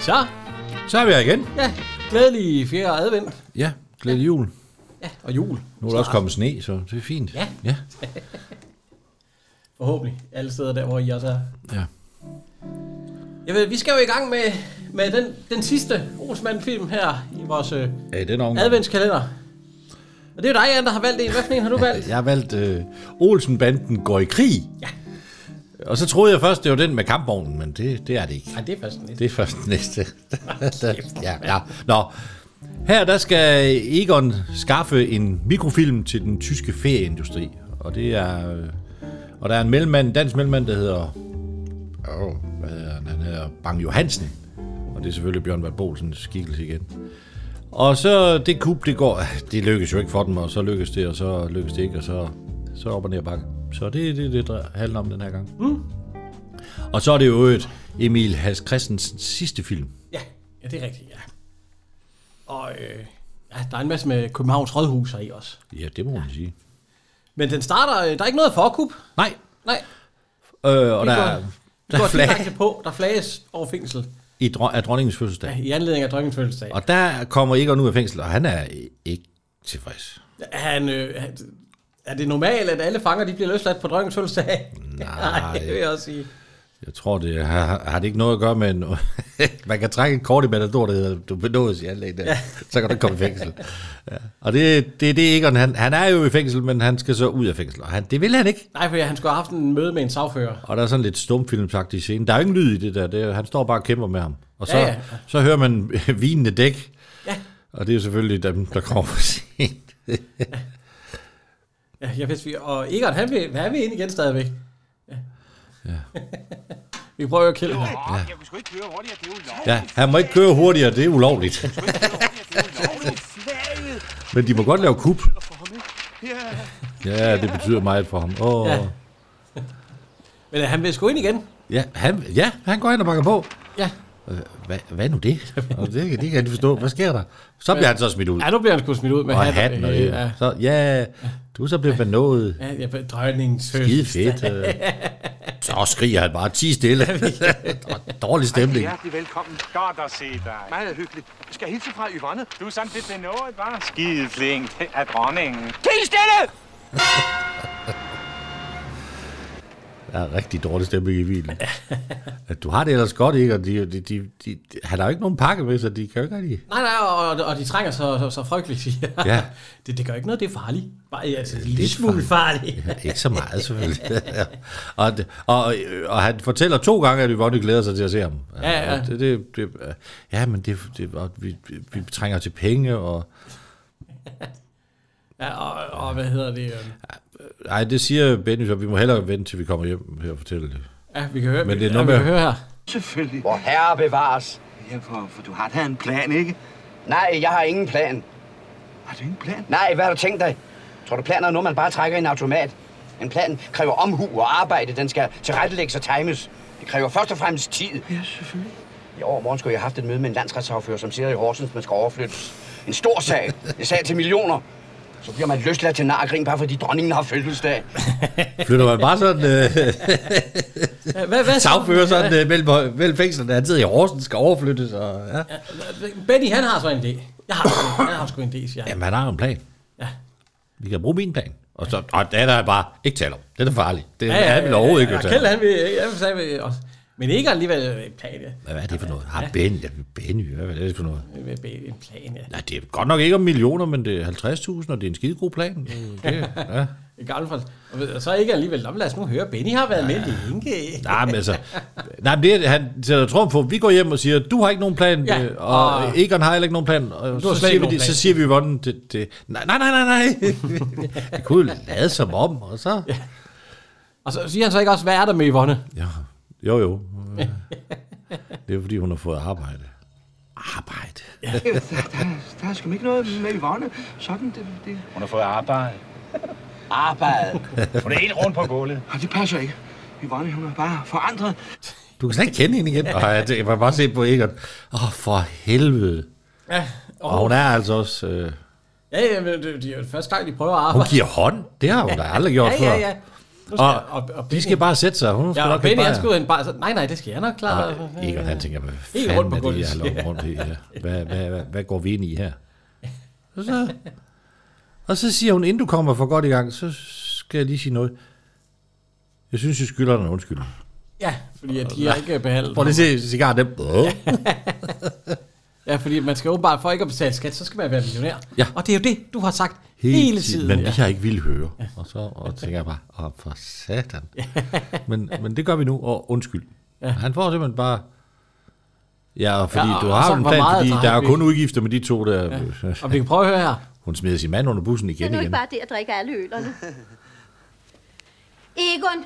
Så, Så er vi her igen. ja, glædelig fjerde advent Ja, glædelig jul. og jul. Nu er der også kommet sne, så det er fint. Ja. Ja. Forhåbentlig alle steder der, hvor I også er. ja. Jeg ved, vi skal jo i gang med, med den, den sidste Olsmand-film her i vores øh, ja den omgang. adventskalender. Og det er jo dig, Jan, der har valgt en. Hvad for en har du valgt? Jeg har valgt øh, Olsenbanden går i krig. Ja. Og så troede jeg først, det var den med kampvognen, men det, det er det ikke. Nej, det er først den næste. Det er først den næste. ja, ja. Nå. Her der skal Egon skaffe en mikrofilm til den tyske ferieindustri. Og det er... øh, Og der er en mellemmand, en dansk mellemmand, der hedder... Oh, hvad hedder han? Han hedder Bang Johansen. Og det er selvfølgelig Bjørn Bart Bolsens skikkelse igen. Og så det kub, det går... Det lykkes jo ikke for dem, og så lykkes det, og så lykkes det ikke, og så, så op og ned ad bakken. Så det er det, det dre- handler om den her gang. Og så er det jo et Emil Hals Christensens sidste film. Ja, ja, det er rigtigt, ja. Og øh, ja, der er en masse med Københavns Rådhus her i også. Ja, det må man sige. Men den starter, øh, der er ikke noget forkub. Nej, Nej, øh, og der, går- er- du der er går flag direkte på. Der flages over fængsel i dro- af dronningens fødselsdag. ja, i anledning af dronningens fødselsdag. Og der kommer Egon ud af fængsel, og han er ikke tilfreds. Han, øh, han- er det normalt, at alle fanger de bliver løsladt på dronningens fødselsdag? Nej, det vil jeg også sige. Jeg tror, det har, har det ikke noget at gøre med... En, man kan trække et kort i matador, der hedder, du benådes i anlæg der, så kan du ikke komme i fængsel. Ja. Og det, det er det Egon, han, han er jo i fængsel, men han skal så ud af fængsel, og han, det vil han ikke. Nej, for han skulle have haft en møde med en sagfører. Og der er sådan lidt stumfilmsagtig i scenen. Der er jo ingen lyd i det der, det, er- han står bare og kæmper med ham. Og så, Ja, ja. så hører man vinende dæk, Ja. og det er jo selvfølgelig dem, der kommer for sent. ja jeg vidste, vi, og Egon, han vil, han vil ind igen stadigvæk. Ja. vi prøver at kælde ham. Åh, jeg kunne sgu ikke køre hurtigere, det er ulovligt. Ja, han må ikke køre hurtigere, det er ulovligt. Det er ulovligt. Flaget. Men de må godt lave kub. Ja. Ja, det betyder meget for ham. Åh. Ja. Ja. Men øh, han vil sgu ind igen. Ja, han, ja, han går ind og banker på. Ja. Øh, Hvad, hvad nu det? Og det, det kan jeg ikke forstå. Hvad sker der? Så bliver han så smidt ud. ja, nu bliver han sgu smidt ud med Og hatten og øh, det. ja. Så, ja, du er så blevet benået. Ja, ja, dronningens Skide fødselsdag. fedt. øh. Så skriger han bare, ti stille. Dårlig stemning. Hjertelig velkommen. Godt at se dig. Meget hyggeligt. Jeg skal hilse fra Yvonne. Du er sådan lidt benået, var? Skide flink af dronningen. Ti stille! Der er rigtig dårlig stemning i bilen. Du har det ellers godt, ikke? Og de, de, de, de, han har jo ikke nogen pakke med, så de kan jo ikke rigtig... Nej, nej, og, og de trænger så, så, så frygteligt, siger jeg. Ja. Det, det gør ikke noget, det er farligt. Bare, altså, en lille smule farligt. Ikke så meget, selvfølgelig. og, det- og, og han fortæller to gange, at Yvonne glæder sig til at se ham. Ja, ja. Og Det, det, det, ja, men det, det, og vi, vi trænger til penge, og... Ja, og, og hvad hedder det? øh, Nej, det siger Benny, så vi må hellere vente, til vi kommer hjem her og fortæller det. Ja, vi kan høre, Men vi- det er ja, noget vi med- kan høre her. Selvfølgelig. Hvor herre bevares. Ja, for, for du har da en plan, ikke? Nej, jeg har ingen plan. Har du ingen plan? Nej, hvad har du tænkt dig? Tror du, planer er noget, man bare trækker i en automat? En plan kræver omhu og arbejde. Den skal tilrettelægges og times. Det kræver først og fremmest tid. Ja, selvfølgelig. I overmorgen skulle jeg have haft et møde med en landsretsafører, som siger i Horsens, man skal overflyttes. En stor sag. En sag til millioner. Så bliver man løsladt til nargrin, bare fordi dronningen har fødselsdag. Flytter man bare sådan, øh, Ja, Hvad, hvad sagfører sådan øh, mellem, mellem fængslerne, han sidder i Horsens, skal overflyttes, og ja. Benny, han har så en idé. Jeg har, sgu- jeg har sgu en idé, siger han. Jamen, han har jo en plan. Ja. Vi kan bruge min plan. Og, så, og den er der bare ikke tale om. Den er farlig. Det, ja, ja, han vil overhovedet ikke ja, fortælle. Kjeld, han vil, han vil, han vil også. Men ikke alligevel en plan, ja. Hvad er det for noget? Har Benny, Benny, hvad er det for noget? Med Benny, En plan, øh, ja. Nej, det er godt nok ikke om millioner, men det er 50.000, og det er en skide god plan. Mm. Øh, Det, ja. En gammel folk. Og, ved- og så ikke alligevel. Nå, men lad os nu høre, Benny har været med længe. Nej, men altså, nej, men det er, han sætter trumf på, vi går hjem og siger, du har ikke nogen plan, Ja, ja, og, og- og Egon har heller ikke nogen plan, og slet så ikke siger, vi, nogen det, plan. så siger vi Yvonne, det, det, nej, nej, nej, nej, nej, vi kunne jo lade som om, og så, Og så siger han så ikke også, hvad er der med Yvonne? ja, jo, jo, Øh, Det er, fordi hun har fået arbejde. Arbejde? Der er sgu ikke noget med Yvonne. Sådan, det, det, Hun har fået arbejde. Arbejde. Hun er helt rundt på gulvet. ah, det passer ikke. Yvonne, hun er bare forandret. Du kan slet ikke kende hende igen. Ej, det, jeg kan bare se på Egon. Åh, oh, for helvede. Ja, Og og, hun er altså også... Øh, ja, ja, men det, det er jo første gang, de prøver at hun arbejde. giver hånd. Det har hun da aldrig gjort Ja, ja, før. ja. Nu skal, Og, og, og, og de skal bare sætte sig. Hun skal Ja, nok og Benny, han bare... skulle en bare... Så, nej, nej, det skal jeg nok klare. Og Egon, han tænker, hvad Helt fanden rundt på er det, gulvet, jeg har lovet rundt i her? Hvad, hvad, hvad, hvad går vi ind i her? Og så, og så siger hun, inden du kommer for godt i gang, så skal jeg lige sige noget. Jeg synes, jeg skylder dig en undskyldning. Ja, fordi at de har ikke behandlet Prøv ham. lige at se cigar dem. Ja, fordi man skal åbenbart, for ikke at betale skat, så skal man være millionær. Ja. Og det er jo det, du har sagt hele, hele tiden. Men ja. vi har ikke ville høre. Og så og tænker jeg bare, åh, for satan. Men, men det gør vi nu, og undskyld. Ja. Han får simpelthen bare... Ja, og fordi Ja, ja, og- du og har så jo en hvor plan, meget fordi drak der er jo vi? kun udgifter med de to der. Ja. Og vi kan prøve at høre her. Hun smider sin mand under bussen Så er igen nu igen. ikke bare det at drikke alle ølerne. Egon,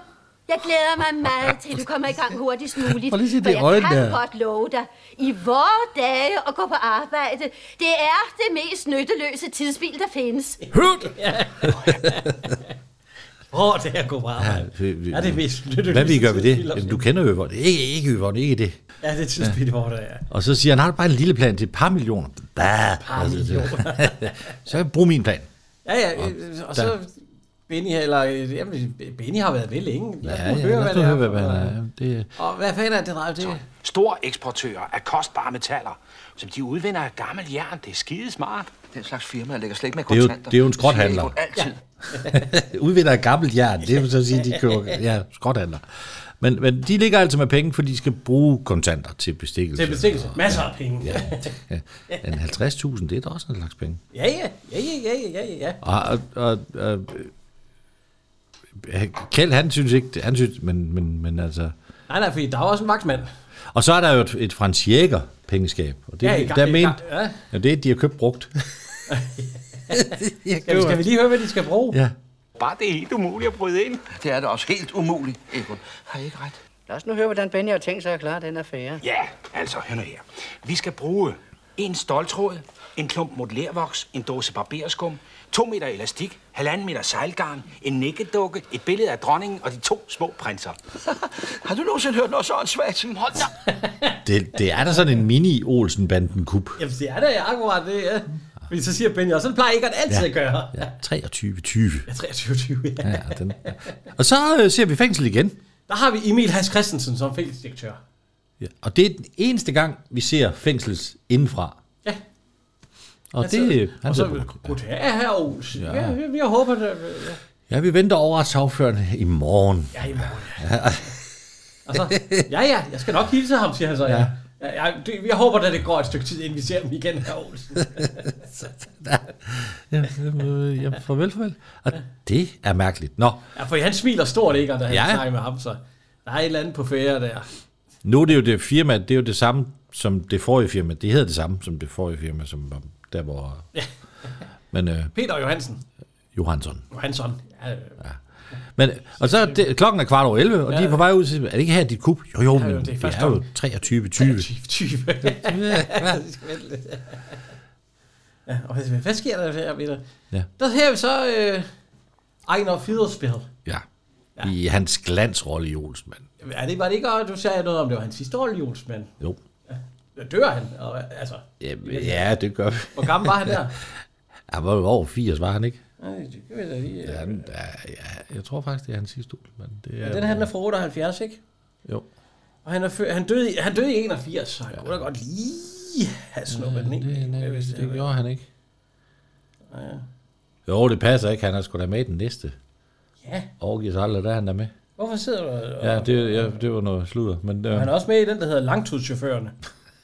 jeg glæder mig meget til, at du kommer i gang hurtigst muligt. Prøv lige at se for det jeg øjne kan der. godt love dig, i vore dage at gå på arbejde, det er det mest nytteløse tidsspil, der findes. Åh, det her går bare. Ja, vi- vi- ja, det er mest nytteløst. Hvad vi gør ved det? Jamen, du kender jo Yvonne. Ikke, ikke Yvonne, ikke det. Ja, det er tidsspil, hvor det er. Og så siger han, har du bare en lille plan til et par millioner? Bah, par millioner. så jeg brug min plan. Ja, ja, øh, og så... Benny, her, eller, øh, jamen, Benny har været med længe. Lad os Ja, nu ja, høre, lad hvad os nu det høre, er. hvad for man noget. er. Det, Og hvad fanden er det, drejer det? Store eksportører af kostbare metaller, som de udvinder af gammel jern. Det er skide smart. Den slags firmaer lægger slet ikke med er jo- kontanter. det er jo en siger skrothandler. Yvonne Altid. udvinder af gammelt jern. Det vil så sige, at de køber ja, skrothandler. Men, men de ligger altså med penge, for de skal bruge kontanter til bestikkelse. Til bestikkelse. Masser af penge. Ja, En 50.000, det er da også en slags penge. ja, ja, ja, ja, ja, ja, ja. Og, og, og, og øh, Kjeld, han synes ikke, han synes, men, men, men altså... Nej, nej, fordi der er jo også en vagtmand. Og så er der jo et, et Frans Jæger pengeskab. Og det, Ja, ja, i gang- der i mente, gang- ja. ja. Ja, det er, de har købt brugt. ja, Skal vi, skal vi lige høre, hvad de skal bruge? ja. Bare Ah, det er helt umuligt at bryde ind. Det er da også helt umuligt, Egon. Har I ikke ret? Lad os nu høre, hvordan Benny har tænkt sig at klare den affære. Ja, altså, hør nu her. Vi skal bruge en stoltråd, en klump modellervoks, en dåse barberskum, to meter elastik, halvanden meter sejlgarn, en nikkedukke, et billede af dronningen og de to små prinser. Har du nogensinde hørt noget så åndssvagt? Hold da. Det, det er da sådan en mini-Olsen-banden-kup. Jamen, det er da akkurat det, ja. Fordi så siger Benny, og sådan plejer ikke at altid Ja. at gøre. Ja, 23-20. Ja, 23, ja. Ja, den. Og så øh, ser vi fængsel igen. Der har vi Emil Hans Christensen som fængselsdirektør. Ja. Og det er den eneste gang, vi ser fængsels indenfra. Ja. Og det, øh, altså, så, han Altså, og så, sidder på- goddag, herr Olsen. Ja. ja, vi har håbet, at... Ja, ja, vi venter over retsafføren i morgen. ja i morgen, ja. Og så, ja, ja, jeg skal nok hilse ham, siger han så, ja. ja. ja det, jeg håber, at det går et stykke tid, inden vi ser ham igen, herr Olsen. Ja, øh, ja, farvel, farvel. Og det er mærkeligt. Nå, Ja, for han smiler stort, ikke, og da han Ja. ja. snakker med ham, så... Der er et eller andet på fære der. Nu er det jo det firma, det er jo det samme som det forrige firma. Det hedder det samme som det forrige firma, som var der hvor... Men øh, Peter Johansen. Johansson. Johansson. Ja, øh, Men, og så er det, klokken er kvart over 11, og ja. de er på vej ud til... Er det ikke her dit kub? Jo, jo, men ja, det er det er, første er jo gang. 23, 20. 20. ja, og hvad, hvad sker der her, Peter? Ja. Der ser vi så øh, Ejner Fiderspil. Ja. I hans glansrolle i Olsenmand. Er det, var det ikke, og du sagde noget om, det var hans sidste år, Jonsmand? Jo. Dør han? Og, altså, Jamen, ja, det gør vi. hvor gammel var han der? Han var jo over 80, var han ikke? Ej, det kan vi da lige. Ja, han, ja, ja, jeg tror faktisk, det er hans sidste Olsenmand. Det er, Den handler fra 78, ikke? Jo. Og han, er fø- han, døde, i, han døde i 81, så han kunne da godt lige have snuppet den, Det, ikke? Hvad hvis det, det det var- gjorde han ikke. Ja. Jo, det passer ikke. Han er sgu da med i den næste. Ja. Overgives aldrig, der er han der med. Hvorfor sidder du og... Ja, det, ja, det var noget sludder. Men, øh, Han er også med i den, der hedder Langtudschaufførerne,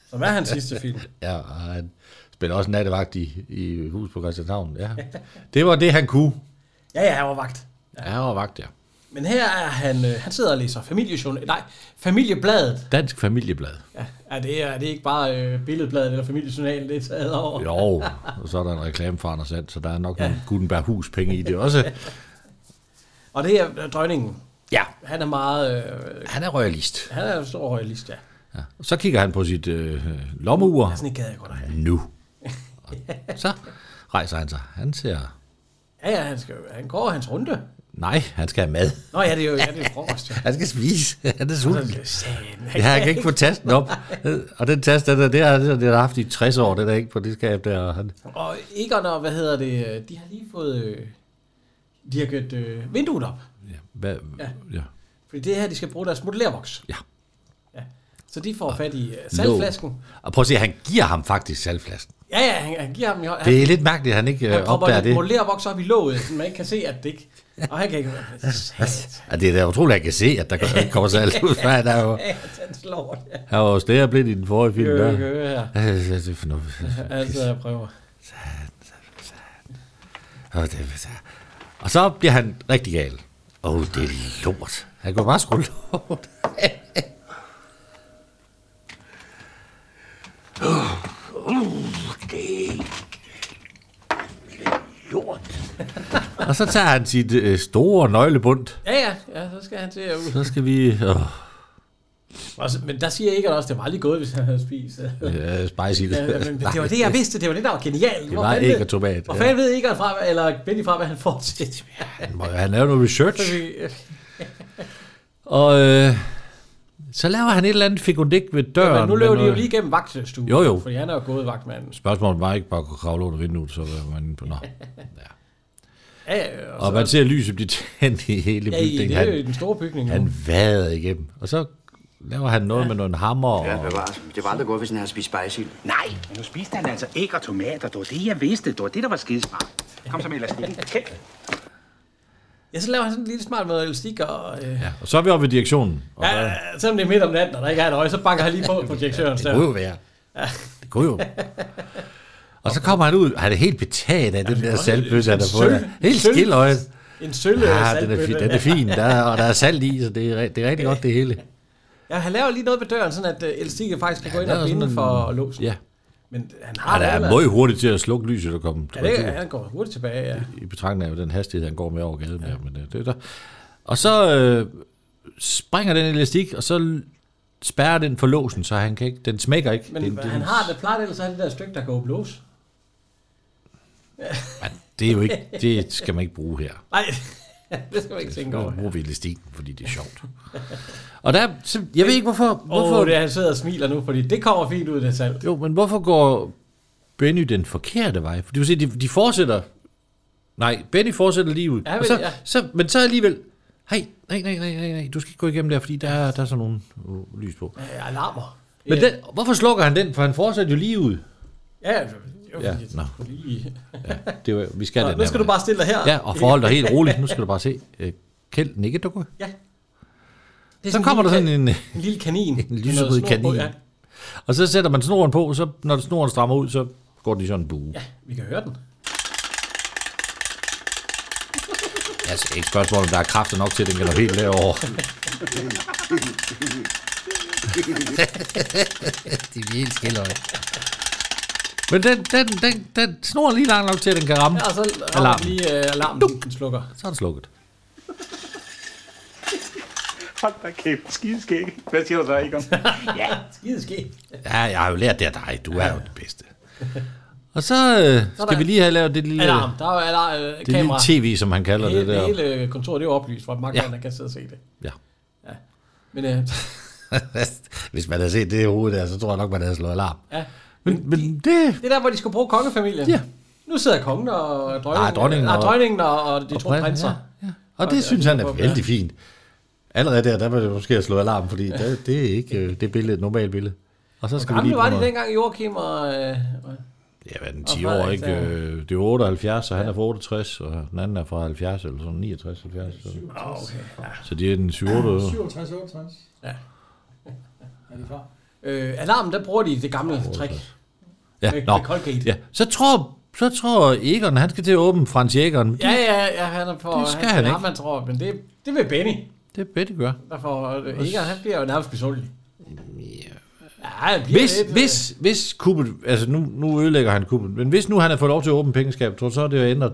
som er hans sidste film. ja, og han spiller også nattevagt i, i hus på Christianshavn. Ja. Det var det, han kunne. Ja, ja, han var vagt. Ja, han var vagt, ja. Men her er han, øh, han sidder og læser familiejournal, nej, familiebladet. Dansk familieblad. Ja, er det, er det ikke bare øh, billedbladet eller familiejournalen, det er taget over? Jo, og så er der en reklame for Anders Sand, så der er nok ja. nogle Gutenberg Hus penge i det også. Og det er øh, dronningen. Ja, Han er meget, øh, han er royalist. han er en stor royalist, ja. Så kigger han på sit øh, lommeur. Sådan en gad jeg godt at have. Nu. Og så rejser han sig. Han ser... Ja, ja, han, skal, jo- han går hans runde. Nej, han skal have mad. Nå ja, det er jo, ja, det er jo frokost. Ja. øh, Han skal spise. Han er sulten. Sagen, Ja, jeg kan ikke få tasten op. Og den tast, den der, det har det har jeg haft i 60 år, den er ikke på det skab der. Og han- Og Egon og, hvad hedder det, øh, de har lige fået, øh, de har gjort øh, vinduet op. Hvad, ja. Fordi det er her, de skal bruge deres modellervoks. Ja. ja. Så de får fat i øh, saltflasken. Og prøv at se, han giver ham faktisk salgflasken. Ja, ja, han, han giver dem i hånden. Det er lidt mærkeligt, at han ikke han øh, propper opdager lidt det. modellervoks op i låget, så man ikke kan se, at det ikke... Og han kan ikke... Sat, Ja, det er da utroligt, at jeg kan se, at der går- kommer salt ud. fra. Der er jo, han slår det. han var jo stærblind i den forrige film. Gør, Der. gør, ja. Ja, det er- det er for noget. Altså, jeg prøver. Og det er- Og så bliver han rigtig gal. Åh, oh, det er lort. Han går bare sgu lort. Og så tager han sit øh, store nøglebundt. Ja, ja, ja, så skal han til at ud. Så skal vi... Åh, Og så- Men der siger Egon også, at det var aldrig gået, hvis han havde spist. øh, spicy. Ja, men det var det, jeg vidste. Det var det, der var genialt. Det var æg og tomat, Hvor ja. fanden ved Egon fra, eller Benny fra, hvad han får til? Han må- Han laver noget research. Så vi- Og øh, så laver han et eller andet fikundik ved døren. Men nu med løber de jo noget- lige igennem vagtstuen. Jo, jo. Fordi han er jo gået vagtmanden. Spørgsmålet var ikke bare at kunne kravle under vinduet, så var man inde på... Nå. Ja, ja, og Og man ser lyset blive tændt i hele ja, i, bygningen. det er jo i Han, den store bygning nu. han vader igennem. Og så laver han noget med nogle hammer. Ja, Og, bevares. Det var aldrig godt, hvis han havde spist spejsild. Nej, men nu spiste han altså æg og tomater. Det var det, jeg vidste. Det var det, der var skidesmart. Kom så med elastikken. Kæft. Ja, så laver han sådan en lille smart med elastik, og... Øh, og så er vi oppe ved direktionen. Og ja, der- ja, selvom det er midt om natten, og der ikke er et øje, så banker han lige på på direktøren. det kunne jo være. Det kunne jo. Og så kommer han ud. Han er helt betaget af den der saltbøsse, han har fået. sølv- Helt sølv- skildøjet. En sølle Ja, den er, fin, den er fin. Der er, og der er salt i, så det er, ri- det er rigtig godt, det hele. Ja, han laver lige noget ved døren, sådan at øh, elastikket faktisk kan gå ind der er og binde sådan en- for låsen. Ja. Men han har Han det er eller- meget hurtigt til at slukke lyset og komme Ja, det, han går hurtigt tilbage, ja. i betragtning af den hastighed, han går med over gaden. Ja. Men, øh, det er der. Og så øh, springer den elastik, og så l- spærrer den for låsen, så han kan ikke, den smækker ikke. Men den, den, han har det plejet, ellers er det der stykke, der kan åbne lås. Det er jo ikke, det skal man ikke bruge her. Nej, det skal man ikke tænke over. Nu bruger vi elastikken, fordi det er sjovt. Og der, så, jeg ved ikke, hvorfor... hvorfor Hvorfor? Oh, det er, han sidder og smiler nu, fordi det kommer fint ud, det salt. Jo, men hvorfor går Benny den forkerte vej? For du kan se, de, de fortsætter... Nej, Benny fortsætter lige ud. Ja, og så, men- ja. så, men så alligevel... Hej, nej, nej, nej, nej, nej, du skal ikke gå igennem der, fordi der, er- der er sådan nogle uh, lys på. Ja, alarmer. Men den, hvorfor slukker han den? For han fortsætter jo lige ud. Ja, det var Ja, ja, fordi, nå. no. lige... Det var, vi skal Nå, den nu skal du bare stille dig her. Ja, og forhold dig helt roligt. Nu skal du bare se. Øh, Kjeld nikke, du Ja. Det er Så kommer der en, sådan lille- en... øh, en lille kanin. En lyserød kanin. Ja. Og så sætter man snoren på, så når snoren strammer ud, så går den i sådan en bue. ja, vi kan høre den. Altså, ikke spørgsmål, om der er kræfter nok til, at den kan nå helt derovre. De er helt skilløje. Men den, den, den, den snor er lige langt nok til, at den kan ramme. Ja, altså. og så rammer Alarmen. den lige uh, alarmen, den, den slukker. Så er den slukket. Hold da kæft, skideskæg. Hvad siger du så, Egon? Skide ske. Ja, jeg har jo lært det af dig. Du er jo den bedste. Og så øh, skal vi lige have lavet det lille, Alarm. Der er jo alarm, øh, det lille kamera. tv, som han kalder Hele, det det der. hele øh, kontoret det er jo oplyst, hvor magtmanden ja. kan sidde og se det. Ja. Men øh, Hvis man havde set det i hovedet der, så tror jeg nok, man havde slået alarm. ja. Men, men det... det er der, hvor de skulle bruge kongefamilien. Ja. Nu sidder kongen og dronningen, Nej, dronningen og, og- dronningen og, og de to prinser. Ja, ja. Og det synes han er vældig fint. Allerede der, der var det måske at slå alarm, fordi det, det er ikke øh, det billede, et normalt billede. Og så skal vi Gamle lige var på de noget. dengang, Joachim og... Øh, og Ja, hvad er den Og 10 år, Frederik, ikke? der- Øh, Det er 78, og han er fra 68, og den anden er fra 70, eller sådan 69, 70. Så, så det er den 7 år. 67, 68. Ja. Er de klar? øh, alarmen, der bruger de det gamle trick. Ja, Med- nå. med Colgate. Ja. Så tror, så tror Egon, han skal til at åbne Frans Egon. Ja, ja, ja, han er for... Det skal han ikke. Man tror, men det, det vil Benny. Det er Betty gør. Der får, øh, Egon, han bliver jo nærmest misundelig. Ja, han bliver Hvis, lidt, øh, hvis, hvis kuppet, altså nu, nu ødelægger han kuppet, men hvis nu han har fået lov til at åbne pengeskab, tror du så, det er ændret?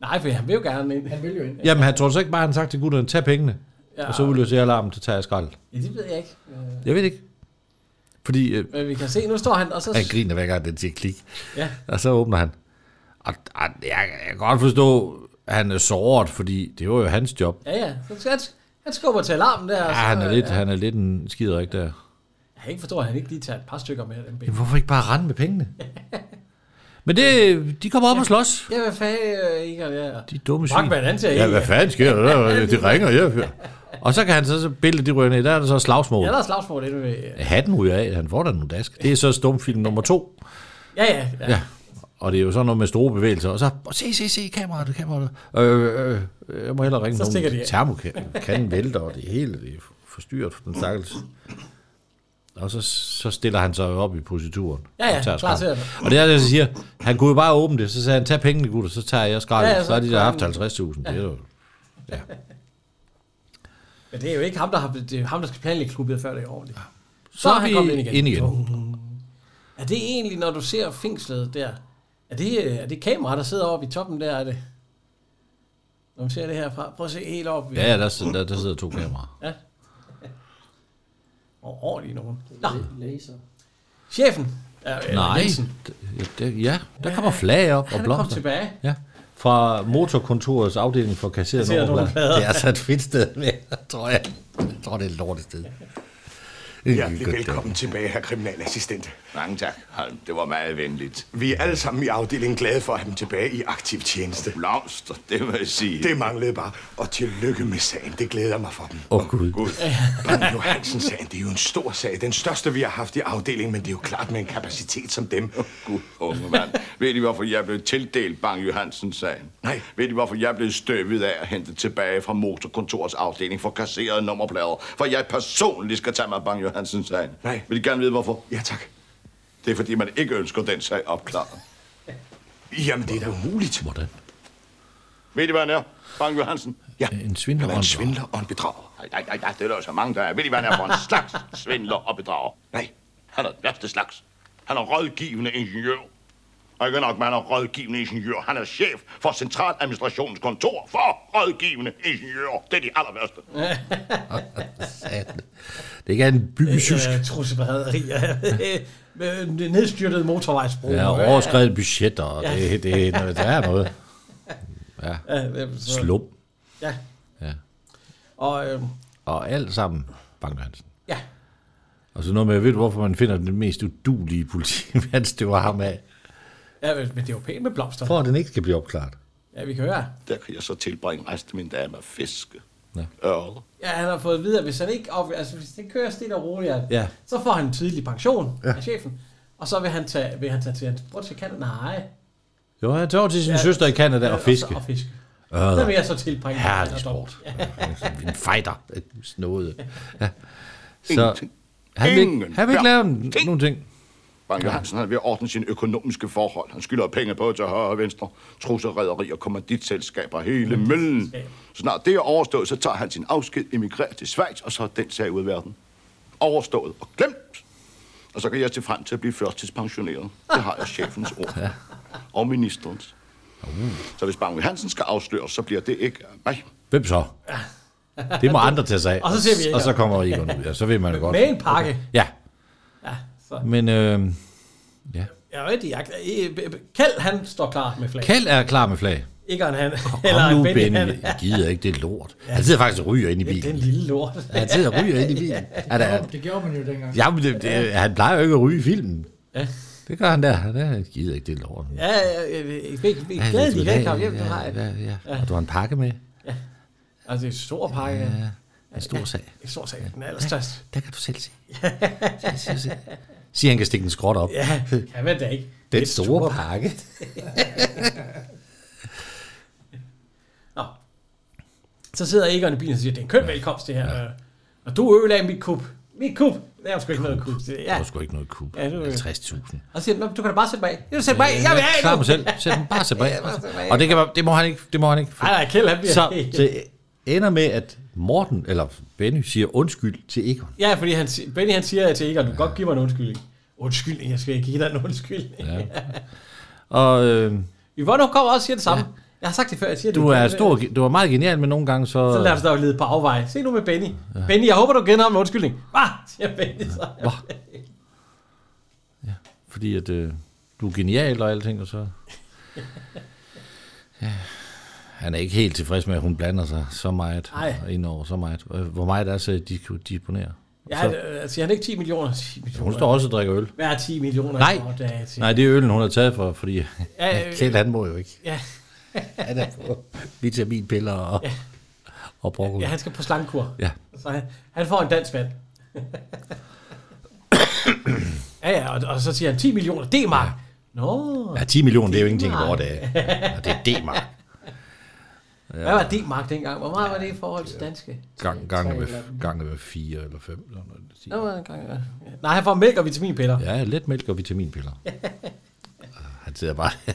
Nej, for han vil jo gerne ind. Han vil jo ind. Jamen, han tror du så ikke bare, han har sagt til gutterne, tag pengene, Ja, og så udløser jeg alarmen, så tager jeg skrald. ja, det ved jeg ikke. Øh, Jeg ved det ikke. Fordi øh, Men vi kan se, nu står han, og så... han griner hver gang, den siger klik. Ja. Og så åbner han. Og, og jeg, jeg kan godt forstå, at han er såret, fordi det var jo hans job. Ja, ja. Så skal han, han skubber til alarmen der. Altså, Ja, og så, han er lidt, Ja. han er lidt en skiderik der. Jeg kan ikke forstå, at han ikke lige tager et par stykker med af den ben. Jamen, hvorfor ikke bare rende med pengene? Men det, de kommer op og slås. Ja, hvad fanden, ikke? Ja. De dumme Bachmann, han siger Ja, ikke, hvad ja. fanden sker der? De ringer, ja. Og så kan han så, så billede de ryger ned. Der er der så slagsmål. Ja, der er slagsmål endnu. Ja, Hatten ryger af, han får da nogle dask. Det er så stumfilm nummer to. ja. ja. ja. Ja. Og det er jo sådan noget med store bevægelser. Og så, "Åh, se, se, se, kameraet, kameraet. Øh, øh, øh, jeg må hellere ringe Så stikker de af. Termokanden vælter, og det hele det er forstyrret for den stakkels. Og så, så stiller han sig jo op i posituren. Ja, ja, Og tager klar til skraldet. Og det er det, jeg siger. Han kunne jo bare åbne det, så sagde han, tag pengene, gutter, så tager jeg skraldet. Ja, Ja, ja, ja, så så har de der kom- haft 50.000. Ja. Det er jo Men det er jo ikke ham, der, har, det er ham, der skal planlægge klubbet før det er ordentligt. Så, Så er er han vi kommet ind igen. Oh. ind igen. Er det egentlig, når du ser fængslet der, er det, øh, er det kamera, der sidder oppe i toppen der, er det? Når man ser det herfra, prøv at se helt op. Ja, ja der, der, der sidder to kameraer. ja. Og ordentligt nogen. Nå, Laser. chefen. Ja, Nej, Jensen, d- det, ja, der kommer flag op og han er kommet blomster. tilbage. Ja, fra motorkontorets afdeling for kasseret Kasseret nummerplader. nummerplader. Det er altså et fedt sted, men jeg tror, jeg, jeg tror det er et lortet sted. Hjertelig velkommen tilbage, herr kriminalassistent. Mange tak, Holm. Det var meget venligt. Vi er alle sammen i afdelingen glade for at have dem tilbage i aktiv tjeneste. Blomster, det må jeg sige. Det manglede bare. Og tillykke med sagen. Det glæder jeg mig for dem. Åh, oh, Gud. Brønden Johansen-sagen, det er jo en stor sag. Den største, vi har haft i afdelingen, men det er jo klart med en kapacitet som dem. Gud, unge mand. Ved I, hvorfor jeg blev tildelt Bang Johansen-sagen? Nej. Ved I, hvorfor jeg blev støvet af at hente tilbage fra motorkontorets afdeling for kasserede nummerplader? For jeg personligt skal tage mig af Bang Johansen-sagen. Nej. Vil I gerne vide, hvorfor? Ja, tak. Det er, fordi man ikke ønsker den sag opklaret. Jamen, det er da umuligt. Hvordan? Ved I, hvad han er? Bang Johansen? Ja, En svindler. han og er en en svindler og en bedrager. Nej, nej, nej, nej, det er der jo så mange, der er. Ved I, hvad han er for en slags svindler og bedrager? Nej, Han er den værste slags. Han er rådgivende ingeniør. Og ikke nok, man er rådgivende ingeniør. Han er chef for Centraladministrationens kontor for rådgivende ingeniører. Det er de aller værste. satan. Det er ikke en byggesjusk. Øh, Trussebaderier. Med nedstyrtet motorvejsbro. Ja, overskrevet budgetter, og det, det, det, det er noget. Ja, øh, så- Slum. Ja. Ja. Og øh, Og alt sammen Bang Johansen. ja, Og så noget med, ved du, hvorfor man finder den mest udulige politimand, støver ham af, ja, men men det er jo pænt med blomster. for at den ikke skal blive opklaret. Ja, vi kan høre. Der kan jeg så tilbringe resten af min dag med at fiske. Ja. Ørle. Ja, han har fået videre, hvis han ikke op, altså, hvis det kører stille og roligt, Ja. så får han en tidlig pension ja. af chefen. Og så vil han tage, vil han tage til hans bror til Canada. Nej. Jo, han tager over til sin ja, søster i Canada og fiske. Og, så, og fiske. Ørder. Så vil jeg så tilbringe. Herlig min barndom. sport. en fighter. Snåde. Ja. Så Ingenting. han vil, ikke- Ingen. han vil ikke Ja. lave n- nogen ting. Bang Johansen er ved at ordne sine økonomiske forhold. Han skylder penge på til højre og venstre. Trusser, rædderier, kommanditselskaber, hele møllen. Snart det er overstået, så tager han sin afsked, emigrerer til Schweiz, og så er den sag ud af verden. Overstået og glemt. Og så kan jeg se frem til at blive førtidspensioneret. Det har jeg chefens ord. Og ministerens. Så hvis Bang Johansen skal afsløres, så bliver det ikke af mig. Hvem så? Det må andre tage sig af. Og så ser vi Egon. Og så kommer Egon ud. Ja, så vil man jo godt. Med en pakke. Okay. Ja, Ja, så. men øh, Jeg er rigtig jagt. Kjeld, han står klar med flag. Kjeld er klar med flag. Ikke han, han Kom nu, eller Benny, Benny. han. Jeg gider ikke, det er lort. Han sidder faktisk og ryger ind i Den bilen. lille lort. Ja, Han sidder og ryger ind i bilen. Han, er, Det gjorde man jo dengang. ja, men det, det, han plejer jo ikke at ryge i filmen. Ja. Det gør han der. Han er- gider ikke, det er lort. Ja, ja, vi fik Ja, glæde, de lidt kan ubehageligt. komme hjem, du har. ja, ja, ja. Og du har en pakke med. Altså, det er en stor pakke. Ja, en stor sag. En stor sag, den allerstørste. Der kan du selv se. Se, se, se. Sig, han kan stikke en skråt op. Ja, kan man da ikke. Den Et store pakke. Nå. Så sidder Egon i bilen og siger, det er en køn velkomst, det her. Ja. Og du ødelagde mit kub. Mit kub. Der er sgu ikke noget kub. til det. Der Ja. var sgu ikke noget kub. Ja, det var- 50.000. Og så siger han, "Nå, du kan da bare sætte mig af. Du kan sætte mig af. Jeg vil af Klar nu. mig selv. Sæt den bare tilbage. Og det, kan, man- det må han ikke. Det må han ikke. Nej, nej, Kjeld, han bliver Så helt- det ender med, at Morten, eller Benny, siger undskyld til Egon. Ja, fordi han, si- Benny han siger til Egon, du kan godt give mig en undskyldning. Undskyldning, jeg skal ikke give dig en undskyldning. Ja. Og øh, Yvonne hun kommer også og siger det samme. Ja. Jeg har sagt det før, jeg siger du det. Øh, er stor, du er meget genial, men nogle gange så... Så lader du dig lede på afveje. Se nu med Benny. Ja. Benny, jeg håber, du kender ham en undskyldning. Hvad? siger Benny så. Hva? Fordi at øh, du er genial og alting, og så... Ja. Han er ikke helt tilfreds med, at hun blander sig så meget Ej. ind over så meget. Øh, Hvor meget er så, de kunne disponere? Ja, så, altså, han er ikke 10 millioner. 10 millioner. hun står også og drikker øl. Hvad er 10 millioner? Nej, Nå, der er 10. nej, det er øllen, hun har taget for, fordi Ja, øh, Kjeld, han må jo ikke. Ja. Han er på vitaminpiller og, Ja. og broccoli. ja, han skal på slangkur. Ja. Så han, han får en dansk mand. ja, ja, og, og, så siger han 10 millioner D-mark. Nå. Ja, 10 millioner, det er jo ingenting i D-mark. vore dage. Ja, det er D-mark. Ja. Hvad var D-mark dengang? Hvor meget var det i forhold til danske? Gang, Tre gange, med, eller- gange med fire eller fem. Eller noget. Nå, hvor er det gang, ja. Nej, han får mælk og vitaminpiller. Ja, let mælk og vitaminpiller. Han sidder bare...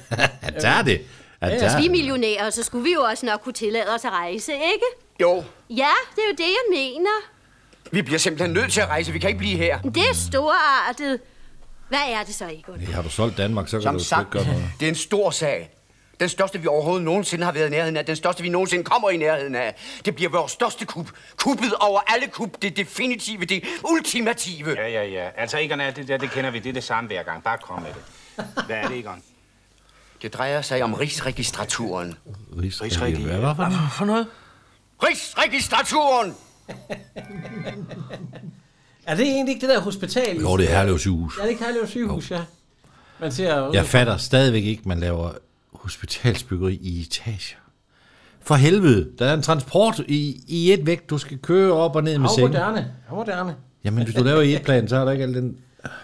han tager det. Han Ja, Hvis tager vi er det. millionærer, så skulle vi jo også nok kunne tillade os at rejse, ikke? Jo, Ja, det er jo det, jeg mener. vi bliver simpelthen nødt til at rejse. Vi kan ikke blive her. Det er storartet. Hvad er det så, Egon? Ja, Har du solgt Danmark, så kan Som du sgu ikke sagt, gøre noget. det er en stor sag. Den største, vi overhovedet nogensinde har været i nærheden af. Den største, vi nogensinde kommer i nærheden af. Det bliver vores største kup. Kuppet over alle kup. Det definitive, det ultimative. Ja, ja, ja. Altså, Egon, er det der, det kender vi. Det er det samme hver gang. Bare kom med det. Hvad er det, Egon? Det drejer sig om rigsregistraturen. Rigsregion. Hvad var for noget? for noget? Rigsregistraturen! Er det egentlig ikke det der hospital? Jo, det er Herlev sygehus. Ja, det er Herlev sygehus, ja. Man ser jo... Jeg fatter stadigvæk ikke, man laver hospitalsbyggeri i etager. For helvede, der er en transport i, i et vægt, du skal køre op og ned med Hav sengen. moderne. Hav moderne. Jamen, hvis du laver i et plan, så er der ikke al den...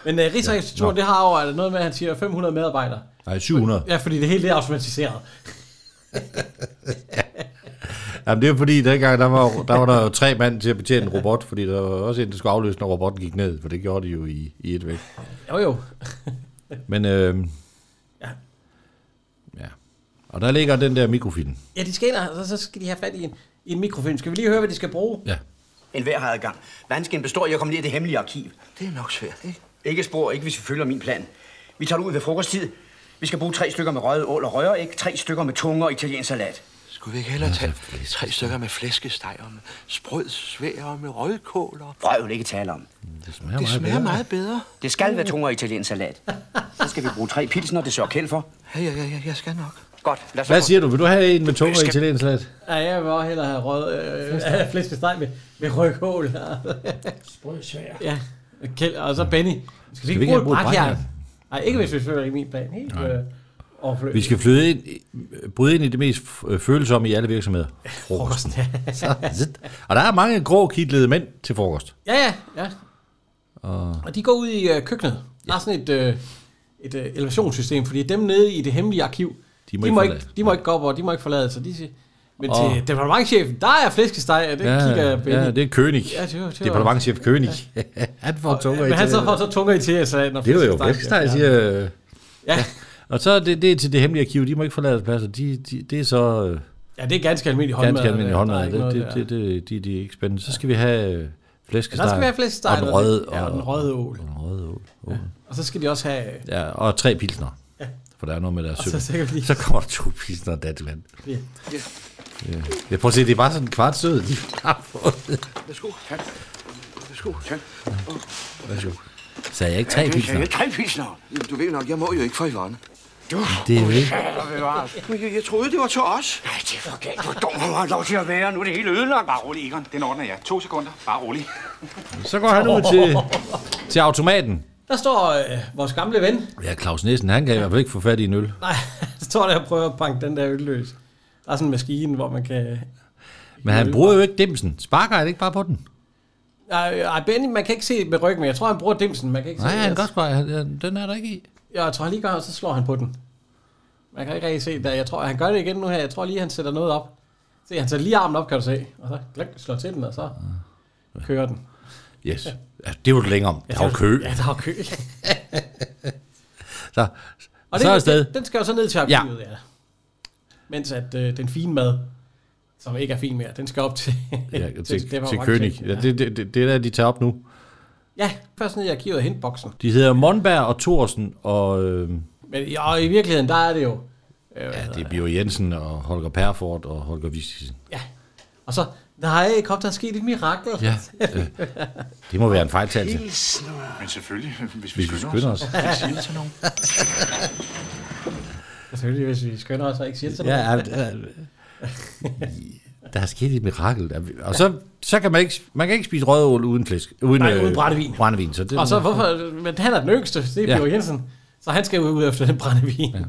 Men uh, Rigsadministraturen, Nå. det har jo altså noget med, at han siger 500 medarbejdere. Nej, 700. Ja, fordi det hele det er automatiseret. Jamen, det er fordi, dengang der var, der var der jo tre mand til at betjene en robot, fordi der var også en, der skulle afløse, når robotten gik ned, for det gjorde de jo i, i et væk. Jo, jo. Men, øh, ja. ja. Og der ligger den der mikrofilm. Ja, de skal ind, og så- så skal de have fat i en, i en mikrofilm. Skal vi lige høre, hvad de skal bruge? Ja. En hver har adgang. Vansken består i at komme ned i det hemmelige arkiv. Det er nok svært, ikke? Ikke spor, ikke hvis vi følger min plan. Vi tager det ud ved frokosttid. Vi skal bruge tre stykker med røget ål og røræg, tre stykker med tunge og italiensk salat. Skulle vi ikke hellere tage tre stykker med flæskesteg og med sprød svær og med rødkål og... Røv ikke tale om. Det smager, Det smager meget bedre. Det skal være tunge og italiensk salat. Så skal vi bruge tre pilsner, det sørger Kjeld for. Ja, ja, ja, ja, jeg skal nok. Godt, lad os Hvad siger du? Vil du have en med tunger Skal- i italiensk slat? Ja, jeg vil også hellere have rød, øh, flæskesteg med, med rødkål. Sprød svær. Ja, Kjeld, og så Benny. Skal, vi ikke have brugt brækjern? brækjern? Nej, ikke hvis vi følger i min plan. Helt øh, overflødigt. Vi skal flyde ind, bryde ind i det mest øh, følsomme i alle virksomheder. Frokosten. Så, zit. og der er mange grå kitlede mænd til frokost. Ja, ja, ja. Og Og de går ud i øh, køkkenet. Der er sådan et, øh, et øh, elevationssystem, fordi dem nede i det hemmelige arkiv, de De må, må ikke de må, ikke, forlade. de må ikke gå op over, de må ikke forlade sig. De siger, men Og- oh. til departementchefen, der er flæskesteg, og det Ja, kigger ja, Benny. ja, det er König. Ja, det var, det var, Departementchef König. han får tunger i Men han så italiensk får så tunger i til, så når Det er jo flæskesteg, siger... øh, Ja. Og så er det, det er til det hemmelige arkiv, de må ikke forlade deres pladser. De, de, det er så øh, Ja, det er ganske almindelig håndmad. øh, ganske almindelig Der er håndmad. ikke Det, noget det, der. det, det, de, de er ikke spændende. Så skal vi have øh, flæskesteg. Ja, der skal vi have flæskesteg. Og den noget. røde. Ja, og den røde ål. Og den røde ål. ål. Og så skal de også have... øh, Ja, og tre pilsner. Ja. For der er noget med deres Og søvn. så Så, sikkert lige- så kommer der to pilsner og datland. Ja. Ja. Jeg prøver at se, det er bare sådan en kvart sød, de har fået. Værsgo, tak. Værsgo, tak. Værsgo. Så jeg ikke tre det pilsner. sagde jeg. Tre pilsner? Jamen, du ved nok, jeg må jo ikke for Ivone. Du, Det er jo ikke. Men jeg, jeg troede, det var til os. Nej, det er for galt. Hvor dum har lov til at være. Nu er det hele ødelagt. Bare rolig, Egon. Den ordner jeg. To sekunder. Bare rolig. Så går han ud til, til automaten. Der står øh, vores gamle ven, Ja, Claus Nissen, han kan i hvert fald ikke få fat i en øl. Nej, så står der og prøver at banke den der øl løs. Der er sådan en maskine, hvor man kan... Men han bruger jo ikke dimsen. Sparker han ikke bare på den? Ej, ej, Benny, man kan ikke se med ryggen, men jeg tror, han bruger dimsen. Man kan ikke Nej, se han kan godt bare. Den er der ikke i. Ja, jeg tror, han lige gør, og så slår han på den. Man kan ikke rigtig se det. Jeg tror, han gør det igen nu her. Jeg tror lige, han sætter noget op. Se, han sætter lige armen op, kan du se. Og så gløk, slår til den, og så kører den. Yes. Ja, det var det længere om. Ja, Der var det- kø. Ja, der var kø. Så, Og så det, er afsted. Den, den skal jo så ned til arkivet, ja. ja. Mens at øh, den fine mad, som ikke er fin mere, den skal op til... Ja, til, til, til departementchefen. König. Ja, det, det, det, det er der, de tager op nu. Ja, først ned i arkivet og hente boksen. De hedder Monberg og Thorsen og... Øh, Men i- og i virkeligheden, der er det jo. Øh, ja, det er Bio Jensen og Holger Perfort og Holger Vistisen. Og så Nej, kom, der er sket et mirakel. Ja, øh, det må være en fejltagelse. Men selvfølgelig, hvis vi vi skynder skynder skynder os. os. os. Ikke sige det til nogen. Selvfølgelig, hvis vi skynder os og ikke siger det til Ja, nogen. ja, ja. Der er sket et mirakel. Og så, så kan man ikke, man kan ikke spise rødål uden flæsk. Uden, Nej, øh, uden brændevin. brændevin så det, Og så hvorfor, men han er den yngste, det er Ja. ja. Jensen. Så han skal jo ud efter den brændevin. Ja.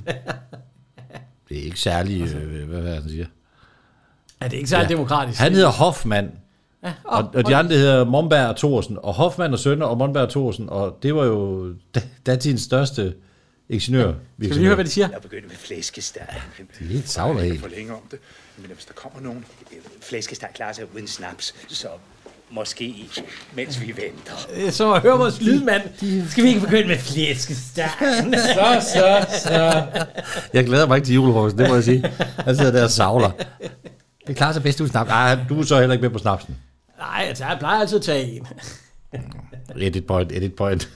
Det er ikke særlig, øh, hvad er det, han siger? er det ikke særlig ja. demokratisk? Han hedder Hoffmann. Ja, Og, og de andre hedder Momberg og Thorsen. Og Hoffmann og Sønner og Momberg og Thorsen. Og det var jo da- datidens største ingeniør. Skal vi lige høre, hvad de siger? Jeg begynder med flæskesteg. De er helt savler Jeg kan helt. forlænge om det. Men hvis der kommer nogen... Flæskesteg klarer sig uden snaps, så måske, mens vi venter. Øh, Så hør vores lydmand. Skal vi ikke begynde med flæskesteg? Så, så, så. Jeg glæder mig ikke til julefrokosten, det må jeg sige. Han sidder der og savler. Det klarer sig bedst uden snaps. Ej, du er så heller ikke med på snapsen. Nej, altså, jeg plejer altid at tage en. Edit point, edit point.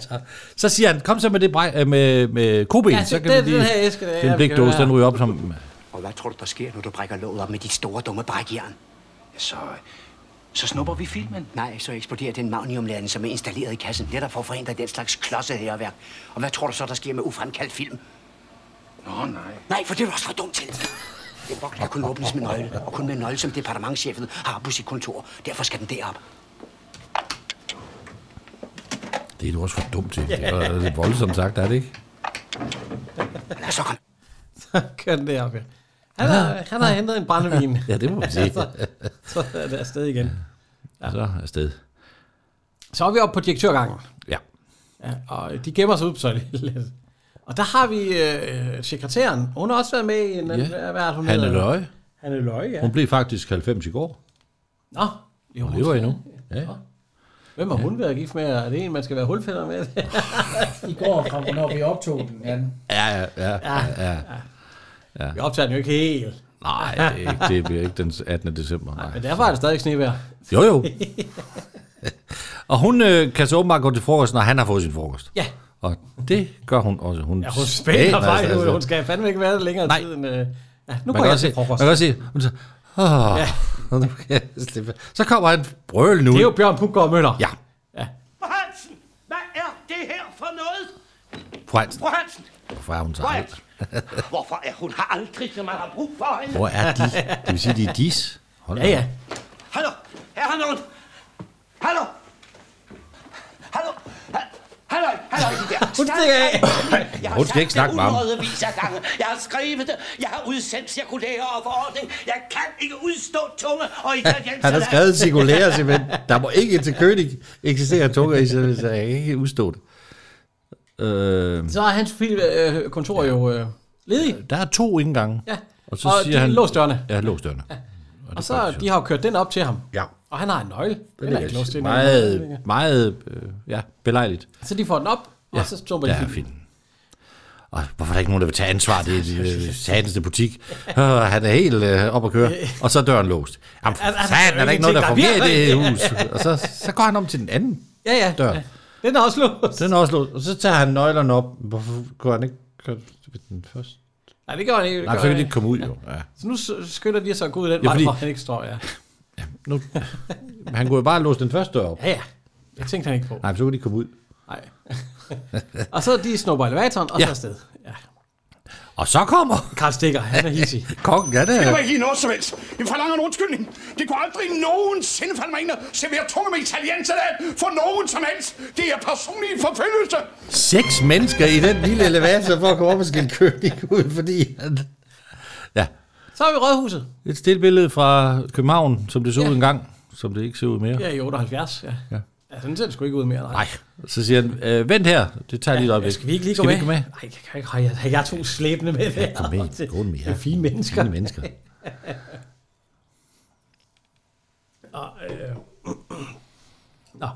så, så siger han, kom så med det brej, øh, med, med koben. Ja, så det- det er lige- den her æske, der er, vi Den kan blikdåse, høre. den ryger op som... Og hvad tror du, der sker, når du brækker låget op med dit store, dumme brækjern? Så, så snupper vi filmen. Nej, så eksploderer den magniumladning, som er installeret i kassen, netop for at forhindre den slags klodset herværk. Og hvad tror du så, der sker med ufremkaldt film? Nå, nej. Nej, for det er du også for dumt til. Den boks kan kun åbnes med nøgle, og kun med en nøgle, som departementchefen har på sit kontor. Derfor skal den derop. Det er du også for dumt til. Det er det er voldsomt sagt, er det ikke? Lad os så komme. Så kører den deroppe. Han har, han har hentet en brændevin. Ja, det må man sige. så, så er det afsted igen. Ja. Så afsted. Så er vi oppe på direktørgangen. Ja. ja og de gemmer sig ud på sådan lidt. Og der har vi øh, sekretæren. Hun har også været med i en... Ja. Hvad hvad er det, hun Hanne hedder? Løje. Hanne Løje, ja. Hun blev faktisk 90 i går. Nå, jo, Hun lever endnu. Ja, ja. Hvem har hun været gift med? Er det en, man skal være hulfælder med? I går, fra hvornår vi optog den. Ja, Ja, ja, ja. ja, ja. ja. Vi optager den jo ikke helt. Nej, det, er ikke, det bliver ikke den 18. december. Nej. Men derfor er det stadig snevejr. Jo, jo. Og hun øh, kan så åbenbart gå til frokost, når han har fået sin frokost. Ja. Og det gør hun også. Hun, Ja, hun spænder faktisk altså. ud. Hun skal fandme ikke være der længere Nej. tid end... Øh, ja, nu man, går kan jeg også til se, man frokost. kan også se, hun siger, Åh, Ja. nu kan jeg slippe." så kommer han brøl nu. Det er jo Bjørn Puggaard Møller. Ja, Hansen, hvad er det her for noget? fru Hansen. Fru Hansen, Hvorfor er hun så Fru alt? Hansen, hvorfor er hun her aldrig, når man har brug for hende? Hvor er de? Det vil sige, de er dis. Hold da. Hallo, er her nogen? Hallo? Hallo? Ha- Hallo, hallo, de der. Hun stikker af. Jeg har Hun skal sagt ikke snakke det med ham. hundredvis af gange. Jeg har skrevet det. Jeg har udsendt cirkulære og forordning. Jeg kan ikke udstå tunge og italiensk. Han har skrevet cirkulære simpelthen. Der må ikke til König eksistere tunger i, så så jeg kan ikke udstå det. Øh, Så er hans fil, øh, kontor jo øh, ledig. der er to indgange. Ja. Og så Og siger de- han... lås dørene. Ja, lås dørene. Og så de har jo kørt den op til ham. Ja. Og han har en nøgle. Den, Det er ikke låst er til meget, meget, øh, ja, belejligt. Så de får den op, og så stumper de ja, filmen. fint. Og hvorfor er der ikke nogen, der vil tage ansvar? Det er øh, satanste butik. Øh, han er helt øh, op at køre. Og så er døren låst. Jamen, for Altså, altså, fanden, er der ikke noget, der ingenting, fungerer der i det her hus? virker. Og så, så går han om til den anden Ja, ja. dør. ja. Den er også låst. Den er også låst. Og så tager han nøglerne op. Hvorfor går han ikke køre ved den først? Nej, det gør han ikke. det Nej, gør så kan han de ikke ikke. komme ud, jo. Ja. Så nu s- skynder de sig at gå ud i den Ja, vej, fordi- hvor han ikke står, ja. Nu, han kunne jo bare låse den første dør op. Ja, ja. Det tænkte han ikke på. Nej, men så kunne de komme ud. Nej. og så de snupper elevatoren, og så Ja. afsted. Ja. Og så kommer... Karl Stikker, han er hissig. Kongen, ja, det Jeg er... var ikke lige noget som helst. Jeg forlanger en undskyldning. Det kunne aldrig nogensinde falde mig ind at servere tunge med italiensalat for nogen som helst. Det er personlig forfølgelse. Seks mennesker i den lille elevator for at komme op og skille König ud, fordi han... Ja, Så er vi i Rådhuset. et stille billede fra København, som det så ud engang, som det ikke ser ud mere. Ja, i 78, ja. Ja. Ja, sådan ser det sgu ikke ud mere, nej. Nej, så siger han, øh, vent her, det tager lige et øjeblik. Skal vi ikke lige gå Skal med? vi ikke gå med? Nej, jeg kan ikke. Har jeg, har jeg to slæbende med det Gå med, gå med. Det er fine mennesker. Fine mennesker. Og, øh, Nå.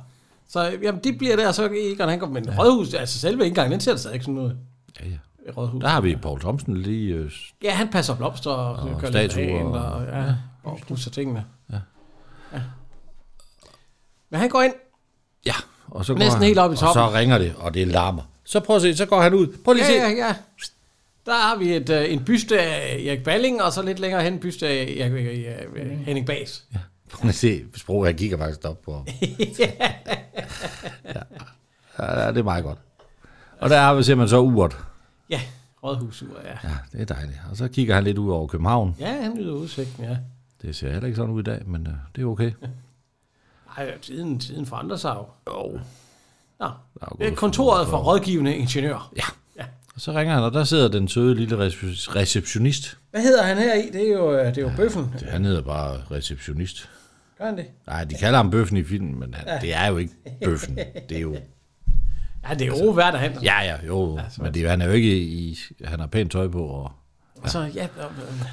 Så øh, jamen, de bliver der, så Egon han kommer. Men ja. Rådhuset, altså selve indgangen, den ser da stadig sådan noget. Ja, ja. Rådhuset. Der har vi Paul Thomsen lige... Øh, Ja, han passer blomster og, Og og kører lidt statuer rent og, og- og, ja, og pusser tingene. Ja. ja. Men han går ind. ja, og så går Næsten han, helt op i Og toppen. så ringer det, og det larmer. Så prøv at se, så går han ud. Prøv lige at ja, se. ja, ja. Der har vi et, øh, en byste af Erik Balling, og så lidt længere hen en byste af Erik, øh, øh, øh, Henning Bas. Prøv at se, sprog, jeg kigger faktisk op på. Ja, det er meget godt. Og der ser man så uret. Ja, rådhusur, ja. Ja, det er dejligt. Og så kigger han lidt ud over København. Ja, han lyder udsigten, ja. Det ser heller ikke sådan ud i dag, men øh, det er okay. Ej, øh, tiden, tiden forandrer sig jo. Jo. Nå, er det er gået kontoret for- for rådgivende ingeniør. Ja. Og så ringer han, og der sidder den søde lille rece- receptionist. Hvad hedder han her i? Det er jo, øh, det er jo ja, bøffen. Det, han hedder bare receptionist. Gør han det? Nej, de kalder ham bøffen i filmen, men han, Ja. det er jo ikke bøffen. Det er jo... Ja, det er jo altså, derhen. Ja, ja, jo. men det, han er jo ikke i... Han har pænt tøj på, og Og så, ja, øh,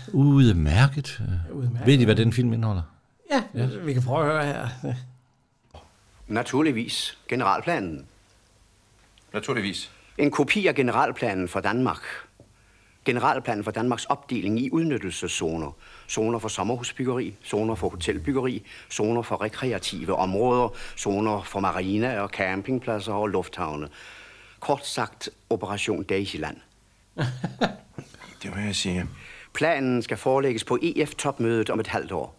øh, Udmærket. Udmærket. Ved I, hvad den film indeholder? ja, vi kan prøve at høre her. Naturligvis. Generalplanen. Naturligvis. En kopi af generalplanen for Danmark. Generalplanen for Danmarks opdeling i udnyttelseszoner. Zoner for sommerhusbyggeri, zoner for hotelbyggeri, zoner for rekreative områder, zoner for mariner og campingpladser og lufthavne. Kort sagt, Operation Daisyland. Det må jeg sige. Planen skal forelægges på EF-topmødet om et halvt år.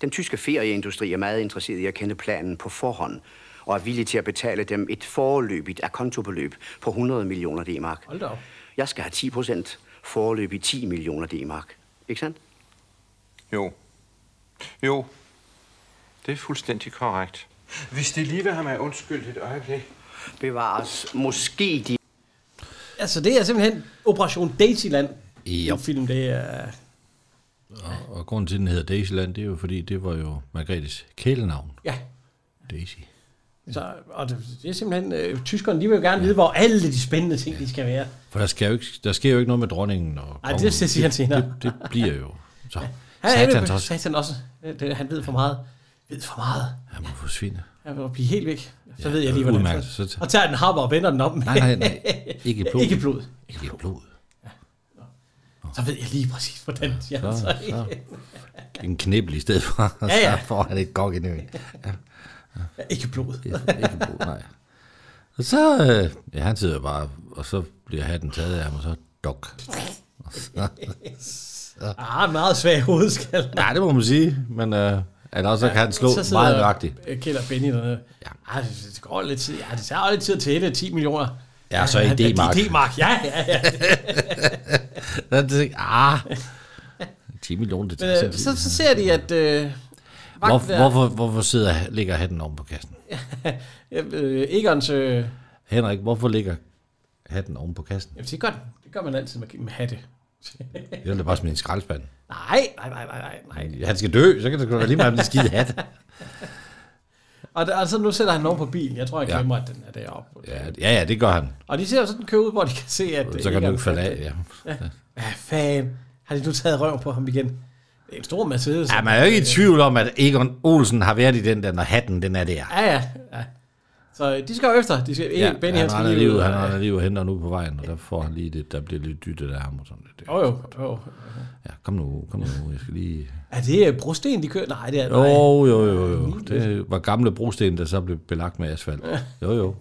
Den tyske ferieindustri er meget interesseret i at kende planen på forhånd, og er villig til at betale dem et foreløbigt kontobeløb på 100 millioner D-mark. Hold da op. Jeg skal have 10 procent, foreløbigt 10 millioner D-mark. Ikke sandt? Jo. Jo. Det er fuldstændig korrekt. Hvis det lige vil have mig undskyldt et øjeblik. Bevares. Måske de... Altså, det er simpelthen Operation Daisyland. Jo. film, det er... Og, og grunden til, at den hedder Daisyland, det er jo fordi, det var jo Margrethes kælenavn. Ja. Daisy. Så, og det, det er simpelthen... Øh, tyskerne, de vil jo gerne vide, hvor alle de spændende ting, de skal være. For der, skal jo ikke, der sker jo ikke noget med dronningen og Ej, kongen. det siger han senere. Det, det, bliver jo. Så Han er satans inde- også. Satan også. Det, det, han ved for meget. Ved for meget. Han må forsvinde. Han vil blive helt væk. Så Ja, ja, ved jeg lige, hvordan udmærket. det Så- er. Og tager den hammer og vender den om. Nej, nej, nej. Ikke blod. Ikke blod. Ikke blod. Så ved jeg lige præcis, hvordan de er. Så, Så, så. En knibel i stedet for, og Ja, ja. så får han et gok i nøden. Ja. Ja, Ikke blod. Ja, ikke blod, nej. Og så, øh, ja, han sidder bare, og så bliver hatten taget af ham, og så dok. Og så, så. Ah, meget svag hovedskal. Nej, det må man sige, men øh, eller også så kan han slå så sidder øh, meget nøjagtigt. Kjeld og Benny dernede. Ja. Ej, det, det går lidt tid. Ja, det tager jo lidt tid at tælle 10 millioner. Ja, så i ja, D-mark. Ja, i D-mark, ja, ja, ja. Så jeg tænkte, ah, 10 millioner, det Men, tager øh, sin så, tid. så ser de, at... Øh, vagten Hvor, er- hvorfor, hvorfor sidder, ligger hatten oven på kassen? Ja, øh, Egons... Øh, Henrik, hvorfor ligger hatten oven på kassen? jamen, det, gør, den. det gør man altid med, med hatte. Jeg ville da bare smide en skraldspand. nej, nej, nej, nej, nej, nej. Han skal dø, så kan det sgu da lige meget med den skide hat. Og, der, og så nu sætter han den oven på bilen. Jeg tror, jeg Ja. glemmer, at den er deroppe. Ja, ja, ja, det gør han. Og de ser jo sådan en kø ud, hvor de kan se, at... øh, Så kan du Egon- ikke falde af, ja. Ja. Hvad fanden? Har de nu taget røven på ham igen? Det er en stor Mercedes. Ja, man er jo ikke i tvivl om, at Egon Olsen har været i den der, når hatten den er der. Ja, ja, ja. Så øh, de skal jo efter. De skal, ja, Benny, han han skal render lige ud, han øh, render lige ud og henter nu på vejen, og der får han lige det, der bliver lidt dyttet af ham og sådan lidt. Jo, jo, jo. Ja, kom nu, kom nu, jeg skal lige... Er det øh, brosten, de kører? Nej, det er nej. Jo, jo, jo, jo. Det var gamle brosten, der så blev belagt med asfalt. Jo, jo.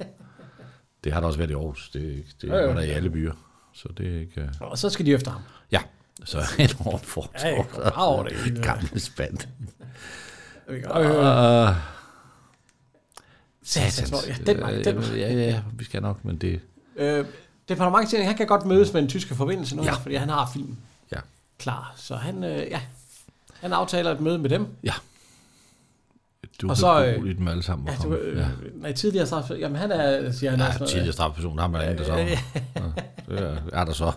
Det har der også været i Aarhus. Det, er ikke- det Jo, jo. var der i alle byer. Så det er ikke... øh, Og så skal de efter ham. Ja, så enormt for. Ja, jeg går bare over det hele. Øh, Gamle spand. Vi kan godt høre. Øh, Satans, satans. hvor- ja, den vej, den vej. Øh, Ja, ja, ja, vi skal nok, men det... Øh, departementchefen, han kan godt mødes med den tyske forbindelse nu, ja. fordi han har filmen Ja. klar. Så han, øh, ja, han aftaler et møde med dem. Du Og og så, så, øh, kan bruge dem alle sammen. Ja, Ja, du, øh, ja. Nej, tidligere straf, jamen han er, siger han, er sådan ja noget, tidligere strafperson, ham er der ingen, der så. Øh, Ja, det er der så.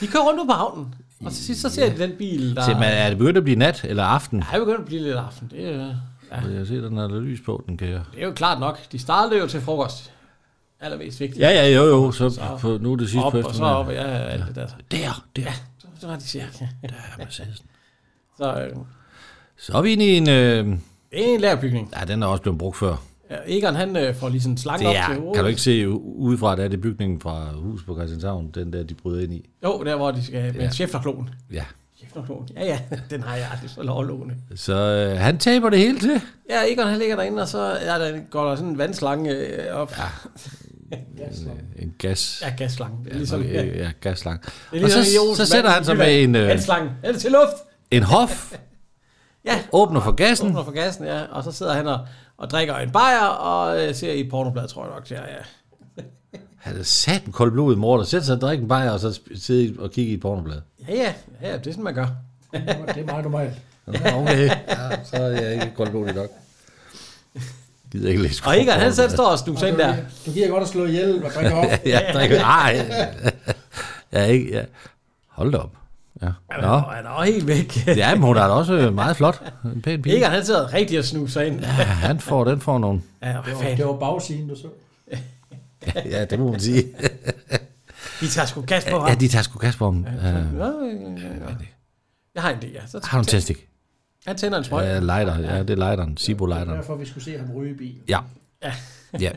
De kører rundt ude på havnen, og til sidst så ser de den bil, der... Se, men er det begyndt at blive nat eller aften? Ja, jeg begynder at blive lidt aften. Det, er- ja, Ja. Jeg ser, der er der lys på, den kan jeg... det er jo klart nok. De startede jo til frokost. Allermest vigtigt. Ja, ja, jo, jo, så, på, nu er det sidste op, på og så op, eftermiddagen. ja, ja, alt det der. Der, der. Ja, så, så var de cirka. Der er Mercedesen. Så øh, Så er vi inde i en... Øh... det er en lagerbygning. Ja, den er også blevet brugt før. Ja, Egon, han øh, får lige sådan en slange Det op til er, hovedet. kan du ikke se u- udefra, der er det bygningen fra huset på Christianshavn, den der, de bryder ind i. Jo, der hvor de skal med ja. Ja. chefterklonen. Ja. Chefterklonen. Ja, ja, den har jeg aldrig så lovlående. Så øh, han taber det hele til. Ja, Egon han ligger derinde, og så ja, der går der sådan en vandslange øh, op. Ja. en gas. Ja, gasslange. Det er ligesom, ja, ja. nok, ja, gasslang. Det er Og ligesom i så, så Olsenbanden sætter han sig med en, øh, Handslangen. Er det til luft? en hof, Ja. åbner for gassen. Åbner for gassen, ja. Og så sidder han og, og drikker en bajer og øh, ser i et pornoblad, tror jeg nok. Ja, ja. Han er sat en koldblodig mor, der sætter sig og drikker en bajer, og så sp- sidder og kigger i et pornoblad. Ja, ja. ja, ja det er sådan, man gør. det er meget normalt. Nå, Okay, ja, så er jeg ikke koldblodig nok. Gider ikke læse Og Egon, han pornoblad. selv står og snuser ind du, der. Du giver godt at slå ihjel og drikke op. ja, jeg drikker. Ej. Ja, ikke. Ja. Hold da op. Ja. Nå. Han er også helt væk. ja, men hun er da også meget flot. En pæn pige. Egon, han sidder rigtig og snuser ind. Ja, han får, den får nogen. Ja, hvad det, var, fanden. det var bagsiden, du så. Ja, det må man sige. De tager sgu gas på ham. Ja, de tager sgu gas på ham. Øh, Ja, ja, ja, ja. Jeg har en idé, ja. Så Har du en tændstik? Han tænder en smøg. Ja, lighter. Ja, det er lighteren. Sibo-lighteren. Derfor vi skulle se ham ryge i bilen. Ja. Ja.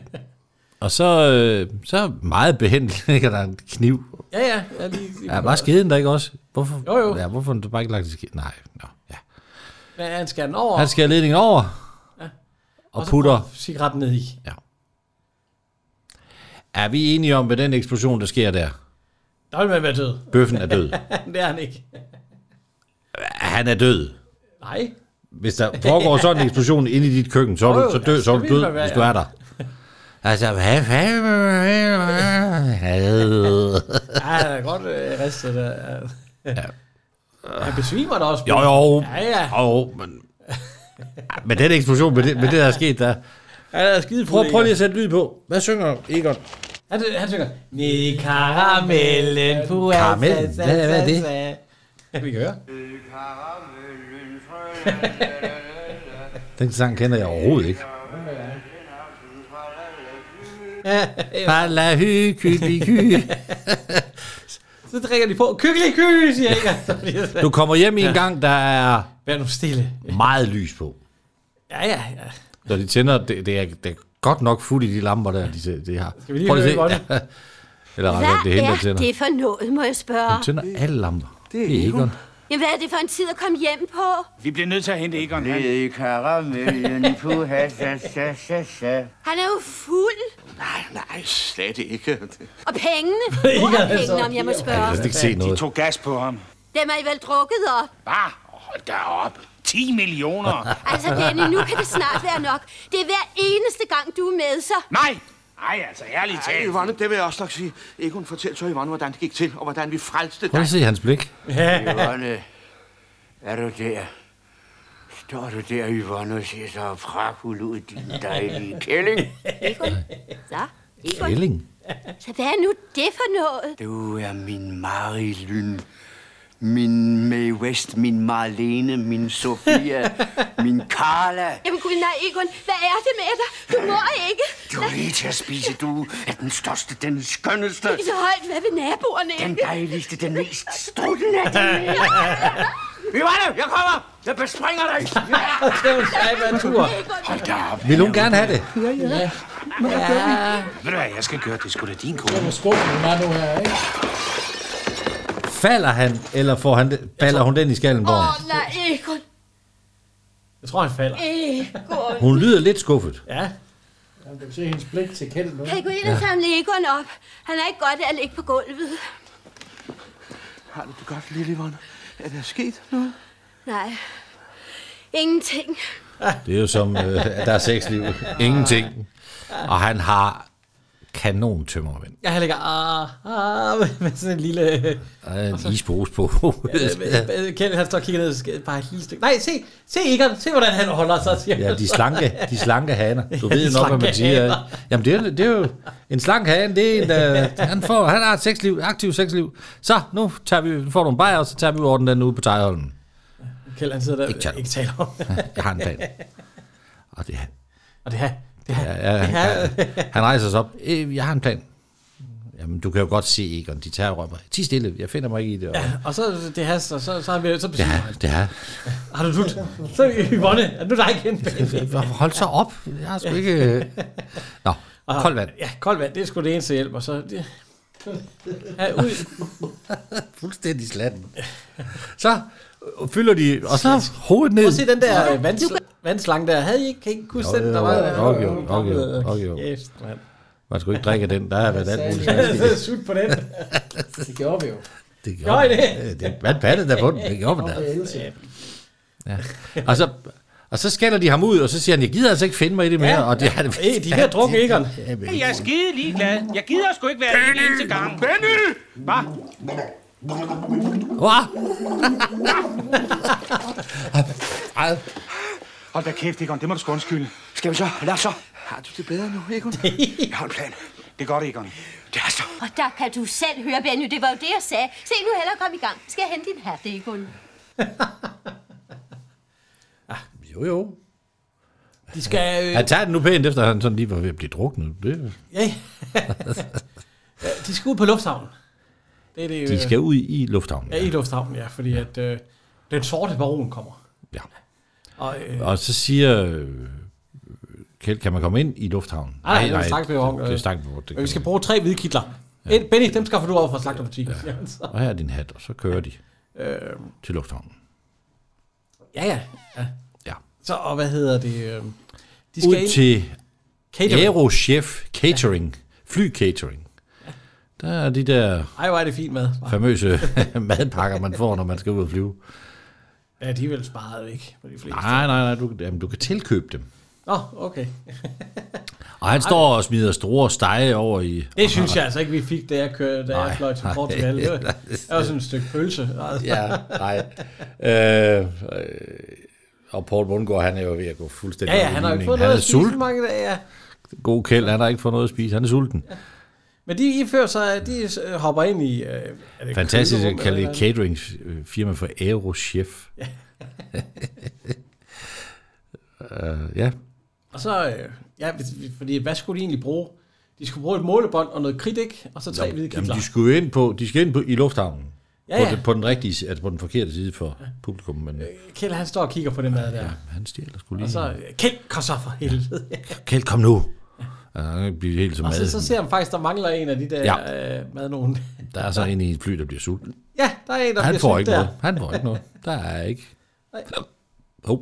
Og så, øh, så meget behændigt ligger der en kniv. Ja, ja. Jeg lige, lige Ja, var skeden der ikke også? Hvorfor, Jo, jo. Ja, hvorfor har du bare ikke lagt det sked? Nej. Nå. Men han skærer den over. Han skærer ledningen over. Og, så putter. putter cigaretten ned i. Ja. Er vi enige om, hvad den eksplosion, der sker der? Der vil man være død. Bøffen er død. det er han ikke. Han er død. Nej. Hvis der foregår sådan en eksplosion inde i dit køkken, så er Jo, du, jo, så død, ja, så er det du vil man død, være, hvis du ja. er der. Altså, hvad fanden? Ja, han er godt øh, ristet der. Ja. Han besvimer da også. Jo, jo. Ja, ja. Jo, oh, men... Men den eksplosion med det, med det der er sket der... Han er skide Prøv, prøv lige at sætte lyd på. Hvad synger Egon? Han, han synger, Ned i karamellen, puha, Karamellen? sa, sa, Hvad- hvad er det? sa, sa." Ja, vi kan høre. Den sang kender jeg overhovedet ikke. Bala hy, kyldi hy. Så drikker de på. Kykkeliky, siger jeg. Du kommer hjem i en gang, der er Vær nu stille. meget lys på. Ja, ja, ja. Når de tænder, det, det, er, det er godt nok fuldt i de lamper der, de, de har. Skal vi lige Prøv lige høre, at se. Ja. Eller Hvad rettere, det er hende, der er tænder. det for noget, må jeg spørge? Hun tænder alle lamper. Det er Egon. Jamen, hvad er det for en tid at komme hjem på? Vi bliver nødt til at hente Egon. Han. i karamellen, puha, sa, sa, sa, sa. Han er jo fuld. Nej, slet ikke. Og pengene? Hvor er pengene, om jeg må spørge? kan ikke se De noget. tog gas på ham. Dem er I vel drukket op? Bare hold da op. 10 millioner. Altså, Benny, nu kan det snart være nok. Det er hver eneste gang, du er med, så... Nej! Nej, altså, ærligt Ej, Yvonne, det vil jeg også nok sige. Egon, fortæl så Yvonne, hvordan det gik til, og hvordan vi frelste dig. Prøv lige at se hans blik. Yvonne, er du der? Står du der, Yvonne, og ser så fragfuld ud, din dejlige kælling? Egon? Så? Egon? Kælling? Så hvad er nu det for noget? Du er min Marilyn. Min Mae West, min Marlene, min Sofia, min Carla. Jamen gud, nej, Egon. Hvad er det med dig? Du må ikke. Du er lige til at spise, du er den største, den skønneste, Ikke så højt. Hvad vil naboerne den ikke? dejligste, den mest struttende af dine. Yvonne, jeg kommer! Jeg bespringer dig! Det var en af en tur. Hold da op. Vil hun gerne have det? Ja. Ved du hvad, jeg skal gøre det. sgu da din kone. Det var skuffen, den var nu her, ikke? Falder han, eller får han det, baller hun den i skallen på Åh, ham? oh, nej, Egon. Jeg tror, han falder. Egon. Hun lyder lidt skuffet. Ja. Jamen, du kan se hendes blik til kæld nu. Kan I gå ind og samle Egon op? Han er ikke godt af at ligge på gulvet. Har du det godt, lille Yvonne? Er der sket noget? Nej. Ingenting. Det er jo som, øh, at der er sexliv. Ingenting. Og han har kanon tømmermænd. Ja, han ligger ah, ah, med sådan en lille... Der er Altså. en ispose på. Øh, Kjeld, han står og kigger ned, så skal- bare et lille stykke. Nej, se, se Egon, se hvordan han holder sig. Siger Ja, han de så. slanke, de slanke haner. Du Ja, ved de nok, hvad man slanke siger. haner. ikke? Jamen, det er, det er jo en slank hane. Det er en, der, han, får, han har et sexliv, aktivt sexliv. Så, nu tager vi, nu får du en bajer, og så tager vi ud over den der ude på Tejholmen. Kjeld, han sidder der, Ikke ikke, taler. ikke taler om. Jeg har en plan. Og det, Og det her, det her, ja, ja, det her. han, han rejser sig op. Øh, jeg har en plan. Jamen, du kan jo godt se, Egon, de tager rømmer. Ti stille, jeg finder mig ikke i det. Og, ja, Og så det her, så, så, så har vi... Så, det er, det er. Har du dut? Så Yvonne, er du der igen? Hold så op. Jeg har sgu ikke... øh, Nå, Og- koldt vand. Ja, koldt vand, det er sgu det eneste hjælp, og så... Det, ja, ud. Fuldstændig slatten. Så øh, fylder de, og så hovedet ned. Prøv at se den der øh, vands, vandslange der. Havde I ikke, kan I ikke huske den? Der var Jo, jo, jo, jo, jo, jo. Yes, mand. Man skulle ikke drikke af den, der har været alt muligt. Jeg er sult på den. Det gjorde vi jo. Det Gjorde I det? man. det man pattede der på den, det gjorde man da. Ja. Og, så, og så skælder de ham ud, og så siger han, jeg gider altså ikke finde mig i det mere. og det, Hey, Øh, de der drukne Egon. Jeg er skide ligeglad. Jeg gider sgu ikke være Benny! en eneste gang. Benny! Hvad? Hvad? Ej. Hold da kæft, Egon. Det må du sgu undskylde. Skal vi så? Lad os så. Har du det bedre nu, Egon? Jeg har en plan. Det er godt, Egon. Det er så. Og der kan du selv høre, Benny, det var jo det, jeg sagde. Se nu hellere kom i gang. Skal jeg hente din hat, Egon? Jo, jo. De skal... øh, Han tager den nu pænt, efter han sådan lige var ved at blive druknet. Det, Ja. Ja, de skal ud på lufthavnen. Det er det, de øh, skal ud i lufthavnen. Ja, i lufthavnen, ja, fordi at øh, den sorte baron kommer. Ja. Og, øh, Og så siger øh, Kjeld, kan man komme ind i lufthavnen? nej, nej, nej, det Ah, snakker vi jo om. Det, øh, det snakker vi om. Det men vi kan skal bruge tre hvide kitler. Ja. Benny, dem skaffer du over fra slagterbutikken. Ja. man. Og her er din hat, og så kører de Øh, til lufthavnen. ja, ja, ja. Ja. Så, og hvad hedder det? Øh, de Ud ind- til Catering. Aerochef Catering, fly catering. Der er de der Ej, hvor er det fint mad. famøse madpakker, man får, når man skal ud og flyve. Ja, de er vel sparet væk på de fleste. Nej, nej, nej, du, jamen, du kan tilkøbe dem. Nå, okay. Og han står og smider store stege over i... Det synes jeg altså ikke, vi fik, da jeg, kørte, da Nej, jeg fløj til nej. Portugal. Det var, det var sådan et stykke pølse. Altså. ja, nej. Øh, øh, og Paul Bundgaard, han er jo ved at gå fuldstændig Ja, ja, op i han har jo ikke limningen. fået han noget er at spise i sulten. mange dage, ja. God kæld, han har ikke fået noget at spise. Han er sulten. Men de ifører sig, de øh, hopper ind i... Øh, er det Fantastisk kølerum at kalde eller et hvad? catering-firma for Aerochef. Ja. uh, ja. Og så, øh, ja, hvis- fordi hvad skulle de egentlig bruge? De skulle bruge et målebånd og noget kridt, ikke? Og så tre hvide Jamen, kitler. de skulle jo ind på, de skal ind på, i lufthavnen. Ja, På, ja. den, på den rigtige side, altså på den forkerte side for publikum. Men øh, Kjeld, han står og kigger på det mad der. han stjæler sgu lige. Og så, øh, Kjeld, kom så for helvede. Kjeld, kom nu. Ja. Han kan blive helt som og mad. så, så ser han faktisk, der mangler en af de der øh, madnogen. Der er så en i et fly, der bliver sulten. Ja, der er en, der han bliver får snydt ikke der. noget. Han får ikke noget. Der er ikke. Nej. Oh.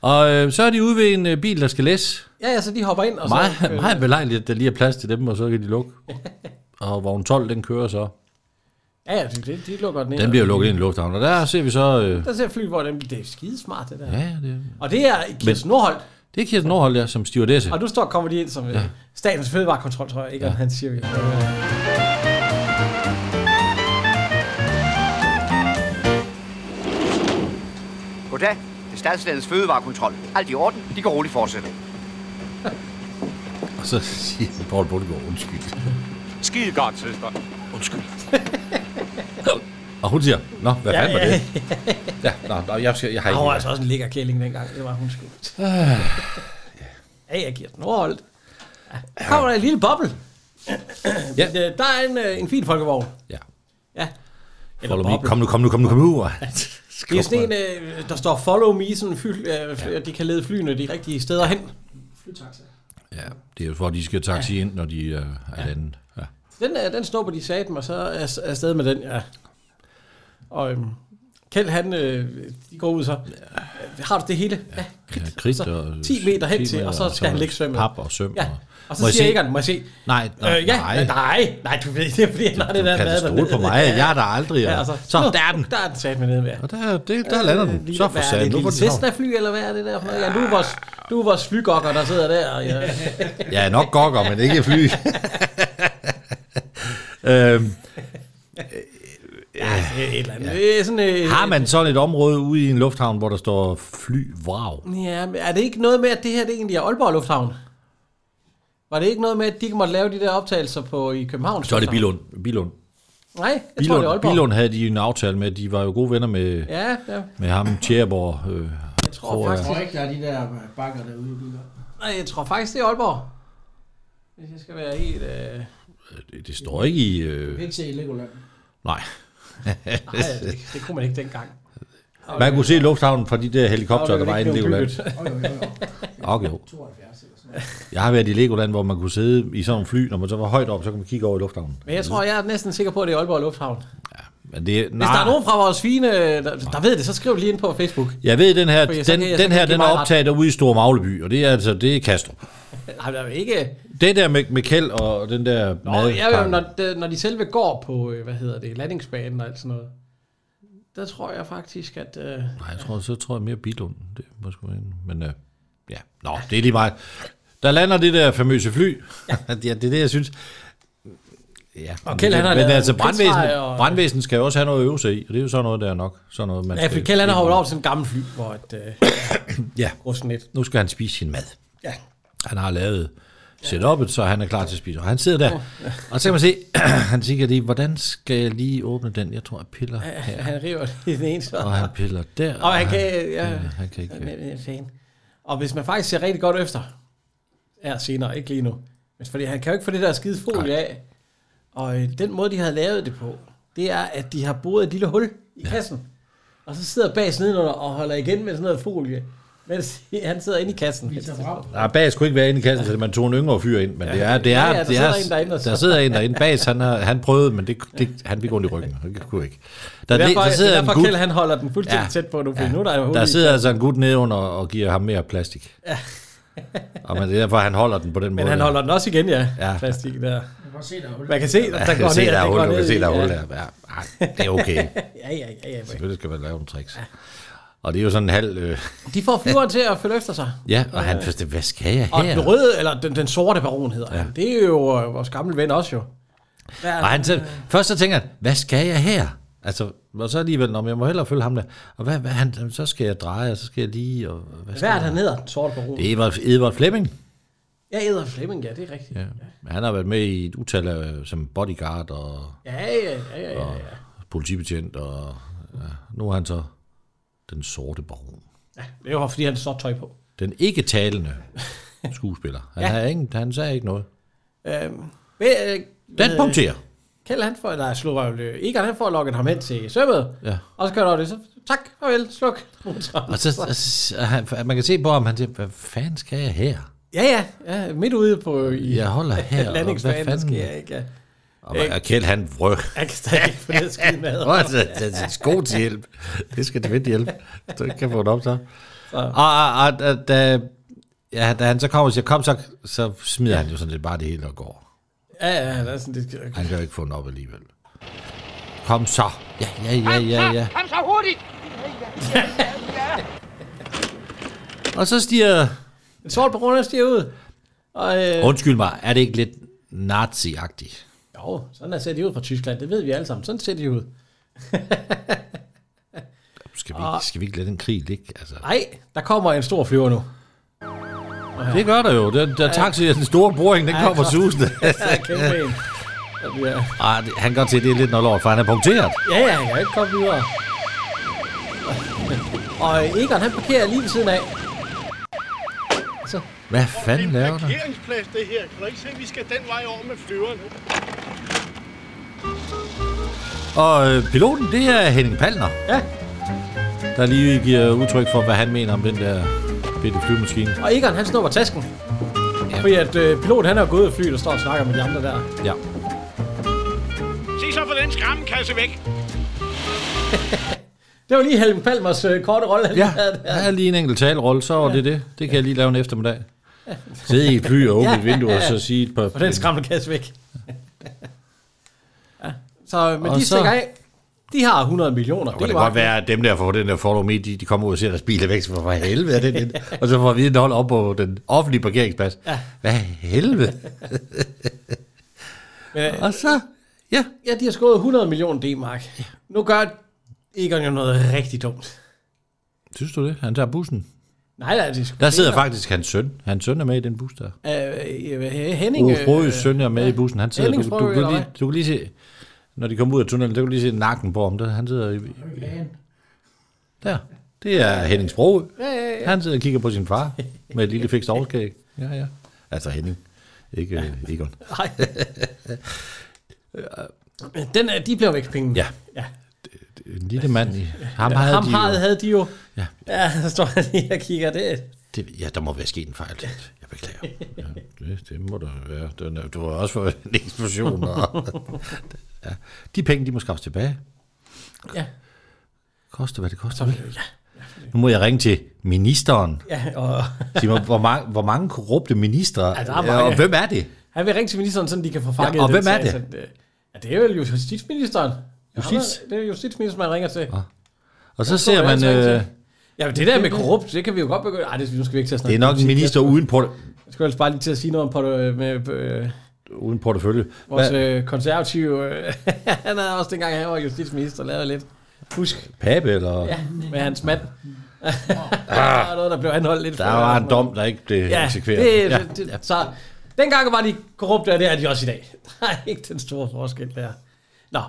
Og øh, så er de ude ved en øh, bil, der skal læse. Ja, ja, så de hopper ind. Og Meget, så, øh, meget belejligt, at der lige er plads til dem, og så kan de lukke. og vogn 12, den kører så. Ja, ja, de, de- de lukker den ind. Den bliver jo lukket ind i lufthavnen. Og der ser vi så... Øh, Der ser fly, hvor den, det er skidesmart, det der. Ja, det Og det er Kirsten Nordholt. det er Kirsten Nordhold, ja, som stewardesse. Og nu står kommer de ind som ja. statens fødevarekontrol, tror jeg, ikke? Ja. Han siger vi. Goddag. Det er statslandets fødevarekontrol. Alt i orden. De kan roligt fortsætte. Og så siger Paul Bundgaard, undskyld. Skide godt, søster. Undskyld. Og hun siger, nå, hvad Ja, ja, fanden var ja. det? Ja, nå, nå, jeg, skal, jeg har Han var ikke... altså også en lækker kælling dengang. Det var hun sgu. Øh. Ja, jeg giver den overholdt. Ja. Kommer der en lille boble. ja. Der er en, øh, en fin folkevogn. Ja. Ja. Follow me. Kom nu, kom nu, kom nu, kom nu. Det er sådan en, øh, der står follow me, sådan fly, øh, ja. de kan lede flyene de rigtige steder hen. Flytaxa. Ja, det er jo for, at de skal taxi ind, når de øh, er ja. landet. Ja. Den, øh, den snupper de sagde dem, og så er er afsted med den, ja. Og øhm, Kjeld, han, øh, de går ud så. Ja. Har du det hele? Ja. Ja, kridt Så og... 10 meter hen til, og så skal han ligge svømmet. Pap og søm. Ja. Og så Må jeg siger se? Egon, må jeg se? Nej, nej, øh, ja, nej. nej, nej, du ved, det er fordi, han har det der kan altså mad stole dernede. på mig. Jeg er der aldrig, og- altså, så, der er den. Der er den sat med nede ved. Og der, det, der lander den. Så for Øh, hvad er satan, det, nu nu går lille den Cessna fly, eller hvad er det der? for noget? Ja, du er vores, du er vores flygokker, der sidder der. og Ja. Jeg er nok gokker, men ikke fly. øhm, Ja, et eller andet. Det er sådan, øh, har man sådan et område ude i en lufthavn, hvor der står flyvrag? Ja, men er det ikke noget med, at det her det egentlig er Aalborg Lufthavn? Var det ikke noget med, at de ikke måtte lave de der optagelser på i København? Så er det Bilund. Bilund. Nej, jeg tror, det er Bilund, Aalborg. Bilund havde de jo en aftale med, de var jo gode venner med, Ja, ja. med ham, Tjerborg. Øh, jeg Og jeg tror ikke, der er de der øh, bakker derude i biler. Nej, jeg tror faktisk, det er Aalborg. Hvis jeg skal være helt... Øh... Det, det står ikke i... Du kan Øh, ikke se Legoland. nej. Nej, det, det kunne man ikke dengang. Man kunne se lufthavnen fra de der helikopter, Og der det var var inde i ikke Legoland. blevet Okay, jo. Jeg har været i Legoland, hvor man kunne sidde i sådan en fly, når man så var højt op, så kunne man kigge over i lufthavnen. Men jeg tror, jeg er næsten sikker på, at det er Aalborg Lufthavn. Hvis Men det, der er nej, nogen fra vores fine, øh, der, der ved det, så skriv lige ind på Facebook. jeg ved, den her, Fordi så den, kan jeg- så den kan her jeg give den er mig ret. optaget derude i Store Magleby, og det er altså det er Kastrup. Nej, der er jo ikke... Det der med, med Kjeld og den der Nå, mad. ja, jo, når, de, når de selve går på, øh, hvad hedder det, landingsbanen og alt sådan noget, der tror jeg faktisk, at... Øh, Nej, jeg tror, så tror jeg mere Bilund. Det må sgu være en- Men øh, ja, nå, det er lige meget. Der lander det der famøse fly. Ja. det er det, jeg synes. Ja, Og Kjeld, han har men, lavet altså, brandvæsenet, krigsrejer og- brandvæsenet skal jo også have noget at øve sig i, og det er jo sådan noget, der er nok. Sådan noget, man ja, for skal- Kjell han har hoppet over til sådan en gammel fly, hvor et, øh, Ja, Rusnet. nu skal han spise sin mad. Ja. Han har lavet setup'et, så han er klar til at spise. Og han sidder der, og så kan man se, han siger lige, hvordan skal jeg lige åbne den? Jeg tror, jeg piller her. han river i den ene så. Og han piller der, Og han og kan... han- øh, Ja, øh, han kan ikke- ikke... Fan. Og hvis man faktisk ser rigtig godt efter, er senere, ikke lige nu. Men fordi han kan jo ikke få det der skide folie af. Og øh, den måde, de havde lavet det på, det er, at de har boret et lille hul i ja. kassen. Og så sidder Bas nedenunder og holder igen med sådan noget folie. Mens han sidder inde i kassen. Nej, Bas kunne ikke være inde i kassen, så man tog en yngre fyr ind, men det er, det er, Ja, ja, der det er, sidder en derinde, og så- der sidder en derinde. Bas, han, har, han prøvede, men det, det, han fik ondt i ryggen. Han kunne ikke. Der, det er derfor, der sidder det er derfor en gut, Kjeld, han holder den fuldstændig Ja. ja. tæt på nu, for ja. nu er der jo hul der i. sidder altså en gut nedenunder og giver ham mere plastik. Ja. og men det er derfor, han holder den på den måde. Men han holder den også igen, ja. Ja. ja. Plastik der. Man kan se, der er hul. Man kan se, der, Ja, der jeg går kan se, ned. der er det hul, går jeg kan ned se, i, der er ja. hul der. Ja, ej, det er okay. ja, ja, ja, ja. Selvfølgelig skal man lave nogle tricks. Og det er jo sådan en halv... Øh, De får flyveren til at følge efter sig. ja, og han forstår, hvad skal jeg Og den her? røde, eller den, den sorte baron hedder ja. han. Det er jo øh, vores gamle ven også jo. Der, Og han selv, først så tænker han, hvad skal jeg her? Altså, og så alligevel, når jeg må hellere følge ham der. Og hvad, hvad han, jamen, så skal jeg dreje, og så skal jeg lige... Og, hvad skal hvad er jeg? det, han hedder, den sorte baron? Det er Edvard, Edvard Fleming. Ja, Edder Flemming, ja, det er rigtigt. Ja. Han har været med i et utal af, som bodyguard og, Ja, ja, ja, ja, ja. og politibetjent, og ja, nu er han så den sorte baron. Det var fordi, han har sort tøj på. Den ikke talende skuespiller. Han, Ja. ja. ingen, han sagde ikke noget. Øhm, ved, øh, Den punkterer. Kjeld, han får, nej, slå røvel. Egon, han får lukket ham hen til sømmet. Ja. Og så kører han over det, så tak, farvel, sluk. Og så, og så- og han, man kan se på ham, han siger, hvad fanden skal jeg her? Ja, ja, ja, midt ude på i Jeg holder her, og landingsbanen, hvad der fanden? sker ikke. Ja. Og, Ikke. og Kjeld, han vrøg. Jeg kan stadig ikke få det skide mad. Åh, det, det, det er altså, god til hjælp. Det skal det vente hjælp. Så kan jeg få den op så. Og, og, og og da, ja, da han så kommer og siger, kom så, så smider han jo sådan set bare det hele og går. Ja, ja, der er sådan lidt... Han kan jo ikke få den op alligevel. Kom så. Ja, ja, ja, ja, ja. Kom så hurtigt! Og så stiger, En sort på rundt stiger ud. Og, øh, undskyld mig, er det ikke lidt nazi-agtigt? jo, sådan der ser de ud fra Tyskland, det ved vi alle sammen. Sådan ser de ud. Skal vi, ikke- skal vi ikke lade den krig ligge? Altså, Nej, der kommer en stor flyver nu. det gør der jo. Den, der taxi, den store boring, den Ja, kommer klar. susende. Ja, kæmpe en. Der bliver- Ah, det- han kan godt se, det er lidt noget lort, for han er punkteret. Ja, ja, jeg kan ikke komme videre. Og øh, Egon, han parkerer lige ved siden af. Så. Hvad fanden laver du? parkeringsplads, det her. Kan du ikke se, at vi skal den vej over med flyveren? Og øh, piloten, det er Henning Palner. Ja. Der lige giver udtryk for, hvad han mener om den der bitte flyvemaskine. Og Egon, han snupper tasken. Ja. Fordi at øh, piloten, han er jo gået ud af flyet og står og snakker med de andre der. Ja. Se så for den skræmmekasse væk. Det var lige Helm Palmers øh, korte rolle. han Ja, havde jeg havde lige en enkelt talerolle, så var det det. Det kan jeg lige lave en eftermiddag. Sidde i et fly og åbne et vindue, og så sige et par... Og den skræmte kasse væk. ja. Så, men Og og de så- stikker af. De har 100 millioner. Det kan det godt være, at dem der får den der follow me, de, de kommer ud og ser deres bil er væk, så for helvede er den ind. Og så får vi den holdt op på den offentlige parkeringsplads. Ja. Hvad helvede? Men, og så, ja. Ja, de har skåret 100 millioner D-mark. Nu gør Egon jo noget rigtig dumt. Synes du det? Han tager bussen. Nej, nej, det er sgu Der sidder Egon. faktisk hans søn. Hans søn er med i den bus der. Øh, øh, Henning... Henning... Frøs søn er med ja. i bussen. Han sidder, Henning du, du, Frø, du, kan eller lige, du kan lige se, når de kommer ud af tunnelen, der kan du lige se nakken på ham. Der, han sidder i, der. Det er Henning Sprog. Ja, ja, ja. Han sidder og kigger på sin far med et lille fikst overskæg. Ja, ja. Altså Henning. Ikke ja. Egon. Nej. øh, Den, er- de bliver væk penge. Ja. ja. En lille mand. I, ham Ja, havde ham de havde, jo. havde de jo. Ja. ja, så står han lige og kigger det. Det, ja, der må være sket en fejl. Jeg beklager. Ja, det, det må der være. Den, er- det var også for en eksplosion. Og, ja. De penge, de må skaffes tilbage. Ja. Koste, hvad det koster. Så, ja. Nu må jeg ringe til ministeren. Ja, og Sig mig, hvor, mange, hvor mange korrupte ministre, Ja, ja, der er mange. og hvem er det? han vil ringe til ministeren, sådan de kan få fanget Ja, og den hvem er sag, det? sådan, øh, ja, det er vel justitsministeren. Ja, ham er- Justits? Det er justitsministeren, man ringer til. Og så Jeg tror, ser jeg man, altså ikke øh, til. Ja, men det der med korrupt, det kan vi jo godt begynde. Ej, det nu skal vi ikke til at snakke. det er nok en politik. minister uden, port, Jeg skulle ellers bare lige til at sige noget om på, med øh, uden portefølje. vores Hvad? øh, konservative. Øh, han havde også dengang, han var justitsminister, lavet lidt. Husk. Pape, eller? Ja, med hans mand. der Ah. var noget, der blev anholdt lidt Der før. var en dom, der ikke blev ja, eksekveret. Det, Ja. det, det, så dengang var de korrupte, og det er de også i dag. Der er ikke den store forskel der. Nå,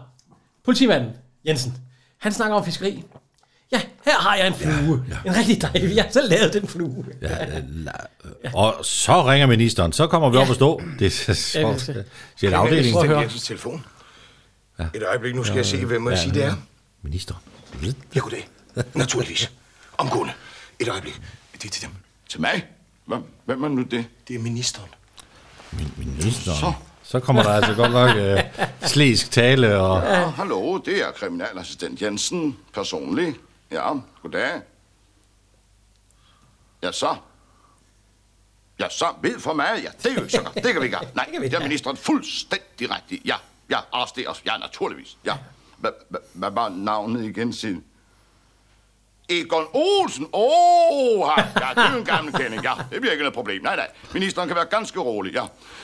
politimanden Jensen, han snakker om fiskeri. Ja, her har jeg en flue. Ja, ja. En rigtig dejlig. Jeg har selv lavet den flue. Ja, øh, la- og så ringer ministeren, så kommer vi op og stå. Det er så, Ja, vi ser. så siger en afdeling. Prøv at høre. Jensens telefon. Ja. Et øjeblik, nu skal jeg se, hvem må jeg sige, det er. Minister. Ja, goddag. Naturligvis. Omgående. Et øjeblik. Det er til dem. Til mig? Hvem, hvem er nu det? Det er ministeren. Ministeren. Så. Så. så kommer der altså godt nok øh, slæsk tale. Og, Ja, hallo, det er kriminalassistent Jensen, personlig. Ja, goddag. Ja, så. Ja, så ved for mig. Ja, det er jo ikke så godt. Det kan vi ikke have. Nej, det er ministeren fuldstændig rigtigt. Ja, ja, arresteres. Ja, naturligvis. Ja. Hvad- hvad- Hvad var navnet igen, sin? Egon Olsen. Åh, ja, det er jo en gammel kending. Ja, det bliver ikke noget problem. Nej, nej. Ministeren kan være ganske rolig, ja.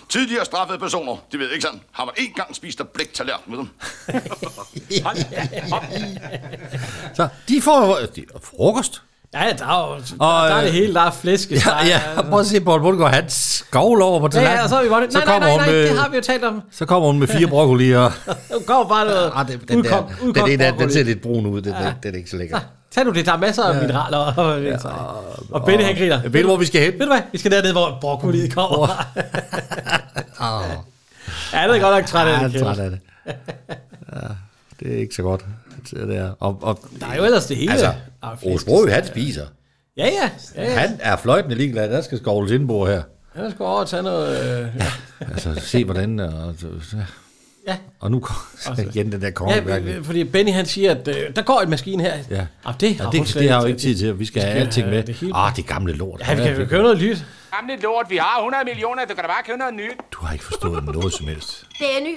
Tidligere straffede personer, de ved ikke sådan, har man én gang spist af blæktallerken med dem. så de får øh, de, frokost. Ja, der er, jo, der, der er det øh, hele. Der er flæske. Ja, ja, prøv at se, Paul Bundgaard, han skovler over på altså. Ja, tallerkenen. ja, og så er vi godt. så Nej, nej, kommer nej, hun nej, med, det har vi jo talt om. Så kommer hun med fire broccoli og... Der kommer bare noget Ah, det, den, udkogt, der, udkogt den, den, der, den broccoli. ser lidt brun ud, den, ja. den, den er ikke så lækker. Tag nu det, der er masser af ja. mineraler. Og, ja, og, og Benny han griner. Ved du, hvor vi skal hen? Ah, Ved du hvad? Vi skal derned, hvor broccoliet kommer. Oh. ja, det er godt nok træt Ja, af han det. er Kjeld. træt af det. Ja, det er ikke så godt. Det er, og, og, Der er jo ellers det hele. Altså, Der er flæsk. Rose Brogø, han spiser. Ja, ja. ja, ja. Han er fløjtende ligeglad. Der skal skovles indbord her. Han skal over og tage noget... Øh, Altså, se hvordan... Og, Ja. og nu kommer igen den der konge. ja, ja, fordi Benny han siger, at øh, der går en maskine her. Ja. Og det, Ja, har hun det, slet det har jo ikke ikke tid til, og vi skal have alting med. Ah, det gamle lort. Ja, vi kan jo købe noget lys. Gamle lort, vi har 100 millioner, du kan da bare købe noget nyt. Du har ikke forstået noget som helst. Benny,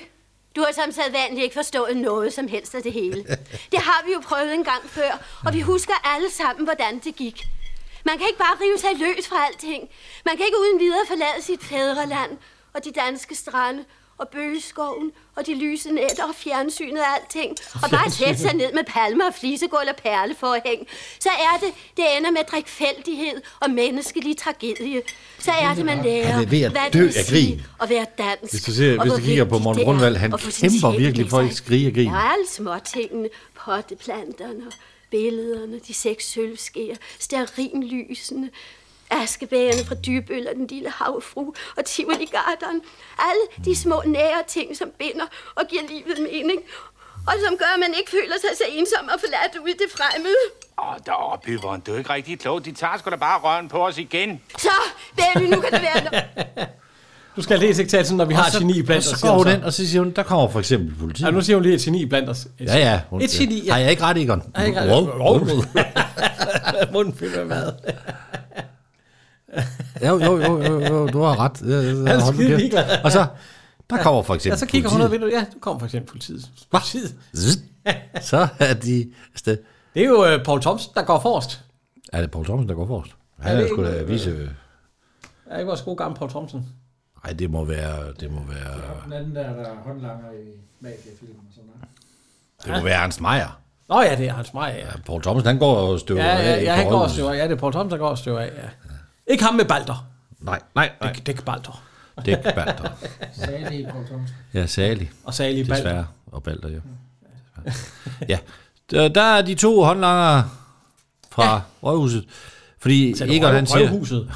du har som sædvanligt ikke forstået noget som helst af det hele. Det har vi jo prøvet en gang før, og vi husker alle sammen, hvordan det gik. Man kan ikke bare rive sig løs fra alting. Man kan ikke uden videre forlade sit fædreland og de danske strande og bøgeskoven og de lyse nætter og fjernsynet og alting. Og bare sætte sig ned med palmer og flisegulv og perleforhæng. Så er det, det ender med drikfældighed og menneskelig tragedie. Så er det, man lærer, Han er ved at hvad det dø vil af sige grin. at være dansk. Hvis du, ser, og hvis du hvor kigger på vigtigt Morten det er Grundvald, han at få sin kæmper sjæl virkelig med for sig. at ikke skrige og grine. Og alle småtingene, potteplanterne, billederne, de seks sølvskeer, stearinlysene, askebærerne fra dybøl og den lille havfru og Tivoli-garderen. Alle de små nære ting, som binder og giver livet mening, og som gør, at man ikke føler sig så ensom og forladt ude i det fremmede. Åh, der byveren, du er ikke rigtig klog. De tager sgu da bare røven på os igen. Så, Benny, nu kan det være Du skal læse ikke tage sådan, når vi Og har så- et geni blandt os. og altså. så siger går hun han ind, og så siger hun, der kommer for eksempel politi. Ja, nu siger hun lige et geni blandt os. Et Ja, ja. Hun, et geni, ja. Har jeg ikke ret, Egon? Har jeg ikke ret? Wow. Wow. Munden fyldt med mad. Ja, jo, jo, jo, jo, jo, du har ret. Ja, ja, Han er hold nu skide kæft. ligeglad. Og så, der kommer for eksempel Ja, så kigger hun ud af politiet. vinduet. Ja, du kommer for eksempel politiet. Politiet. Zzz. Så er de afsted. Det er jo uh, Paul Thomsen, der går forrest. Er det Paul Thomsen, der går forrest? Han Er det er sgu ikke- da vise... Er ikke vores gode gamle Paul Thomsen? Nej, det må være... Det må være... Den anden der, der er håndlanger i mafiafilm og sådan noget. Det må være Ernst Meier. Nå ja, det er Hans Meier. Ja, Paul Thomsen, han går og støver ja, ja, af ja, på han går og rådhuset. støver af. Ja, det er Paul Thomsen, der går og støver af. Ja. Ikke ham med Balder. Nej, nej, nej. Dæk, dæk Balder. Dæk Balder. Salig Paul Thomsen. Ja, særlig. Og særlig Balder. Desværre. Og Balder, jo. Ja. Der, der er de to håndlanger fra ja. Rødhuset. Fordi Til Egon, Rød- han siger... Rødhuset.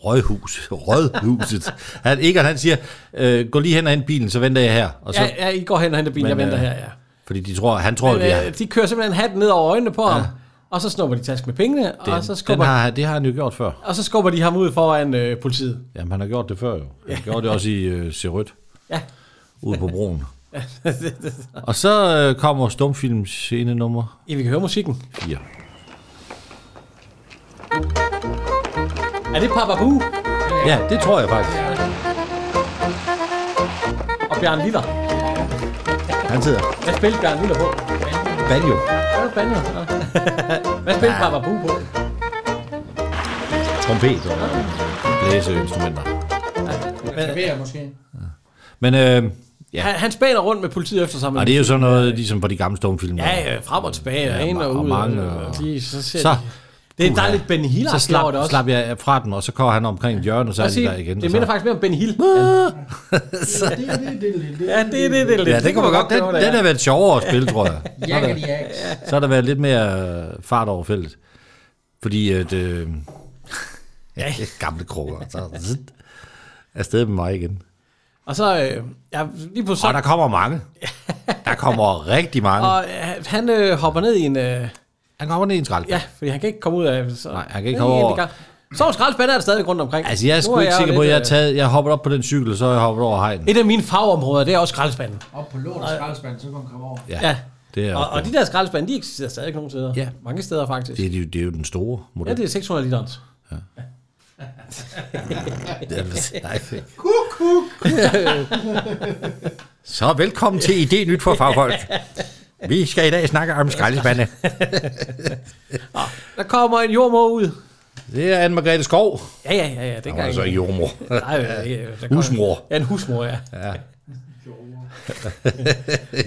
Rødhuset. Rødhuset. Han, Egon, han siger, øh, gå lige hen og hent bilen, så venter jeg her. Og så, Ja, ja, I går hen og henter bilen, jeg venter her, ja. Fordi de tror, han tror, Men, vi er... øh, de kører simpelthen hatten ned over øjnene på ja. ham, og så snupper de task med pengene, den, og, så Den, den skubber, har, det har han jo gjort før. og så skubber de ham ud foran øh, politiet. Jamen, han har gjort det før jo. Han gjorde det også i øh, Serødt. Ja. Ude på broen. Det- det- Og så øh, kommer stumfilms scene nummer I vil høre musikken. 4. Er det Papa Bu? Ja, det tror jeg faktisk. Og Bjørn Liller. Han sidder. Hvad spillede Bjørn Liller på? Banjo. Hvad spiller Hvad spillede Papa Bu på? Trompet og blæseinstrumenter. Klaver måske. Men øh, ja, Han, han spænder rundt med politiet efter sig. og det er jo sådan noget, ligesom på de gamle stumfilm. Ja, ja, frem og tilbage, ja, ind og, og ud. mange, og, og- lige, så ser Så- de. Det er, der er lidt Ben Hill så slap, det også. slap jeg fra den, og så går han omkring et hjørne, og så er Jeg de siger, der igen. det og minder så- Ah! faktisk mere om Ben Hill. Ja, det er det, det er lidt. Ja, det kunne man godt. Den, gøre, den har været sjovere at spille, tror jeg. Så har der- Jakkediaks. Så har der været lidt mere øh, fart over feltet. Fordi at... Øh, ja, gamle krukker. Så zzt, afsted med mig igen. Og så, øh, ja, lige på så... Og der kommer mange. Der kommer rigtig mange. Og øh, han øh, hopper ned i en... Øh, han kommer ned i en skrald. Ja, fordi han kan ikke komme ud af... Så, Nej, han kan ikke komme over- Så er skraldspanden er stadig rundt omkring. Altså, jeg er Nu sgu ikke jo sikker på, at lidt, jeg, har øh, taget, jeg hoppet op på den cykel, og så er jeg hoppet over hegnen. Et af mine fagområder, det er også skraldespanden. Op på lort og skraldespand, så kan man komme over. Ja, Ja. det er og, også og, de der skraldespande, de eksisterer stadig nogle steder. Ja. Mange steder faktisk. Det er, jo, det er jo den store model. Ja, det er 600 liter. Ja. Det er- altså- nej. Kuk, kuk. Så velkommen til ID Nyt for Fagfolk. Vi skal i dag snakke om skraldespande. Der kommer en jordmor ud. Det er Anne-Margrethe Skov. Ja, ja, ja. ja det Nå, altså ikke jordmor. Nej, ja, ja, der kommer- Husmor. Ja, en husmor, ja. Ja.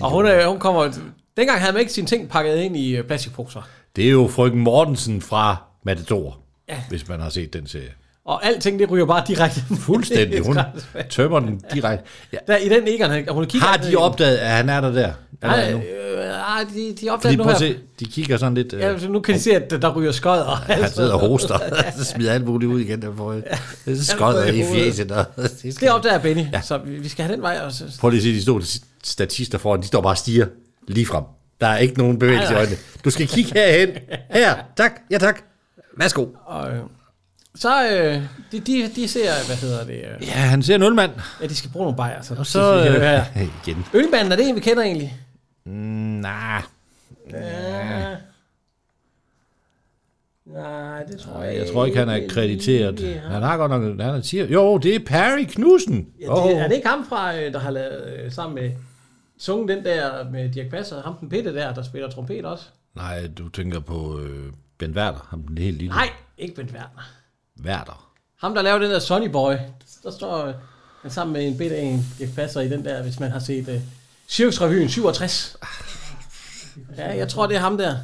Og hun, øh, hun kommer... Dengang havde man ikke sine ting pakket ind i øh, plastikposer. Det er jo frøken Mortensen fra Matador, ja. hvis man har set den serie. Og alting, det ryger bare direkte. Fuldstændig. Hun tømmer den direkte. Ja. Der, I den ikke, han, hun kigger... Har ned de i- opdaget, at han er der der? Nej, Allerede nu? øh, nej, de, de Fordi opdager nu prøv at her. se, de kigger sådan lidt... Ja, Øh, så nu kan de se, at der ryger skød. Og han sidder og hoster, så smider alt muligt ud igen. Der får skodder i fjeset. Og, Det opdager Benny, ja. så vi vi skal have den vej også. prøv lige at se, de stod statister foran, de står bare og stiger lige frem. Der er ikke nogen bevægelse i Nej, nej. øjnene. Du skal kigge herhen. Her, tak. Ja, tak. Værsgo. Og, øh, så øh, de, de, de ser, hvad hedder det? Øh, Ja, han ser en ølmand. ja, de skal bruge nogle bajer. Så, Og så... det, det, Øh, igen. Ølmanden, er det en, vi kender egentlig? Mm, nej. Ja. Nej, det tror jeg Nej, jeg tror ikke, Øh, han er krediteret. Han har godt nok... Han er siger, jo, det er Perry Knudsen. Ja, Åh. det, er det ikke ham fra, øh, der har lavet øh, sammen med sunget den der med Dirk Passer, ham den pitte der, der spiller trompet også? Nej, du tænker på øh, Ben Werther, ham den helt lille. Nej, ikke Bent Werner. Werther. Ham, der laver den der Sonny Boy, der står øh, han sammen med en bitte en Dirk Passer i den der, hvis man har set øh, Cirkusrevyen 67. Ah. Ja, jeg tror, det er ham der.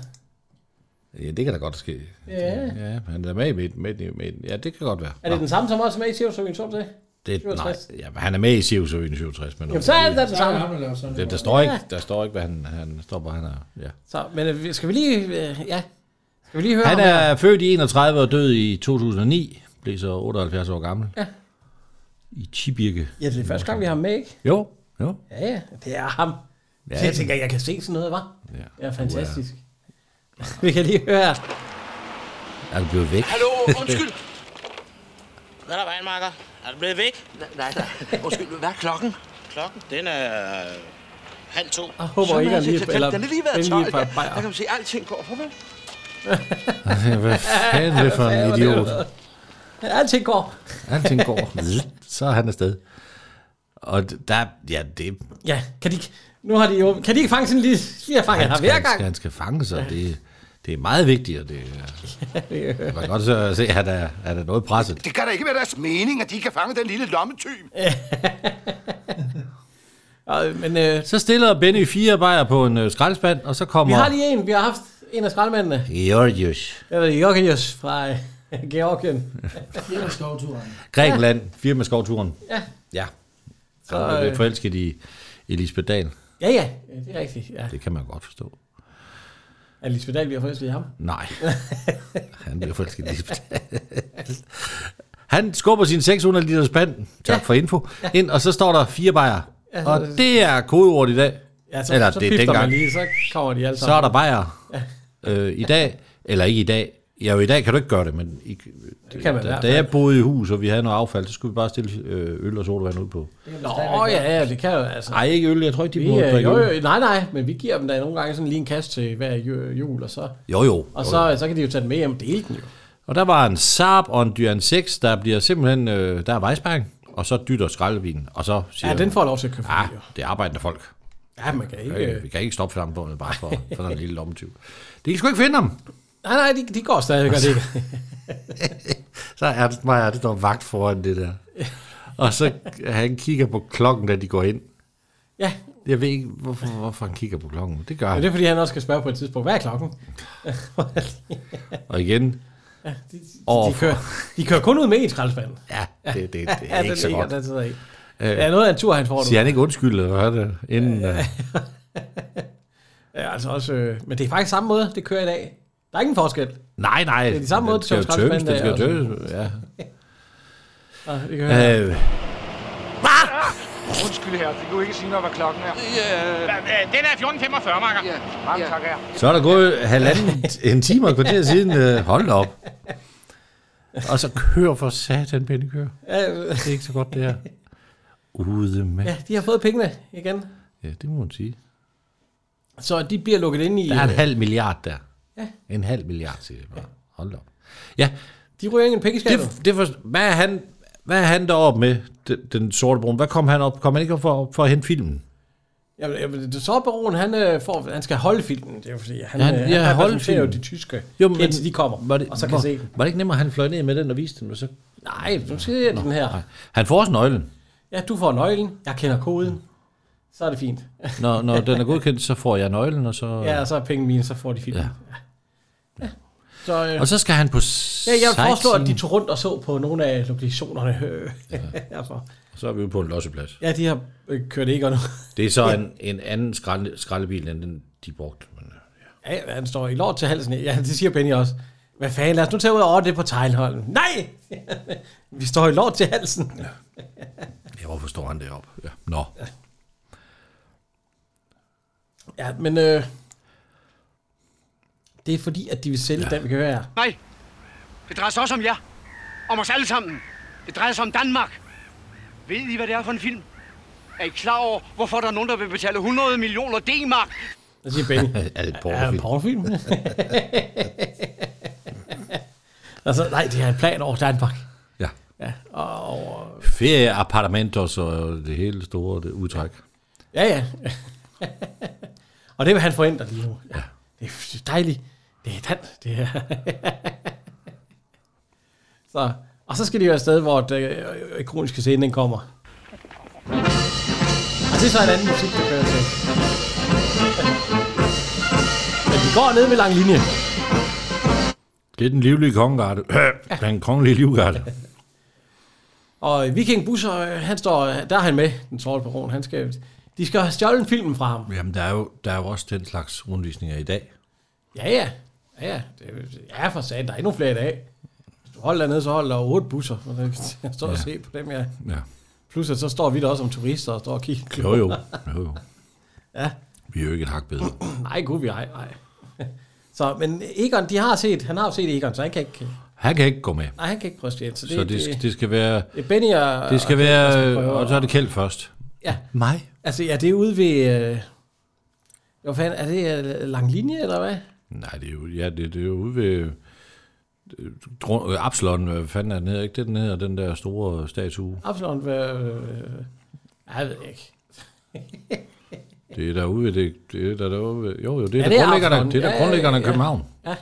Ja, det kan da godt ske. Ja. ja han er med i midt, midt, midt. Ja, det kan godt være. Er det den samme, som også er med i Cirkusrevyen 67? Det, nej, 67? ja, han er med i Sivs 67, men Jamen, så er det da Så den er det samme. ham, der laver sådan det, der, står ikke, der står ikke, hvad han, han står på. Han er, ja. Så, men øh, skal vi lige... Øh, ja. Skal vi lige høre han ham her? er født i 31 og død i 2009, blev så 78 år gammel. Ja. I Tibirke. Ja, det er første gang, vi har ham med, ikke? Jo, jo. Ja, ja, det er ham. Ja. Ja. Så jeg tænker, jeg kan se sådan noget, var. Ja. Det er fantastisk. vi kan lige høre her. Er du blevet væk? Hallo, undskyld. Hvad er der, Weinmarker? Er du blevet væk? Nej, nej. Undskyld, hvad er klokken? Klokken, den er øh, halv to. Jeg håber ikke, han lige- eller- Den er lige den været lige 12. par ja. bajer. Der kan man se, at alting går på, vel? Hvad fanden er det for Hvad en var det? idiot? Alting går. Alting går. Så er han afsted. Og der, ja, det, Ja, kan de, ikke- nu har de jo... Kan de ikke fange sådan lige... Lige at fange han har hver han, gang. skal, han skal fange sig. Det, det er meget vigtigt, og det, er- man kan godt så se, at han er, han er noget presset. Det kan da ikke være deres mening, at de kan fange den lille lommetyv. Øh, Og, men øh, Så stiller Benny fire bajer på en øh, skraldespand, og så vi kommer har lige en, vi har haft en af skraldmændene. Georgios, Eller Jorgenius fra øh, Georgien. Hele skovturen. Grækenland, firmaskovturen. Ja. Ja. Så Så, er du lidt øh, forelsket i Elisabeth Dahl. Ja, ja, det er rigtigt. Ja. Det kan man godt forstå. Er Lisbeth Dahl, vi har forelsket i ham? Nej. Han bliver forelsket i Lisbeth Han skubber sin 600 liters spand, tak ja. for info, ja. ind, og så står der fire bajer. Ja, Ja, så- og det er kodeordet i dag. ja, så, Eller, så, så pifter man lige, så kommer de alle sammen. Så er der bajer øh, i dag, eller ikke i dag. Ja, jo, i dag kan du ikke gøre det, men i, det kan man i da, hvert da fald. jeg boede i hus, og vi havde noget affald, så skulle vi bare stille øh, øl og sodavand ud på. Nå, ja, ja, det kan jo altså. Nej, ikke øl. Jeg tror ikke, de Vi, må øh, drikke jo, øl. jo, nej, nej, men vi giver dem da nogle gange sådan lige en kast til hver ju- jul, og så, Jo, jo. og så, så kan de jo tage den med hjem og dele den jo. Og der var en Saab og en Dyan 6, der bliver simpelthen, øh, der er vejsparing, og så dytter skraldevinen, og så siger Ja, den får lov til at køre Ja, det er arbejdende folk. Ja, man kan ikke... Øh, vi kan ikke stoppe flammebåndet bare for, for den lille lommetyv. De kan sgu ikke finde ham. Nej, nej, de, de går stadigvæk, gør de ikke? Så er det mig, der står vagt foran det der. Og så han kigger på klokken, da de går ind. Ja. Jeg ved ikke, hvorfor, hvorfor han kigger på klokken. Det gør Men han. det er, fordi han også skal spørge på et tidspunkt, hvad er klokken? Og igen, Ja, de, de, de, Overfor. kører, de kører kun ud med en skraldespand. Ja, det, det, det er Ja, ikke den så ligger godt. der sidder i. Øh, Ja, noget af en tur, han får nu. Siger han ikke undskyld, eller hvad er det? Inden, øh, Ja, altså også, øh, men det er faktisk samme måde, det kører i dag. Der er ingen forskel. nej, nej. Det er de samme måde, den skal jo tømmes, tømmes, den skal jo tømmes, altså. ja. Ja, det kan jeg høre. Øh, Undskyld her, det kunne ikke sige noget, hvad klokken er. Ja. Den er 14.45, Marker. Ja. Mange tak her. så er der gået halvanden, en time og et kvarter siden. Øh, hold da op. Og så kør for satan, Benny Kør. Ja, øh. Det er ikke så godt, det her. Ude med. ja, de har fået pengene igen. Ja, det må man sige. Så de bliver lukket ind i... Der er en øh, halv milliard der. Ja. En halv milliard, siger jeg bare. Hold da op. Ja, De ryger ikke en pengeskab. det, det for, hvad, er han, hvad er han deroppe med, den, den sorte brun? Hvad kom han op? Kom han ikke op for, for at hente filmen? Jamen, jamen, det så baron, han, øh, får, han skal holde filmen. Det er jo fordi, han, Ja, ja, han- han, øh, ja, han holde repræsenterer jo filmen. de tyske, Jo, jo, men- men, indtil de kommer, Var det, og så kan var, se den. Var det ikke nemmere, at han fløj ned med den og viste den? Og så... Nej, nu ser jeg den her. Han får også nøglen. Ja, du får nøglen, jeg kender koden, så er det fint. Når, når den er godkendt, så får jeg nøglen, og så... Ja, og så er penge mine, så får de filmen. Ja. Ja. Så, øh, Og så skal han på Ja, jeg foreslår, at de sightseeing. tog rundt og så på nogle af lokationerne. Ja. Derfor. Så er vi ude på en losseplads. ja, de har øh, kørt ikke nu. Det er så en, en anden skralde, skraldebil, end den, de brugte. øh, Ja, han står i lort til halsen. Ja, det siger Benny også. Hvad fanden, lad os nu tage ud over det på Tejlholm. Nej! Vi står i lort til halsen. Ja. Ja, hvorfor står han deroppe? Ja. Nå. Ja, men øh, det er fordi, at de vil sælge ja. den, vi kan høre her. Nej, det drejer sig også om jer. Om os alle sammen. Det drejer sig om Danmark. Ved I, hvad det er for en film? Er I klar over, hvorfor der er nogen, der vil betale 100 millioner D-mark? Hvad siger Benny? er det Er det en pornofilm? altså, nej, det er en plan over Danmark. Ja. Ja, og, Ferie, appartementer og det hele store det udtræk. ja, ja. og det vil han forhindre lige nu. Ja. Det er dejligt. Det er dan, det her. så, og så skal de jo afsted, hvor den øh, ikoniske scene den kommer. Og det er så en anden musik, der kører til. Men de går ned med lang linje. Det er den livlige kongegarde. den kongelige livgarde. Og Viking Busser, øh, han står, der er han med, den sorte baron. Han skal, de skal have stjålet filmen fra ham. Jamen, der er, jo, der er jo også den slags rundvisninger i dag. Ja, ja. Ja, ja. Det, er- ja, for satan, der er endnu flere i dag. Hvis du holder dernede, så holder der otte busser. Og der- Jeg står og Ja. ser på dem, ja. Ja. Plus, at så står vi der også som turister og står og kigger. Jo, jo. jo, jo. Ja. Vi er jo ikke et hak bedre. Nej, gud, vi ej, ej. Så, men Egon, de har set, han har jo set Egon, så han kan ikke, Han kan ikke gå med. nej, han kan ikke prøve at stjæle. Så det, Så det, skal- det skal være... det er Benny og, Det skal og Kjeld, der være... prøve Og at- så er det Kjeld først. Ja. Mig? Altså, ja, det er ude ved... Øh, hvad fanden, er det øh, lang linje, eller hvad? Nej, det er jo, ja, det, det er jo ude ved... Dro- øh, Absalon, hvad fanden er den hedder? Ikke det, den hedder, den der store statue? Absalon, hvad... Øh, ja, jeg ved ikke. Det er derude ved det... det er der, derude ved, jo, jo, det er, Ja, ja, det er der grundlæggerne, Absalon. det er Ja, der ja, grundlæggerne af ja. København. Ja.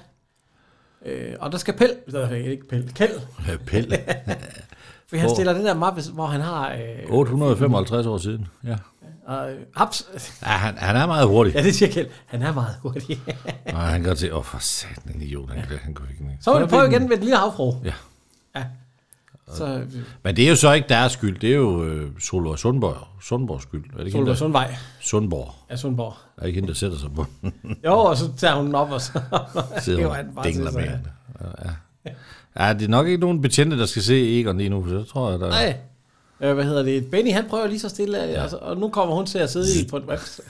Øh, og der skal Pell, der er ikke Pell, Kjeld, Ja, Pelle. for han Hvor- stiller den der mappe, hvor han har... Øh, 855 år siden, ja. Og, øh, abs- ja han, han er meget hurtig. ja, det siger Kjeld. Han er meget hurtig. Og han kan se, åh, oh, for satan, en idiot, han, ja. han kunne ikke med. så må er vi prøve den- igen med et lille havfru. Ja. ja. Så øh, Men det er jo så ikke deres skyld, det er jo øh, Solvej Sundborg, Sundborgs skyld. Er det ikke Solvej hende, der- Sundvej. Sundborg. er Sundborg. Er det ikke hende, der sætter sig på den? Jo, og så tager hun den op, og så Sidder hiver han den og bare til dingler sig. med hende. Ja. Ja, det er nok ikke nogen betjente, der skal se Egon lige nu, for så tror jeg, der... Nej. Øh, hvad hedder det? Benny, han prøver lige så stille, ja. og, så, og nu kommer hun til at sidde i på et webs.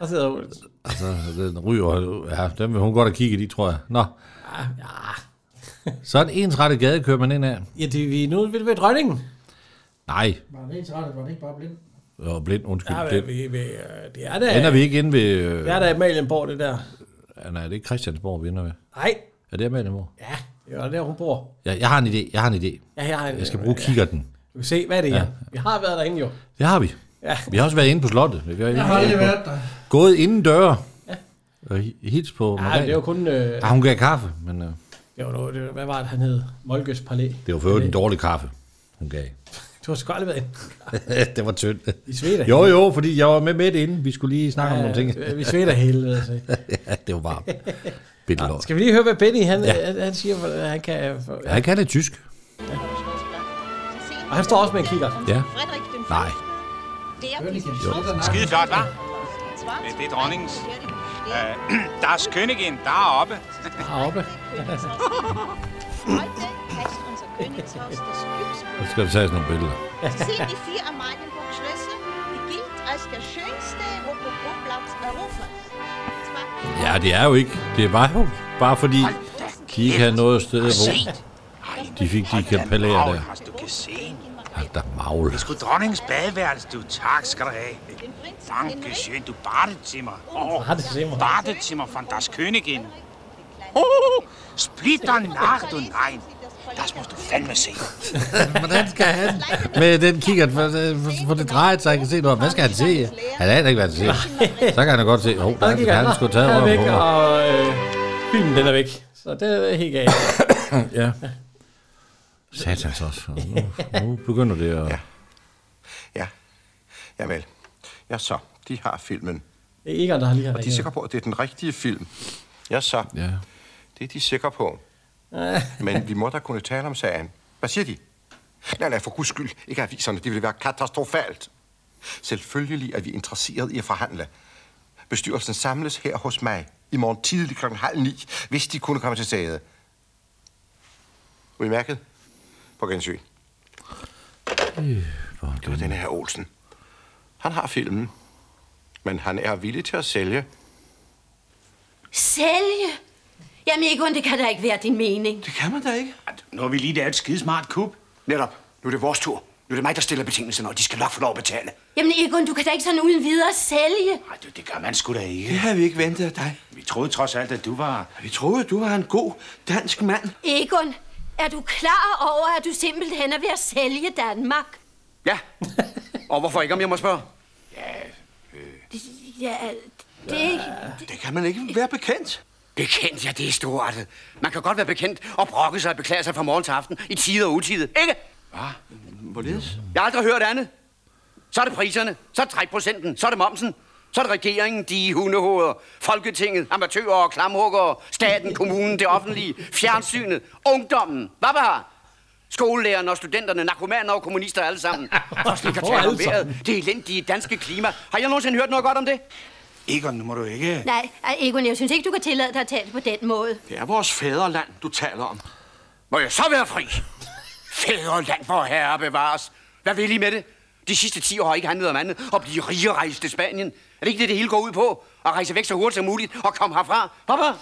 og sidder hun. Altså, den ryger, ja, den vil hun godt have kigget i, tror jeg. Nå. Ja. Sådan en ensrettet gade kører man ind af. Ja, det, er vi, nu vil vi ved dronningen. Nej, Var han helt træt, var han ikke bare blind? og blind, undskyld. Ja, Ja, vi, vi, vi, øh, det er da... Ender vi ikke inde ved... øh, Det er da Amalienborg, det der. Ah, Nej, det er ikke Christiansborg, vi ender med. Nej. Er det Amalienborg? Ja. Det var der, hun bor. Jeg, jeg har en idé, jeg har en idé. Ja, jeg har en idé. Jeg skal bruge kikkerten. Du kan se, hvad det er. Ja. Ja. Vi har været derinde jo. Det har vi. Ja. Vi har også været inde på slottet. Vi har, Jeg har aldrig været der. Gået inden døre. Ja. Og hi- hils på Nej, det var kun... Øh, Ah, hun gav kaffe, men øh, det var, noget- det var, hvad var det, han hed? Molkes Palæ. det var for øvrigt en dårlig kaffe, hun gav. Du har sgu aldrig været inde. det var tyndt. I svedt af Jo, helvede. jo, fordi jeg var med midt inden. Vi skulle lige snakke om nogle ting. Ja, vi svedt af helvede, altså. ja, det var varmt. Bitte lort. Skal vi lige høre, hvad Benny han, Ja. ja. han siger? For, han kan, for, Ja, jeg kan det tysk. Og han står også med en kigger. Ja. Frederik den Nej. Skide flot, hva'? Det, det er dronningens. Øh, der er skønningen, der er oppe. Oppe. Så skal vi tage sådan nogle billeder. sehen die vier Amalienburg-Schlösser, die gilt als der schönste Rokokoplatz Europas. Ja, det er jo ikke. Det var jo bare fordi, de ikke havde noget sted at bo. De fik de kapeller der. Har altså, du kan se en. Hold da magle. Det er sgu dronningens badeværelse, du. Tak skal du have. Danke schön, du Badezimmer. Oh, Badezimmer. Badezimmer von das Königin. Oh, splitter Nacht und ein. Das musst du fandme se. Hvordan skal han med den kikkert, for, for, for det drejer sig, jeg kan se noget. Hvad skal han se? Han aner ikke, hvad han ser. Så kan han da godt se, oh, der, Og der gik der, han. han skulle tage Han er røven væk, på. mig. og øh, filmen den er væk. Så det er helt galt. Ja. Satans også. Nu, nu begynder det at... Ja. Jamen, ja så, de har filmen. Det er Egon, der har lige har Og de er sikre på, at det er den rigtige film. Ja så, ja. det er de sikre på. Ja. Men vi må da kunne tale om sagen. Hvad siger de? Nej, nej, for guds skyld. Ikke aviserne. Det ville være katastrofalt. Selvfølgelig er vi interesseret i at forhandle. Bestyrelsen samles her hos mig i morgen tidlig kl. halv ni, hvis de kunne komme til stedet. Udmærket. På gensyn. Det var den her Olsen. Han har filmen, men han er villig til at sælge. Sælge? Jamen, Egon, det kan da ikke være din mening. Det kan man da ikke. Nu er vi lige der et skidesmart kub. Netop. Nu er det vores tur. Nu er det mig, der stiller betingelserne, og de skal nok få lov at betale. Jamen, Egon, du kan da ikke sådan uden videre sælge. Det gør man sgu da ikke. Det havde vi ikke ventet af dig. Vi troede trods alt, at du var... Vi troede, at du var en god dansk mand. Egon, er du klar over, at du simpelthen er ved at sælge Danmark? Ja. Og hvorfor ikke, om jeg må spørge? Ja, det... Det kan man ikke være bekendt. Bekendt, ja, det er storartet. Man kan godt være bekendt og brokke sig og beklage sig fra morgen til aften i tide og utide, ikke? Hvad? Hvorledes? Jeg har aldrig hørt andet. Så er det priserne, så er det trækprocenten, så er det momsen, så er det regeringen, de hundehoveder, Folketinget, amatører og klamhuggere, staten, kommunen, det offentlige, fjernsynet, ungdommen, hvad var Skolelærerne og studenterne, narkomaner og kommunister alle sammen. For slet ikke at Hvor tale om alle sammen? vejret, det elendige danske klima. Har jeg nogensinde hørt noget godt om det? Egon, nu må du ikke... Nej, ej, Egon, jeg synes ikke, du kan tillade dig at tale på den måde. Det er vores fædreland, du taler om. Må jeg så være fri? Fædreland for herre bevares. Hvad vil I med det? De sidste 10 år har ikke handlet om andet at blive rige og rejse til Spanien. Er det ikke det, det hele går ud på? At rejse væk så hurtigt som muligt og komme herfra? Hvorfor?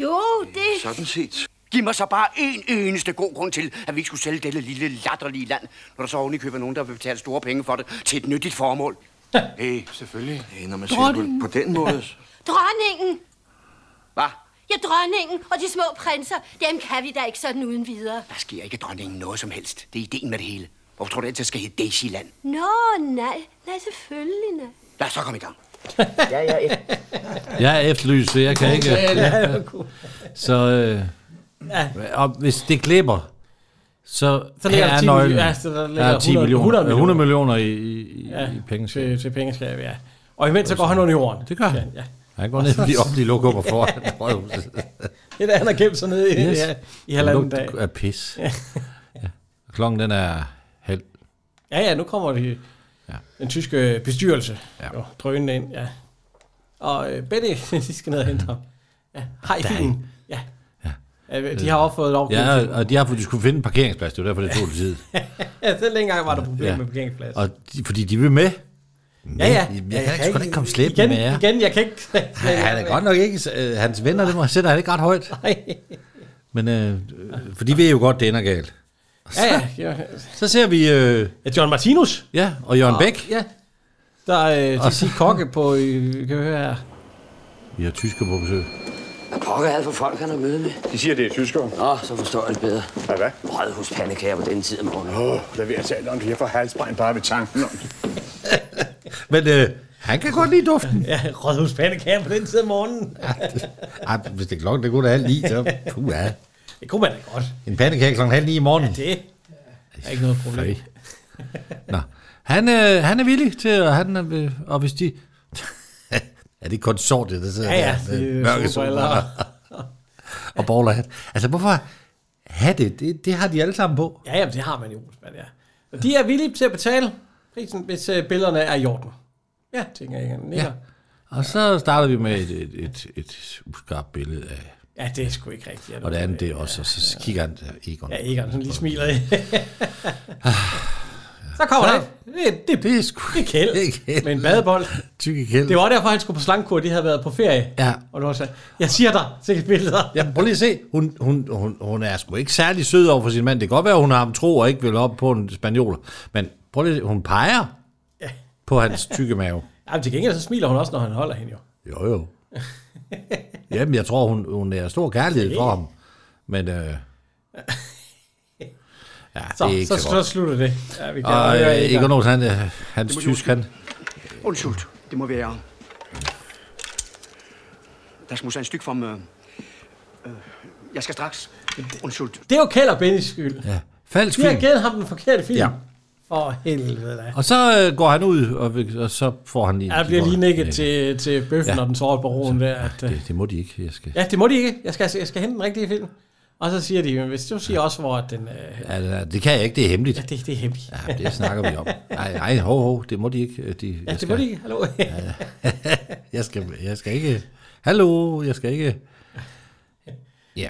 Jo, det... Sådan set. Giv mig så bare en eneste god grund til, at vi ikke skulle sælge dette lille latterlige land, når der så oven i køber nogen, der vil betale store penge for det til et nyttigt formål. Nej, selvfølgelig. Ja, når man Dronningen. på den måde... Dronningen! Hvad? Ja, dronningen og de små prinser, dem kan vi da ikke sådan uden videre. Der sker ikke dronningen noget som helst. Det er ideen med det hele. Hvorfor tror du, at det skal hedde Daisyland? Nå, nej. Nej, selvfølgelig nej. Lad os så komme i gang. ja, ja, ja. Jeg er efterlyst, så jeg kan ikke... Ja, det var god. Så... Øh, og hvis det klipper, så, Så ligger der 10 nøglen. millioner- ja, så der der ligger er 10 100 millioner, 100 øh, 100 millioner i, i, Ja, i pengeskab. til, til pengeskab, ja. Og imens så går han under jorden. Det gør han. Ja, ja. Han går ned lige op, de lukker op og foran rådhuset. Det er der, han har gemt sig ned i, Yes. yes. ja, i halvanden Lugt dag. af pis. Ja. Ja. Klokken den er halv. ja, ja, nu kommer de, ja. den tyske øh, bestyrelse ja. jo, drønende ind. Ja. Og øh, Betty, de skal ned og hente ham. Ja. Hej, Mhm. Der er Øh, fint. Ja. ja. øh, De har også fået lov. Ja, og de har fået, de skulle finde en parkeringsplads. Det var derfor, det tog lidt tid. ja, selv dengang var der problemer ja. med parkeringsplads. Og de, fordi de vil med. Ja, ja. Men Ja, jeg Jeg kan ikke, kan sgu da ikke- ikke komme slæbende igen- med jer. igen, jeg kan ikke- Han han er godt nok ikke... øh, Hans venner, det må sætter han ikke ret højt. Nej. Men, øh, øh, for de ved jo godt, det ender galt. Ja, ja. Så ser vi... Øh, ja John Martinus. Ja, Ah, og Jørgen Og- Bæk. Ja. Der er øh, Og de siger kokke på, øh, kan vi høre her. Vi har tysker på besøg. Hvad pokker er det for folk, han har møde med? De siger, det er tyskere. Nå, så forstår jeg det bedre. Ja, hvad? Brødhuspandekager på den tid af morgenen. Åh, oh, der vil jeg tale om det. Jeg får halsbrændt bare ved tanken om det. Men øh, han kan godt lide duften. Ja, rådhuspandekager på den tid af morgenen. Ej, Ah, hvis det er klokken, det kunne da halv ni, så puh, ja. Det kunne man da godt. En pandekage klokken halv ni i morgen. Ja, det er ikke noget problem. Nå. Han, øh, han er villig til, at han, er, øh, og hvis de... er det konsortiet, der sidder Ja, ja, der? med det er mørke solbriller. solbriller. og bowlerhat. Altså, hvorfor have det? det? Det har de alle sammen på. Ja, jamen, det har man i Olsmand, ja. Og de er villige til at betale prisen, hvis øh, billederne er i orden. Ja, tænker jeg. Ja. Ja. Og så starter vi med et, et, et, et uskarpt billede af... ja, det er sgu ikke rigtigt. Og det andet, det er også, og så kigger han der, Egon. Ja, Egon sådan lige smiler. så kommer Ah. Så- han. Det, det, det er sgu det er kæld. Med en badebold. Tykke kæld. Det var derfor, han skulle på slangekur, de havde været på ferie. Ja. Og du også jeg siger dig, se billeder. Ja, prøv lige at se. Hun, hun, hun, hun er sgu ikke særlig sød over for sin mand. Det kan godt være, hun har ham tro og ikke vil op på en spanioler. Men prøv lige at se. Hun peger Ja. på hans tykke mave. Ja, men til gengæld så smiler hun også, når han holder hende jo. Jo, jo. Jamen, jeg tror, hun, hun er stor kærlighed for ham. Men øh, ja, Så, det er ikke så, så, så, godt. slutter det. Ja, vi kan og høre øh, Egon. Egon Olsen, han, øh, hans Det må tysk, han... Undskyld, det må være. Der skal måske en stykke from... Øh, øh, jeg skal straks. Undskyld. Det er jo Kjeld og Bennys skyld. Ja. Falsk De har film. givet ham den forkerte film. Ja. For helvede da. Og så øh, går han ud, og, og så får han lige... Ja, der bliver lige nikket til, til bøffen Ja. ja. og den sårede baron der. At, øh, Det, det må de ikke, jeg skal... ja, det må de ikke. Jeg skal, jeg skal hente den rigtige film. Og så siger de, men hvis du siger også, hvor den... Øh, Altså, det kan jeg ikke, det er hemmeligt. Ja, det, det er hemmeligt. Ja, det snakker vi om. Nej, nej, hov, hov, det må de ikke. øh, De, jeg ja, det må de ikke. Hallo. Ja, jeg, skal, jeg skal ikke... Hallo, jeg skal ikke... Ja.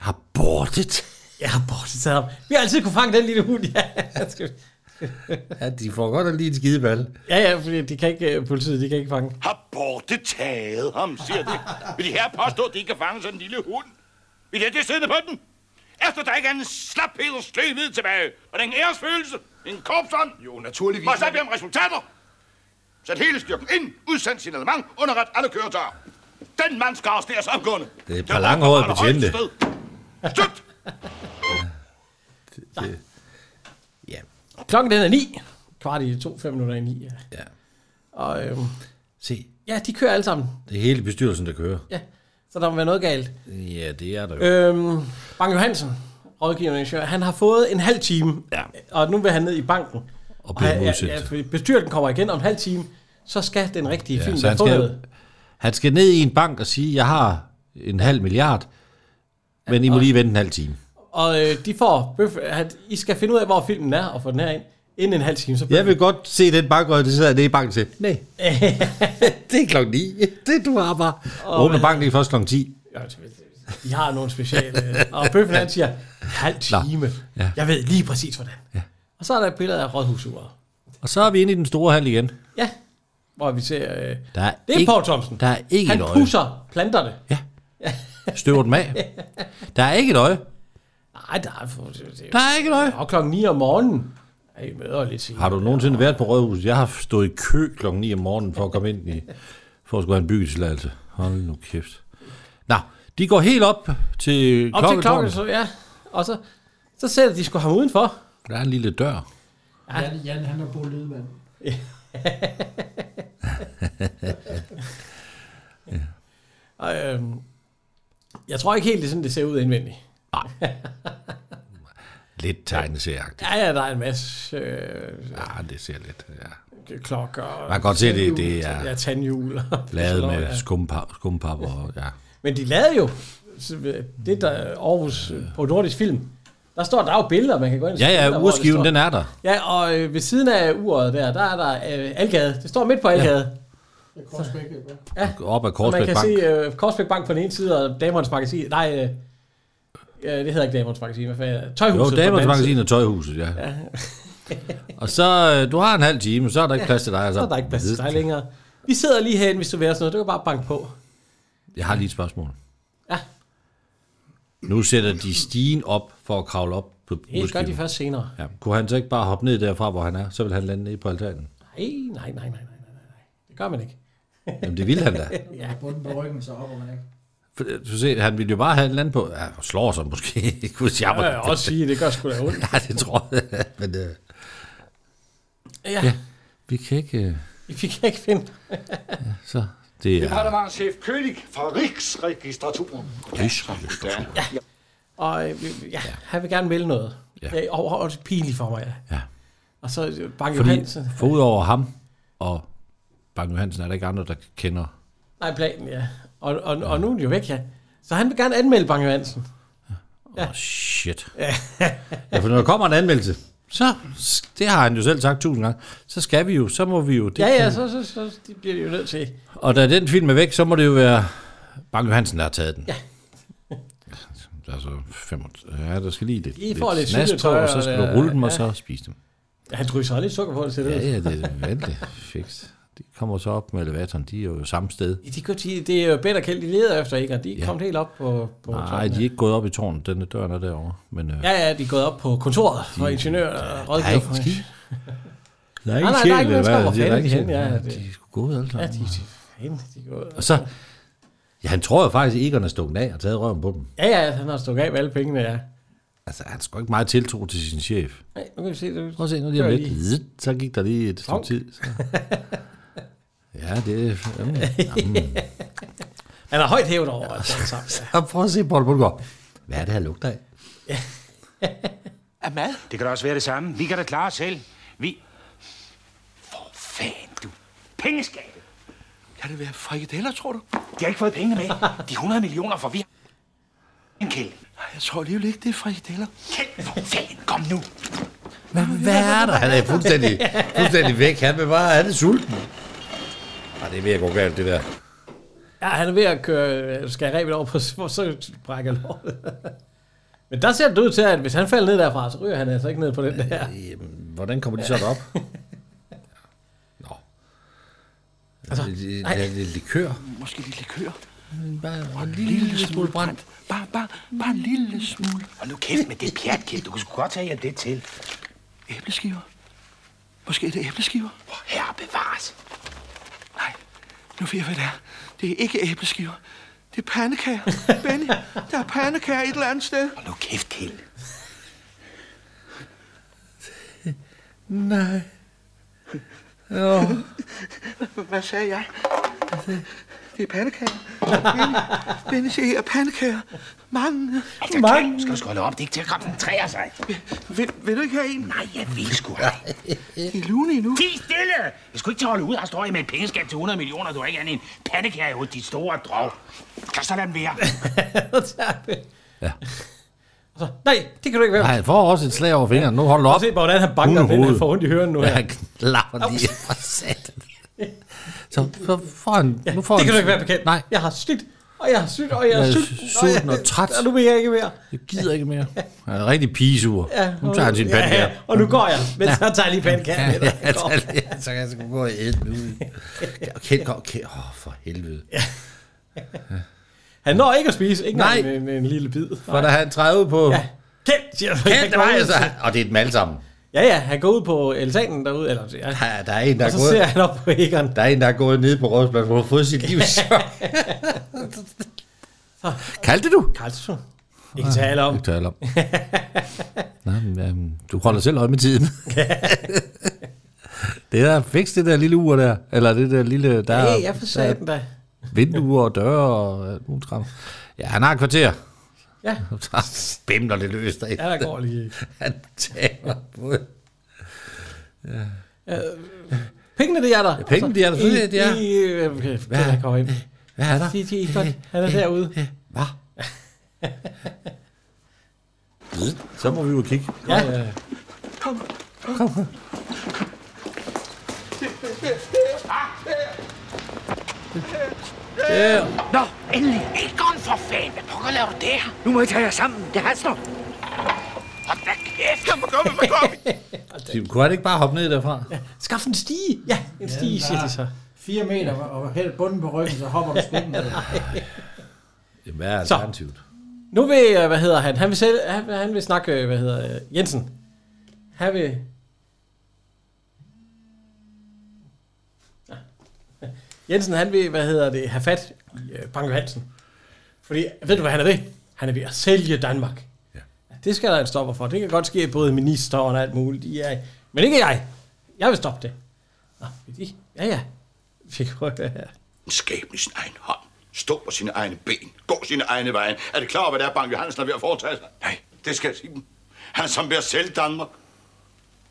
Har bortet. Jeg har bortet ham. Vi har altid kunne fange den lille hund, ja. Skal vi- Ja, de får godt lige en skideball. ja, ja, fordi de kan ikke, øh, politiet de kan ikke fange. Borte taget ham, siger de. Vil de her påstå, at de ikke kan fange sådan en lille hund? Vil jeg det siddende på den? Efter der ikke er en slaphed og sløvhed tilbage, og den æresfølelse, en korpsånd. Jo, naturligvis. Og så bliver om resultater. Sæt hele styrken ind, udsend signalement, underret alle køretøjer. Den mand skal arresteres omgående. Det er et par langhårede Holder betjente. højt sted. Klokken den er 9. Kvart i to, fem minutter i 9. Ja. ja. Og øhm, Se, ja, de kører alle sammen. det er hele bestyrelsen, der kører. Ja, så der må være noget galt. Ja, det er der jo. Øhm, Bang Johansen, rådgivende ingeniør, han har fået en halv time, ja. og nu vil han ned i banken. Og bliver han- ja, udsendt. ja, fordi bestyrelsen kommer igen om en halv time, så skal den rigtige ja, film så være han skal, fundet. han skal ned i en bank og sige, jeg har en halv milliard, men I må lige vente en halv time. Og øh, de får bøf, at I skal finde ud af, hvor filmen er, og få den her ind. Inden en halv time, så Jeg vil godt se den bank, og det sidder jeg nede i banken til. Nej. det er klokken 9. Det du har bare. Og- Åbner banken lige først klokken 10. Ja, de har nogle speciale. øh, og bøffen han siger, halv time. Ja. Jeg ved lige præcis, hvordan. Ja. Og så er der et billede af rådhusuret. Og så er vi inde i den store hal igen. Ja, hvor vi ser... Øh, Der er det er ikke- Paul Thomsen. der er ikke Han et øje. pusser planterne. Støver dem af. Der er ikke et øje. Nej, der er, det, det, Der er ikke noget. Og klokken 9 om morgenen. Ja, I møder lidt senere. Har du nogensinde været på Rådhuset? Jeg har stået i kø klokken 9 om morgenen for at komme ind i, for at skulle have en byggetilladelse. Hold nu kæft. Nå, de går helt op til Op til klokken, klokketårnet. så, ja. Og så, så sætter de sgu ham udenfor. Der er en lille dør. Jan, Jan han har boet lydmand. Og, øhm, jeg tror ikke helt, det er sådan, det ser ud indvendigt. Nej. Lidt tegneserieagtigt. ja, ja, der er en masse øh, Ja, det ser lidt, ja. klokker. Man kan godt se, det- det er- Ja, tandhjul. og- Lavet sådan noget, med skumpap, skumpap og ja. Men de lavede jo så, øh, det der Aarhus øh, på Nordisk Film. Der står, der er jo billeder, man kan gå ind og Ja, se ja, billeder, hvor det urskiven, står- den er der. Ja, og øh, ved siden af uret der, der er der øh, Algade. Det står midt på Algade. Det er Korsbæk, ja. Ja. Op ad Så man Korsbæk kan Bank. se øh, Korsbæk Bank på den ene side, og Damernes Magasin. Nej, øh, øh, det hedder ikke Damernes Magasin. Hvad fanden? Tøjhuset. på Jo, den damernes anden magasin side. og tøjhuset, ja. ja. og så, øh, du har en halv time, så er der ikke plads til dig. altså. Så er der ikke plads til dig længere. Vi sidder lige herinde, hvis du vil have sådan noget. Du kan bare banke på. Jeg har lige et spørgsmål. Ja. Nu sætter de stigen op for at kravle op på Det gør urskiven. de først senere. Ja. Kunne han så ikke bare hoppe ned derfra, hvor han er? Så vil han lande nede på altanen. Nej, nej, nej, nej, nej, nej, nej. Det gør man ikke. Jamen, det ville han da. Ja. Bunden på ryggen, så hopper man ikke. For, øh, Du ser, han ville jo bare have et eller andet på. Ja, han slår sig måske. Det kunne jeg Ja, jeg også sige, det gør sgu da ondt. Nej, det tror jeg. Men, øh, Ja. ja. Vi kan ikke... Øh, Vi kan ikke finde. så det Det er... var der var en chef König fra Riksregistraturen. Rigsregistraturen. Ja. Og øh, vi- ja, han vil gerne melde noget. Ja. Ja. Det er overhovedet pinligt for mig. Ja. Ja. Og så øh, Bang Fordi Johansen. for udover ham og Bang Johansen er der ikke andre, der kender. Nej, planen, ja. Og, og, og nu er de jo væk, ja. Så han vil gerne anmelde Bang Johansen. Åh, oh, shit. Ja, for når der kommer en anmeldelse, så, det har han jo selv sagt tusind gange, så skal vi jo, så må vi jo. Det Ja, ja, kan- så, så, så de bliver de jo nødt til. Og da den film er væk, så må det jo være Bang Johansen, der har taget den. Ja. altså, fem, ja, der skal lige lidt, I får lidt snask på, syltetøj, og så skal og- du rulle dem, og ja. så spise dem. Ja, han drysser også lidt sukker på det, ser det Ja, ud. ja, det er vanligt fikst. De kommer så op med elevatoren, de er jo samme sted. De kunne sige, det er jo bedre kendt, de leder efter, ikke? Og de er Ja. kommet helt op på... på Nej, toppen, de er ikke gået op i tårnet, den døren er derovre. Men, øh, Ja, ja, de er gået op på kontoret for ingeniør og der er rådgiver. ikke en skid. Der er Nej, nej, ikke der en er sjæl, ikke eller mennesker, hvad? hvor Det er der fanden ikke de hen, sjæl. ja, Ja, det- de er sgu gået alle Ja, sammen. de, de, fanden, de er gået. Og så... Ja, han tror jo faktisk, at Egon er stukket af og taget røven på dem. Ja, ja, han har stukket af med alle pengene, ja. Altså, han skal ikke meget tiltro til sin chef. Nej, nu kan vi se, det Prøv at se, nu lige om lidt. Zit, så gik der lige et stykke tid. Så. Ja, det er... Jamen, jamen. Han er højt hævet over, altså, alt sammen. Og prøv at se, Paul Bundgaard. Hvad er det, her lugter af? Af mad? Det kan da også være det samme. Vi kan da klare os selv. Vi... For fanden, du. Pengeskabet. Kan det være frikadeller, tror du? De har ikke fået pengene med. De 100 millioner for vi... En kæld. Jeg tror alligevel ikke, det er frikadeller. Kæld, for fanden, kom nu. Hvad, hvad er der? Han er fuldstændig, fuldstændig væk. Han vil bare... Han er sulten. Ej, det er ved at gå galt, det der. Ja, han er ved at køre, skal rebet over på, hvor så brækker låret. Men der ser det ud til, at hvis han falder ned derfra, så ryger han altså ikke ned på den der. Hvordan kommer de så derop? Nå. Altså, det, nej. det, det, likør. Måske lidt likør. Bare en lille, lille smule brændt. Bare, bare, bare en lille smule. Og nu kæft med det pjat, kæft. Du kan sgu godt tage jer det til. Æbleskiver. Måske er det æbleskiver. Hvor herre bevares. Nu ved jeg, hvad det er. Det er ikke æbleskiver. Det er pandekager. Benny, der er pandekager et eller andet sted. Nu kæft, Kjeld. Nej. Jo. Hvad sagde jeg? Det er pandekager. Benny, Benny siger, her er pandekager. Mange. Altså, Mange. Skal du skåle op? Det er ikke til at koncentrere sig. Vil, vil du ikke have en? Nej, jeg vil sgu ej. I lune endnu. Ti stille! Jeg skulle ikke til at holde ud. Her står jeg med et pengeskab til 100 millioner. Du har ikke andet end pandekager hos dit store drog. Kan så lade den være. Ja. Og så, nej, det kan du ikke være. Nej, han får også et slag over fingeren. Nu holder du op. Se bare, hvordan han banker den, han Hundehoved. får ondt i høren nu. Ja, Her. han klapper lige. For satan. Så, så får han... nu får det han, kan du ikke være bekendt. Nej. Jeg har snydt, og jeg har snydt, og jeg Jeg har er snydt. sulten og træt. Og nu vil jeg ikke mere. Jeg gider ikke mere. Han er rigtig pigesur. Ja, nu tager han sin ja, pandekager. ja, og nu går jeg, men så tager jeg lige pandekagen med dig. Ja, så- ja, så kan jeg sgu gå og æde den ud. Kjeld går... Kjeld, åh, for helvede. Han når ikke at spise, ikke Nej. engang med, med en lille bid. For da han træder ud på... Ja. Kæft, siger han. Kjeld, det var altså... Og det er dem alle sammen. Ja, ja, han går ud på eltanen derude. Eller, ja. Der, der er en, der Og er så gået... ser han op på Egon. Der er en, der er gået ned på rådspladsen, hvor har fået sit liv. Kaldte du? Kaldte du? Ikke tale om. Ikke tale om. Nå, men, øhm, du holder selv øje med tiden. det der fikst, det der lille ur der. Eller det der lille... Der, Ja, ja, for der satan da. Vinduer og døre og alt muligt skram. Ja, han har et kvarter. Ja. Så bimler det løs der. Ja, der går lige. Han taber på det. Ja. Øh, pengene, det er der. Ja, pengene, de er der. Selvfølgelig, de er. I, I, øh, okay, Hvad hvad er er der? der? Kommer ind. Hvad er der? De, de, de, han er derude. Hvad? Så må vi jo kigge. Ja. ja. Kom. Kom. Ja. Nå, endelig. Egon for fanden. Hvad pokker laver du der? Nu må I tage jer sammen. Det haster. Hold da kæft. Kom, kom, kom, kom. De- Kunne han ikke bare hoppe ned derfra? Skaff en stige. Ja, en stige, siger de så. 4 meter og hælder bunden på ryggen, så hopper du sgu ikke ned. Jamen, Hvad er alternativet? Nu vil, øh, hvad hedder han? Han vil, selv, han, han vil snakke, øh, hvad hedder øh, Jensen. Han vil... Jensen, han vil, hvad hedder det, have fat i øh, Bang Johansen. Fordi, ved du hvad han er ved? Han er ved at sælge Danmark. Ja. Det skal der en stopper for. Det kan godt ske, at både minister og alt muligt. De er, men ikke jeg. Jeg vil stoppe det. Nå, vil de? Ja, ja. Fik her. Skæbne i sin egen hånd. Stå på sine egne ben. Gå sine egne veje. Er det klar, hvad det er, Bang Johansen er ved at foretage sig? Nej, det skal jeg sige dem. Han er som ved at sælge Danmark.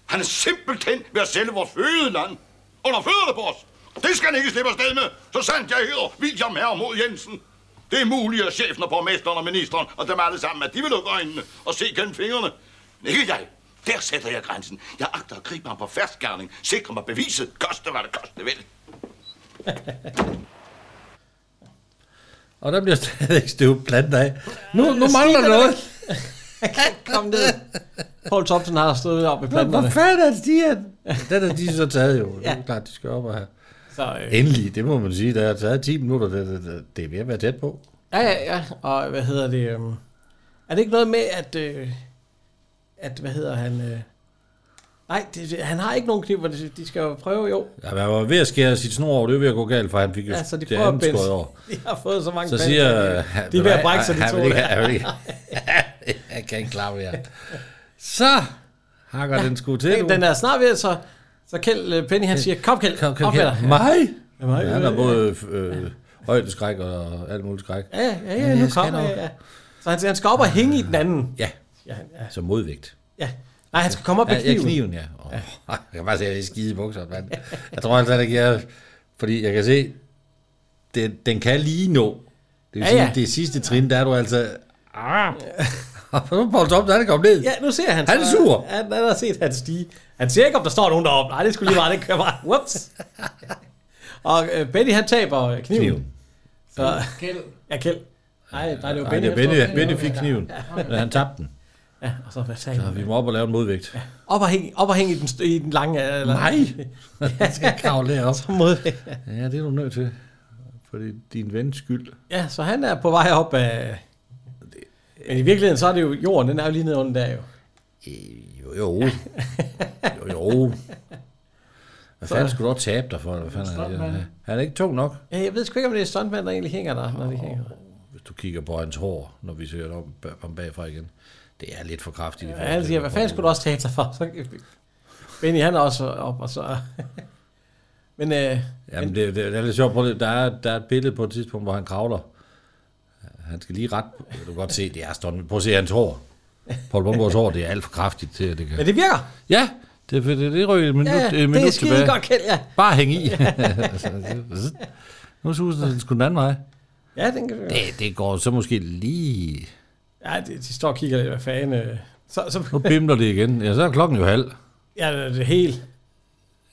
Han er simpelthen ved at sælge vores fødeland. Under fødderne på os. Det skal han ikke slippe afsted med. Så sandt jeg hedder, vil jeg med mod Jensen. Det er muligt, at chefen og borgmesteren og ministeren og dem alle sammen, at de vil lukke øjnene og se gennem fingrene. Men ikke jeg. Der sætter jeg grænsen. Jeg agter at gribe ham på færdskærning, sikre mig beviset, koste hvad det koste vil. Og der bliver stadig støvet planter af. Nu, nu Jeg mangler siger noget. Jeg kan ikke komme ned. Paul Thompson har stået op i planterne. Hvor fanden er det, de er? Den er de så taget jo. Det er klart, de skal op og have. Så, øh. Endelig, det må man sige. Der er taget 10 minutter. Det, det, det, det er ved at være tæt på. Ja, ja, ja. Og hvad hedder det? øhm, Er det ikke noget med, at... Øh, at hvad hedder han? Øh, nej, det, det- han har ikke nogen kniv, hvor de de skal jo prøve, jo. Ja, man var ved at skære sit snor over. Det er ved at gå galt, for han fik jo Ja, så de det prøver at andet binde. skåret over. De har fået så mange Så bander, siger... de- øh, de er ved at brække sig, de han to vil ikke- der. han vil ikke- Jeg kan ikke klare det her. Så hakker den sgu til. Den, du. den er snart ved, at så, så Kjeld øh, Penny, han siger, kom Kjeld, kom, Kan op med dig. Mig? Ja, mig, Ja, han ja, har både øh, højdeskræk og alt muligt skræk. Ja, ja, ja, Men ja nu jeg skal kommer nok. jeg. Ja. Så han, siger, han skal op og hænge i den anden. Ja. ja, han- ja. Så modvægt. ja. Nej, han skal komme op med Ja, ja, kniven. kniven, ja. Oh, jeg kan bare se, at jeg er skide i bukser. mand. Jeg tror altså ikke, jeg... Fordi jeg kan se, den, den kan lige nå. Det vil Ja, sige, ja. det sidste trin, der er du altså... Ah. Og nu er Paul Thompson, han er kommet ned. Ja, nu ser han. Han er så- sur. Han, han har set han stige. Han ser ikke, om der står nogen deroppe. Nej, det skulle lige være, det kører bare. Whoops. Og øh, Benny, han taber øh, kniven. kniven. Så, Kjeld. Ja, Kjeld. Nej, nej, det var Nej, Benny. det er han Benny, står- Benny fik kniven, men han tabte den. Ja, og så hvad sagde Så han? vi må op og lave en modvægt. Op og hæng, op og hæng i, den, st- i den lange... øh, Eller, Nej. jeg skal kravle herop. Så mod, Ja, det er du nødt til. For det er din vens skyld. ja, så han er på vej op af... Men i virkeligheden, så er det jo jorden, den er jo lige nede under der jo. Øh, Jo, jo. jo, jo. Hvad fanden skulle du også tabe dig for? Hvad fanden er det? Stuntman. Han er ikke tung nok, Ja, jeg ved sgu ikke, om det er stuntmand, der egentlig hænger der, når de hænger der. hvis du kigger på hans hår, når vi ser om ham bagfra igen. Det er lidt for kraftigt. i Ja, forhold han til, siger, hvad fanden skulle du også tabe dig for? Så, Benny, han er også op, og så... Men, øh, Jamen, det, det, det er lidt sjovt. Prøv lige- Der er, der er et billede på et tidspunkt, hvor han kravler. Han skal lige ret. Du kan godt se, det er stående. Prøv at se hans hår. Paul Bumgaards hår, det er alt for kraftigt til, at det kan... men det virker. Ja, det, det, det, det rykker et minut, Ja, ja, ja, det er øh, minut skide tilbage. godt kendt, ja. Bare hæng i. Ja. nu suser den sgu den anden vej. Ja, den kan Det, det går så måske lige... Ja, de, de står og kigger lidt, hvad fanden... Øh. Så, så, Nu bimler det igen. Ja, så er klokken jo halv. ja, det, er det hele.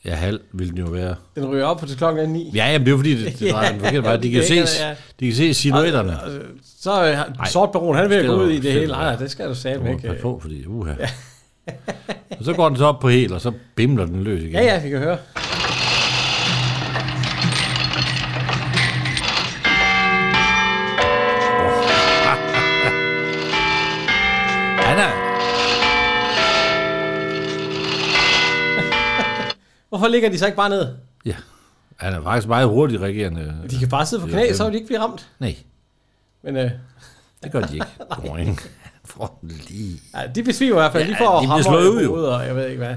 Ja, halv vil den jo være. Den ryger op på til klokken er ni. Ja, jamen det er jo fordi, det, det drejer den forkerte vej. De kan, Ja, se, ja. de kan se silhuetterne. Og, øh, Så øh, har- sort baron, han er ved at gå ud i det hele. Nej, nej, det skal du Du satme må ikke. passe øh. på, fordi uha. og så går den så op på helt, og så bimler den løs igen. Ja, ja, vi kan høre. Han er, Hvorfor ligger de så ikke bare ned? han er faktisk meget hurtigt reagerende. De kan bare sidde på Det er jo knæ, dem. så vil de ikke blive ramt. Nej, Men øh, det gør de ikke. Boing. Han får den lige. ja, de besvimer i hvert fald. De Ja, får de bliver hammer slået i ud, jo. hovedet, og jeg ved ikke hvad.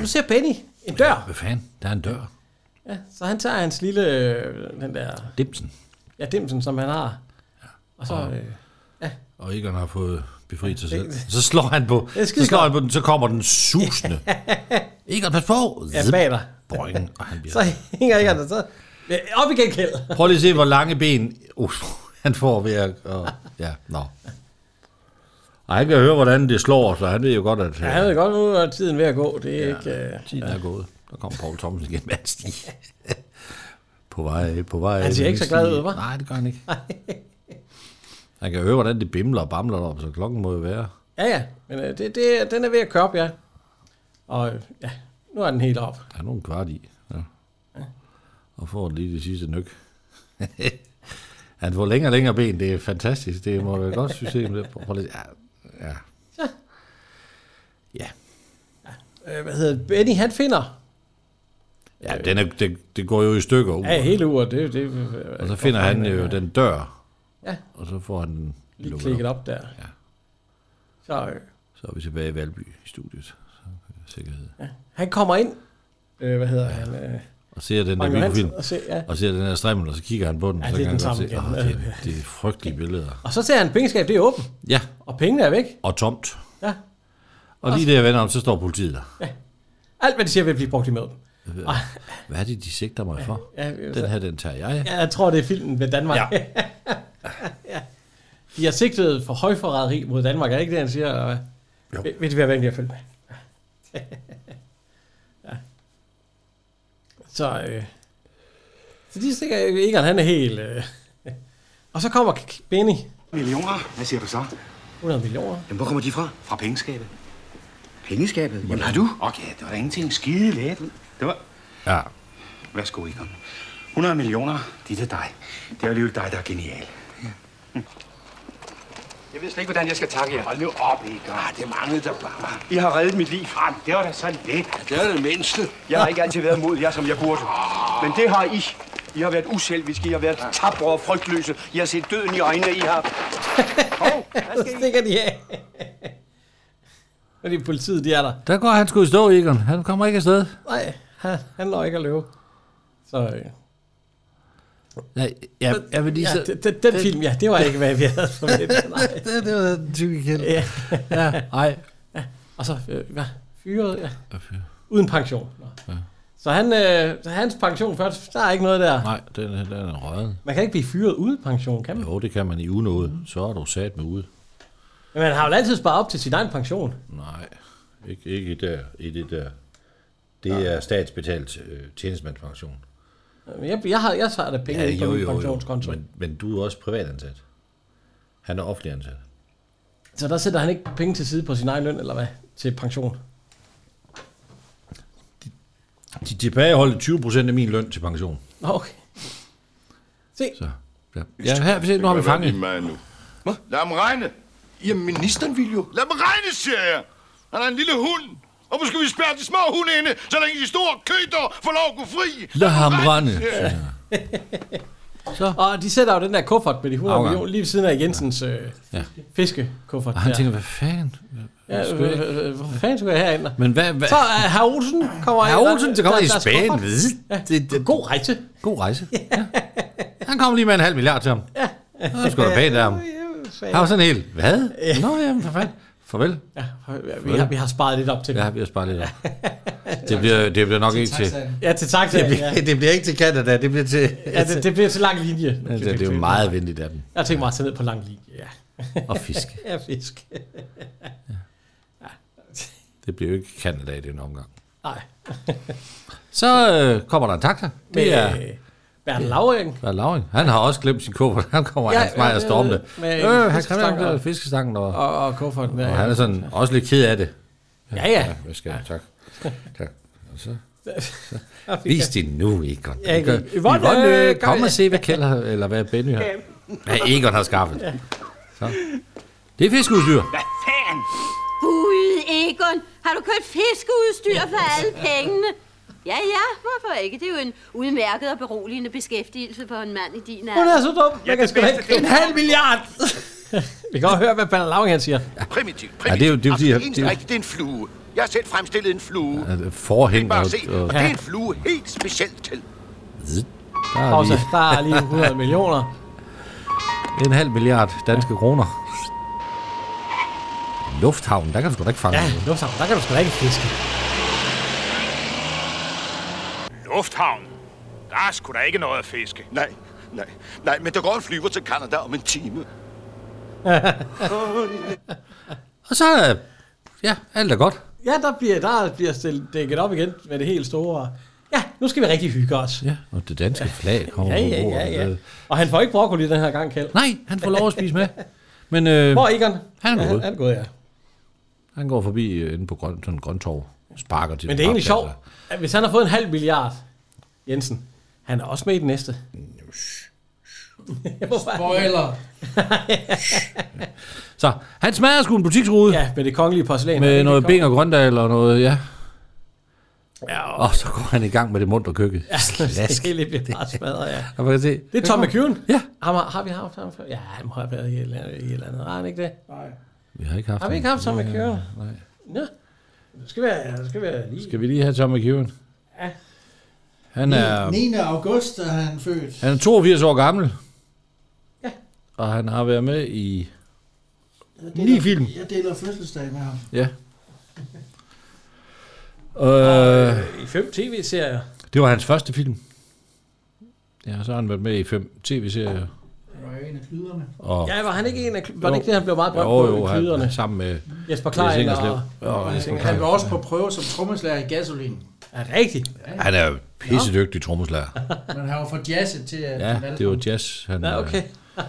nu ser Benny en dør. Hvad fanden? Der er en dør. Ja, så han tager hans lille, øh, den der, Dimsen. ja, dimsen, som han har. Og så, Og- øh, Og Egon har fået befriet sig selv. det- Så slår han på, er så skide slår godt. han på den, så kommer den susende. Egon, pas på! Ja, bag dig. Boing, og han bliver... så hænger ikke han, så ja, op igen, Kjeld. Prøv lige at se, hvor lange ben uh, han får ved at... Og, ja, nå. Og han kan høre, hvordan det slår, så han ved jo godt, at... Ja, jeg ved godt, nu er tiden ved at gå. Det er ja, ikke... Øh, Tiden er gået. Der kommer Paul Thomsen igen med en sti. På vej, på vej. Han ser ikke så glad ud, hva'? Nej, det gør han ikke. Han kan høre, hvordan det bimler og bamler op, så klokken må jo være. Ja, ja, men øh, det, det, den er ved at køre op, ja. Og øh, ja, nu er den helt op. Der er nogen kvart i. Ja. Og får lige det sidste nyk. han får længere og længere ben. Det er fantastisk. Det må være et godt system. Det- Prøv lige. Ja. ja. Øh, hvad hedder det? Benny, han finder Ja, den er, det, det går jo i stykker. uret. Ja, hele uret. Det, det, øh, Og så finder han jo den dør. Ja. Og så får han den Lige lukket klikket op der. Ja. Så øh, Så er vi tilbage i Valby i studiet. Så er der Sikkerhed. han kommer ind. Øh, hvad hedder ja. han? Øh, Og ser den der Frank Johansen, mikrofilm, Og, ser, ja. og ser den der strimmel, og så kigger han på den. Ja, og så det er kan den han samme godt se, igen. "Åh, det, er- det er frygtelige billeder. og så ser han, at pengeskab det er åbent. Ja, Og pengene er væk. og tomt. Ja. Og lige der jeg vender om, så står politiet der. Alt, hvad de siger, vil blive brugt imod. Ah. Hvad er det, de sigter mig for? Ja, ja, så- Den her, den tager jeg. Ja, jeg tror, det er filmen ved Danmark. Ja. ja. De har sigtet for højforræderi mod Danmark, er det ikke det, han siger? Eller hvad? Jo. Ved, ved de, hvad jeg følge med? ja. Så, øh. så de stikker Egon, han er helt... Øh. Og så kommer K- K- Benny. Millioner? Hvad siger du så? 100 millioner. Jamen, hvor kommer de fra? Fra pengeskabet. Pengeskabet? Jamen, har du? Okay, det var da ingenting. Skide let. Det var... Ja. Værsgo, Egon. 100 millioner, de er til dig. Det er alligevel dig, der er genial. Jeg ved slet ikke, hvordan jeg skal takke jer. Hold nu op, Egon. Ah, det manglede der bare. I har reddet mit liv. Ah, det var da så let. Det var det mindste. Ah. Jeg har ikke altid været mod jer, som jeg burde. Men det har I. I har været uselviske, I har været tabre og frygtløse. I har set døden i øjnene, I har... Så stikker de af. Fordi politiet, de er der. Der går han sgu i stå, Egon. Han kommer ikke afsted. Nej, han, han når ikke at løbe. Så, øh. Nej, jeg, jeg vil lige så... Ja, den, den, den film, ja, det var ikke, hvad vi havde forventet. Nej. det, det var den type igen. Ja. ja, ej. Ja. Og så, øh, hvad? Fyret, ja. Uden pension. Ja. Så han, øh, så hans pension først, der er ikke noget der. Nej, den, er- den er røget. Man kan ikke blive fyret uden pension, kan man? Jo, det kan man i unåde. Så er du sat med ude. Men man har jo altid sparet op til sin egen pension. Nej, ikke, ikke i der, i det der. Det Nej. er statsbetalt øh, tjenestemandspension. Jeg, jeg, har, jeg tager da penge ja, ind på min pensionskonto. Men, men du er også privatansat. Han er offentlig ansat. Så der sætter han ikke penge til side på sin egen løn, eller hvad? Til pension. De tilbageholder 20% af min løn til pension. Nå, okay. Se. Så, ja. ja her, se, nu har vi fanget. Mig nu. Hvad? Lad ham regne. Jamen, ministeren vil jo. Lad dem regne, siger jeg. Han er en lille hund. Og måske vi spærre de små hunde inde, så længe de store køder får lov at gå fri. Lad ham rende. siger jeg. Så. Og de sætter jo den der kuffert med de 100 Afgang. millioner lige ved siden af Jensens øh, ja. Ja. fiskekuffert. Og han der. tænker, hvad fanden? Ja, Skulle jeg- øh, øh, hvor fanden skulle jeg herind? Men hvad- hvad- Så er herr Olsen kommer Herr ind, og Olsen, så kommer der- i der er Spanien. skuffer. Ja. Det, det, God rejse. God rejse. Ja. Han kommer lige med en halv milliard til ham. Ja. Det er sgu da pænt af ham. Han var sådan helt, hvad? Nå, jamen, for fanden. Farvel. Ja, vi, har, vi har sparet lidt op til Ja, vi har sparet lidt op. Det bliver, det bliver nok ikke til... Ja, til taxaen. Det bliver, ja. det bliver ikke til Canada, det bliver til... Ja, det, det bliver til lang linje. Ja, det, det er jo meget venligt af dem. Jeg har tænkt mig at tage ned på lang linje, ja. Og fiske. ja, fisk. Det bliver jo ikke Canada i den omgang. Nej. Så øh, kommer der en taxa. Med Det er Bernd Lauring. Hvad er Lauring. Han har også glemt sin kuffert. Han kommer ja, hans mig og stormende. Øh, han kan ikke og, fiskestangen og, og, og kufferten. Og han er sådan også lidt ked af det. Ja, ja. Jeg skal, tak. tak. Og så, så. Vis det nu, Egon. Ja, Egon, Egon, Yvonne, Yvonne, øh, øh, kom kom- og se, hvad Kjeld har, eller hvad Benny har. Hvad Egon har skaffet. Så. Det er fiskeudstyr. Fan! Gud, Egon, har du købt fiskeudstyr for alle pengene? Ja, ja, hvorfor ikke? Det er jo en udmærket og beroligende beskæftigelse for en mand i din alder. Hun er så dum. Jeg kan sgu da ikke. En halv milliard. Vi kan godt høre, hvad Bernd Lauring han siger. Primitivt, Ja, det er jo- det er jo fordi, Absolut at- eneste det er- rigtige, det er en flue. Jeg har selv fremstillet en flue. Ja, det er Forhæng Bare og... se, og og det er en flue helt specielt til. Zzz. Der Der er, er lige der er lige 100 millioner. en halv milliard danske kroner. Lufthavnen, der kan du sgu da ikke fange Ja, noget. lufthavn, der kan du sgu da ikke fiske. Lufthavn. Der er sgu da ikke noget at fiske. Nej, nej, nej, men der går en flyver til Kanada om en time. Og så, øh, ja, alt er godt. Ja, der bliver, der bliver stillet, dækket op igen med det helt store. Ja, nu skal vi rigtig hygge os. Ja, Og det danske flag kommer ja, ja, på bordet. ja, ja. Og han får ikke broccoli den her gang, Kjeld. Nej, han får lov at spise med. Men øh, Hvor er Egon? Han er Ja, gået. han er gået, ja. Han går forbi øh, inde på grøn, sådan en grøntorv. Sparker til Men den det er egentlig sjovt, papkasse. at hvis han har fået en halv milliard, Jensen, han er også med i den næste. Spoiler. Så han smadrer sgu en butiksrude. Ja, med det kongelige porcelæn. Er det Med ikke noget det ben og grøntdag eller noget, ja. Ja, og så går han i gang med det mundt og køkken. Ja, det hele bliver bare smadret, ja. Og man kan se, Det er Tom der McEwen. Ja. Ham har, har vi haft ham før? Ja, han må have været i et eller andet. i et eller andet. Har han ikke det? Nej. Vi har ikke haft Har vi ham. ikke haft Tom Nej, McEwen? nej. Ja. Det skal være, det skal være lige. Skal vi lige have Tom McEwen? Ja. Han er, 9. august er han født. han er 82 år gammel. Ja. Og han har været med i... Jeg Ni film. Jeg deler fødselsdag med ham. Ja. Øh, I fem tv-serier. det var hans første film. Ja, så har han været med i fem tv-serier. Han var jo en af klyderne. Og Ja, var han ikke en af... Var Jo. det ikke det, han blev meget berømt Jo, på jo, i han- klyderne? sammen med Jesper Jens Klein Ingerslev. og... Jo, og Jesper Han, Klein. han var også på prøve som trommeslager i Gasolin. Er rigtigt? Han er jo pissedygtig trommeslager. Men han var for jazzet til at Ja, han valgte det var ham. jazz. Han, Ja, okay. øh,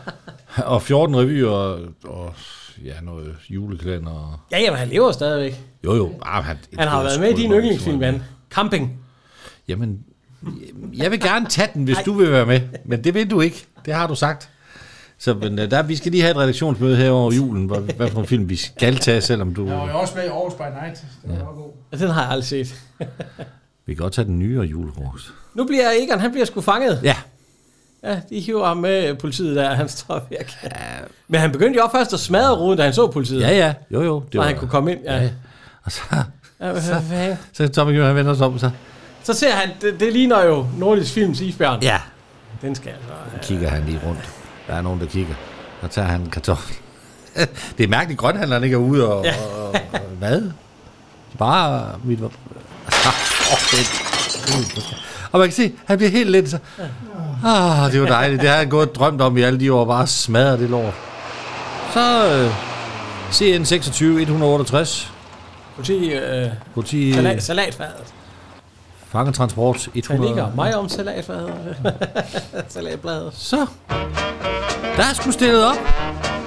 og 14 revyer og, og ja, noget julekalender. og- Ja, jamen, han lever stadigvæk. Jo, jo. Ah, han, Han har været med i din yndlingsfilm, Jan. Camping. Jamen, jeg vil gerne tage den, hvis du vil være med. Men det vil du ikke. Det har du sagt. Så men, øh, der, vi skal lige have et redaktionsmøde her over julen, hvor, hvad for en film vi skal tage, selvom du... Han var jo også med i Aarhus by Night. Det var ja. god. Den har jeg aldrig set. Vi kan godt tage den nyere julefrokost. Nu bliver Egon, han bliver sgu fanget. Ja. Ja, de hiver ham med øh, politiet der, han står væk. Ja. Men han begyndte jo også først at smadre ruden, da han så politiet. Ja, ja. Jo, jo. Det var, han kunne komme ind. Ja. ja. Og så, ja hvad, så, hvad? så Tommy Jørgen han vender sig om, så så ser han, det, det ligner jo Nordisk Films isbjørn. Ja. Den skal altså... kigger han lige rundt. Der er nogen, der kigger. Så tager han en kartoffel. Det er mærkeligt, at grønthandleren ikke er ude og... Ja. Ja. og, og hvad? Bare mit... Åh, fedt. Og man kan se, han bliver helt lidt så... Ah, det var dejligt. Det har jeg gået og drømt om i alle de år. Bare smadret det lort. Så øh, CN 26 168. Politi... Øh, Politi... salat, salatfadet. Fangetransport Der 100. ligger mig om salatfadet. Salatbladet. Så. Der er sgu stillet op.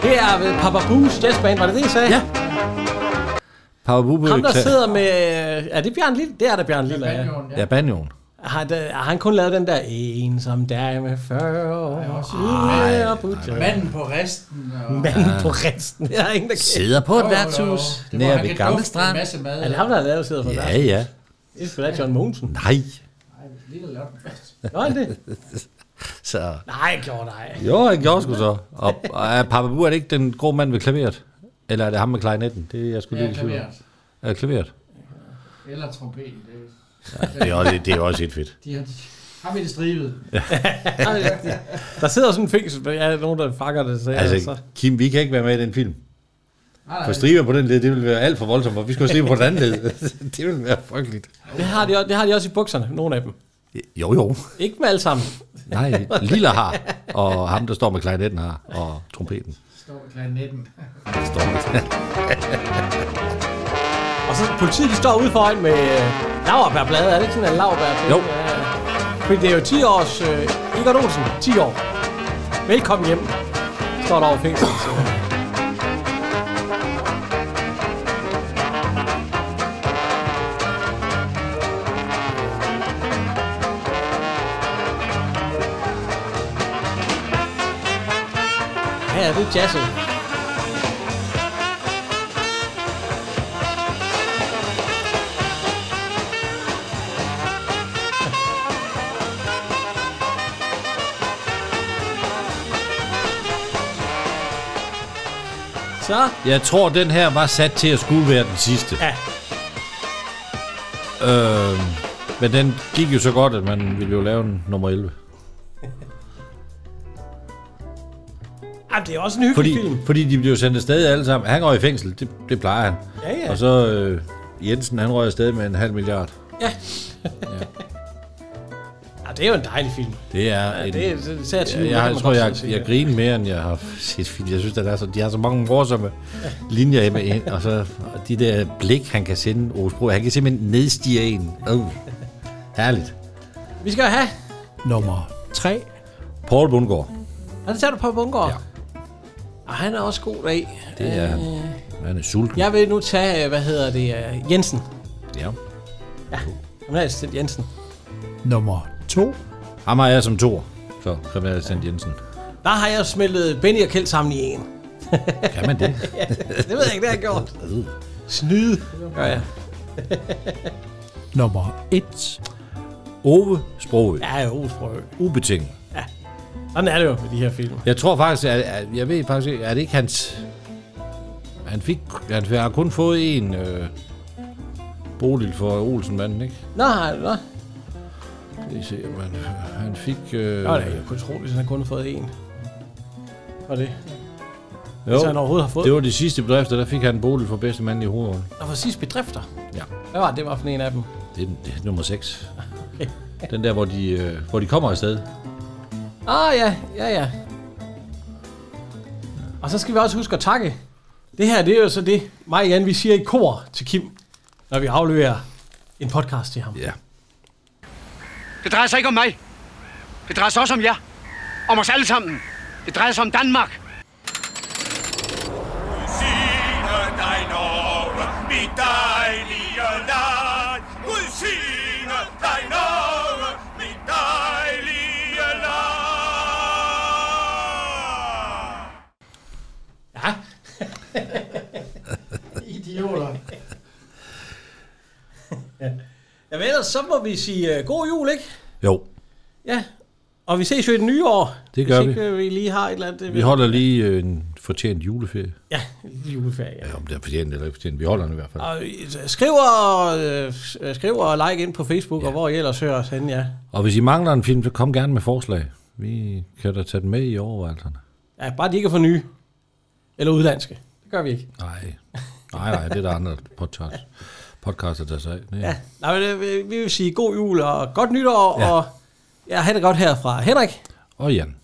Det er ved Papa Bus Jazzband, var det det, I sagde? Ja. Papa Bubø. Ham, der sidder med... øh, Er det Bjørn Lille? Det er da Bjørn Lille, ja. Ja, banjoen. Har, der, har han kun lavet den der ensom dag med 40 år? Ej, Ej, ej, Manden på resten. Og... Manden på resten. Det er ingen, der Sidder på et Jo, jo, jo. værtshus Det må nær han ved kan Gammel dufte Strand. en masse mad. Er det ham, der har lavet sidder på Ja, værtshus? ja. Det er sgu da John Mogensen. Nej. Lille Lotten først. Nå, er det? så. Nej, jeg gjorde nej. Jo, han gjorde sgu så. Og, og er Papa Bu, er det ikke den grå mand ved klaveret? Eller er det ham med klarinetten? Det er jeg sgu Ja, lige i tvivl om. klaveret. Er det klaveret? Eller trompeten. Det, Ja, det er også- det er også helt fedt. De har, ham i det stribede. Ja. Der sidder sådan en fængsel, hvor jeg er nogen, der fanger det. Så Altså, Kim, vi kan ikke være med i den film. Nej, nej. For striber på den led, det ville være alt for voldsomt, og vi skulle stribe på den anden led. det ville være frygteligt. Det har, de, også- det har de også i bukserne, nogle af dem. Jo, jo. Ikke med alle sammen. Nej, Lilla har, og ham, der står med klarinetten har, og trompeten. Står med klarinetten. Står Og så politiet, de står ude foran med øh, lauerbærblade. Er det ikke sådan en lauerbær? Jo. Fordi det er jo 10 års... Øh, Igor Olsen, 10 år. Velkommen hjem, står der over fængslet. Så. Her er det jazzet. Så. Jeg tror, den her var sat til at skulle være den sidste. Ja. Øh, men den gik jo så godt, at man ville jo lave en nummer 11. Jamen, det er også en hyggelig fordi, film. Fordi de blev sendt afsted alle sammen. Han går i fængsel, det, det plejer han. Ja, ja. Og så øh, Jensen, han røg afsted med en halv milliard. Ja. ja. det er jo en dejlig film. Det er Ja, en, det er- det er satire, jeg, det kan jeg, man tror, godt jeg, sige, jeg ja. griner mere, end jeg har set film. Jeg synes, at der er så, de har så mange morsomme linjer med ind. Og så og de der blik, han kan sende Osbro. Han kan simpelthen nedstige en. Oh, herligt. Vi skal jo have... Nummer 3. Paul Bundgaard. Og det tager du på Bungård. Ja. Og han er også god dag. Det er han. Øh. Han er sulten. Jeg vil nu tage, øh, hvad hedder det, øh, Jensen. Ja. Ja, kriminalassistent Jensen. Nummer 2. Ham har jeg som to. Så kriminalassistent Jensen. Der har jeg smeltet Benny og Kjeld sammen i en. Kan man det? ja, det ved jeg ikke, det har jeg gjort. Snyde, gør jeg. Nummer 1. Ove Sprogø. Ja, Ove Sprogø. Ubetinget. Sådan er det jo med de her film. Jeg tror faktisk, at, at jeg ved faktisk, ikke, er det ikke hans... Han fik... Han har kun fået en... Øh, Bodil for Olsenmanden, ikke? Nå, nej. Lige se, om han, han fik... Øh, Nå, det er jo kun tro, hvis han kun har fået en. Var det? jo, hvis han overhovedet har fået- Det var de sidste bedrifter, der fik han en Bodil for bedste mand i hovedet. Der var sidst bedrifter. Ja. Hvad var det, det var for en af dem? Det er, den- det er nummer 6. Den der, hvor de, øh, hvor de kommer afsted. Ah, ja, ja, ja. Og så skal vi også huske at takke. Det her, det er jo så det, mig og Jan, vi siger i kor til Kim, når vi afleverer en podcast til ham. Ja. Det drejer sig ikke om mig. Det drejer sig også om jer. Om os alle sammen. Det drejer sig om Danmark. Udsigne dig, Norge, mit dejlige land. Udsigne dig, Norge, mit dejlige land. Ja. Idioter. Jamen ellers, så må vi sige uh, god jul, ikke? Jo. Ja. Og vi ses jo i det nye år. Det gør hvis vi. Ikke, øh, vi lige har et eller andet. øh, Vi holder lige øh, en fortjent juleferie. Ja, juleferie, ja. ja. Om det er fortjent eller ikke fortjent. Vi holder den i hvert fald. Og øh, skriv og, øh, skriv og like ind på Facebook, ja. og hvor I ellers hører os henne, ja. Og hvis I mangler en film, så kom gerne med forslag. Vi kan da tage den med i overvejelserne. Ja, bare de ikke er for nye. Eller udlandske. Det gør vi ikke. Nej. Nej, nej, det er der andre podcast, podcaster, der sig af. Det er- Ja. Nej, men, øh, vi vi vil sige god jul og godt nytår, Ja. ja. og ja, have det godt herfra. Henrik? Og Jan.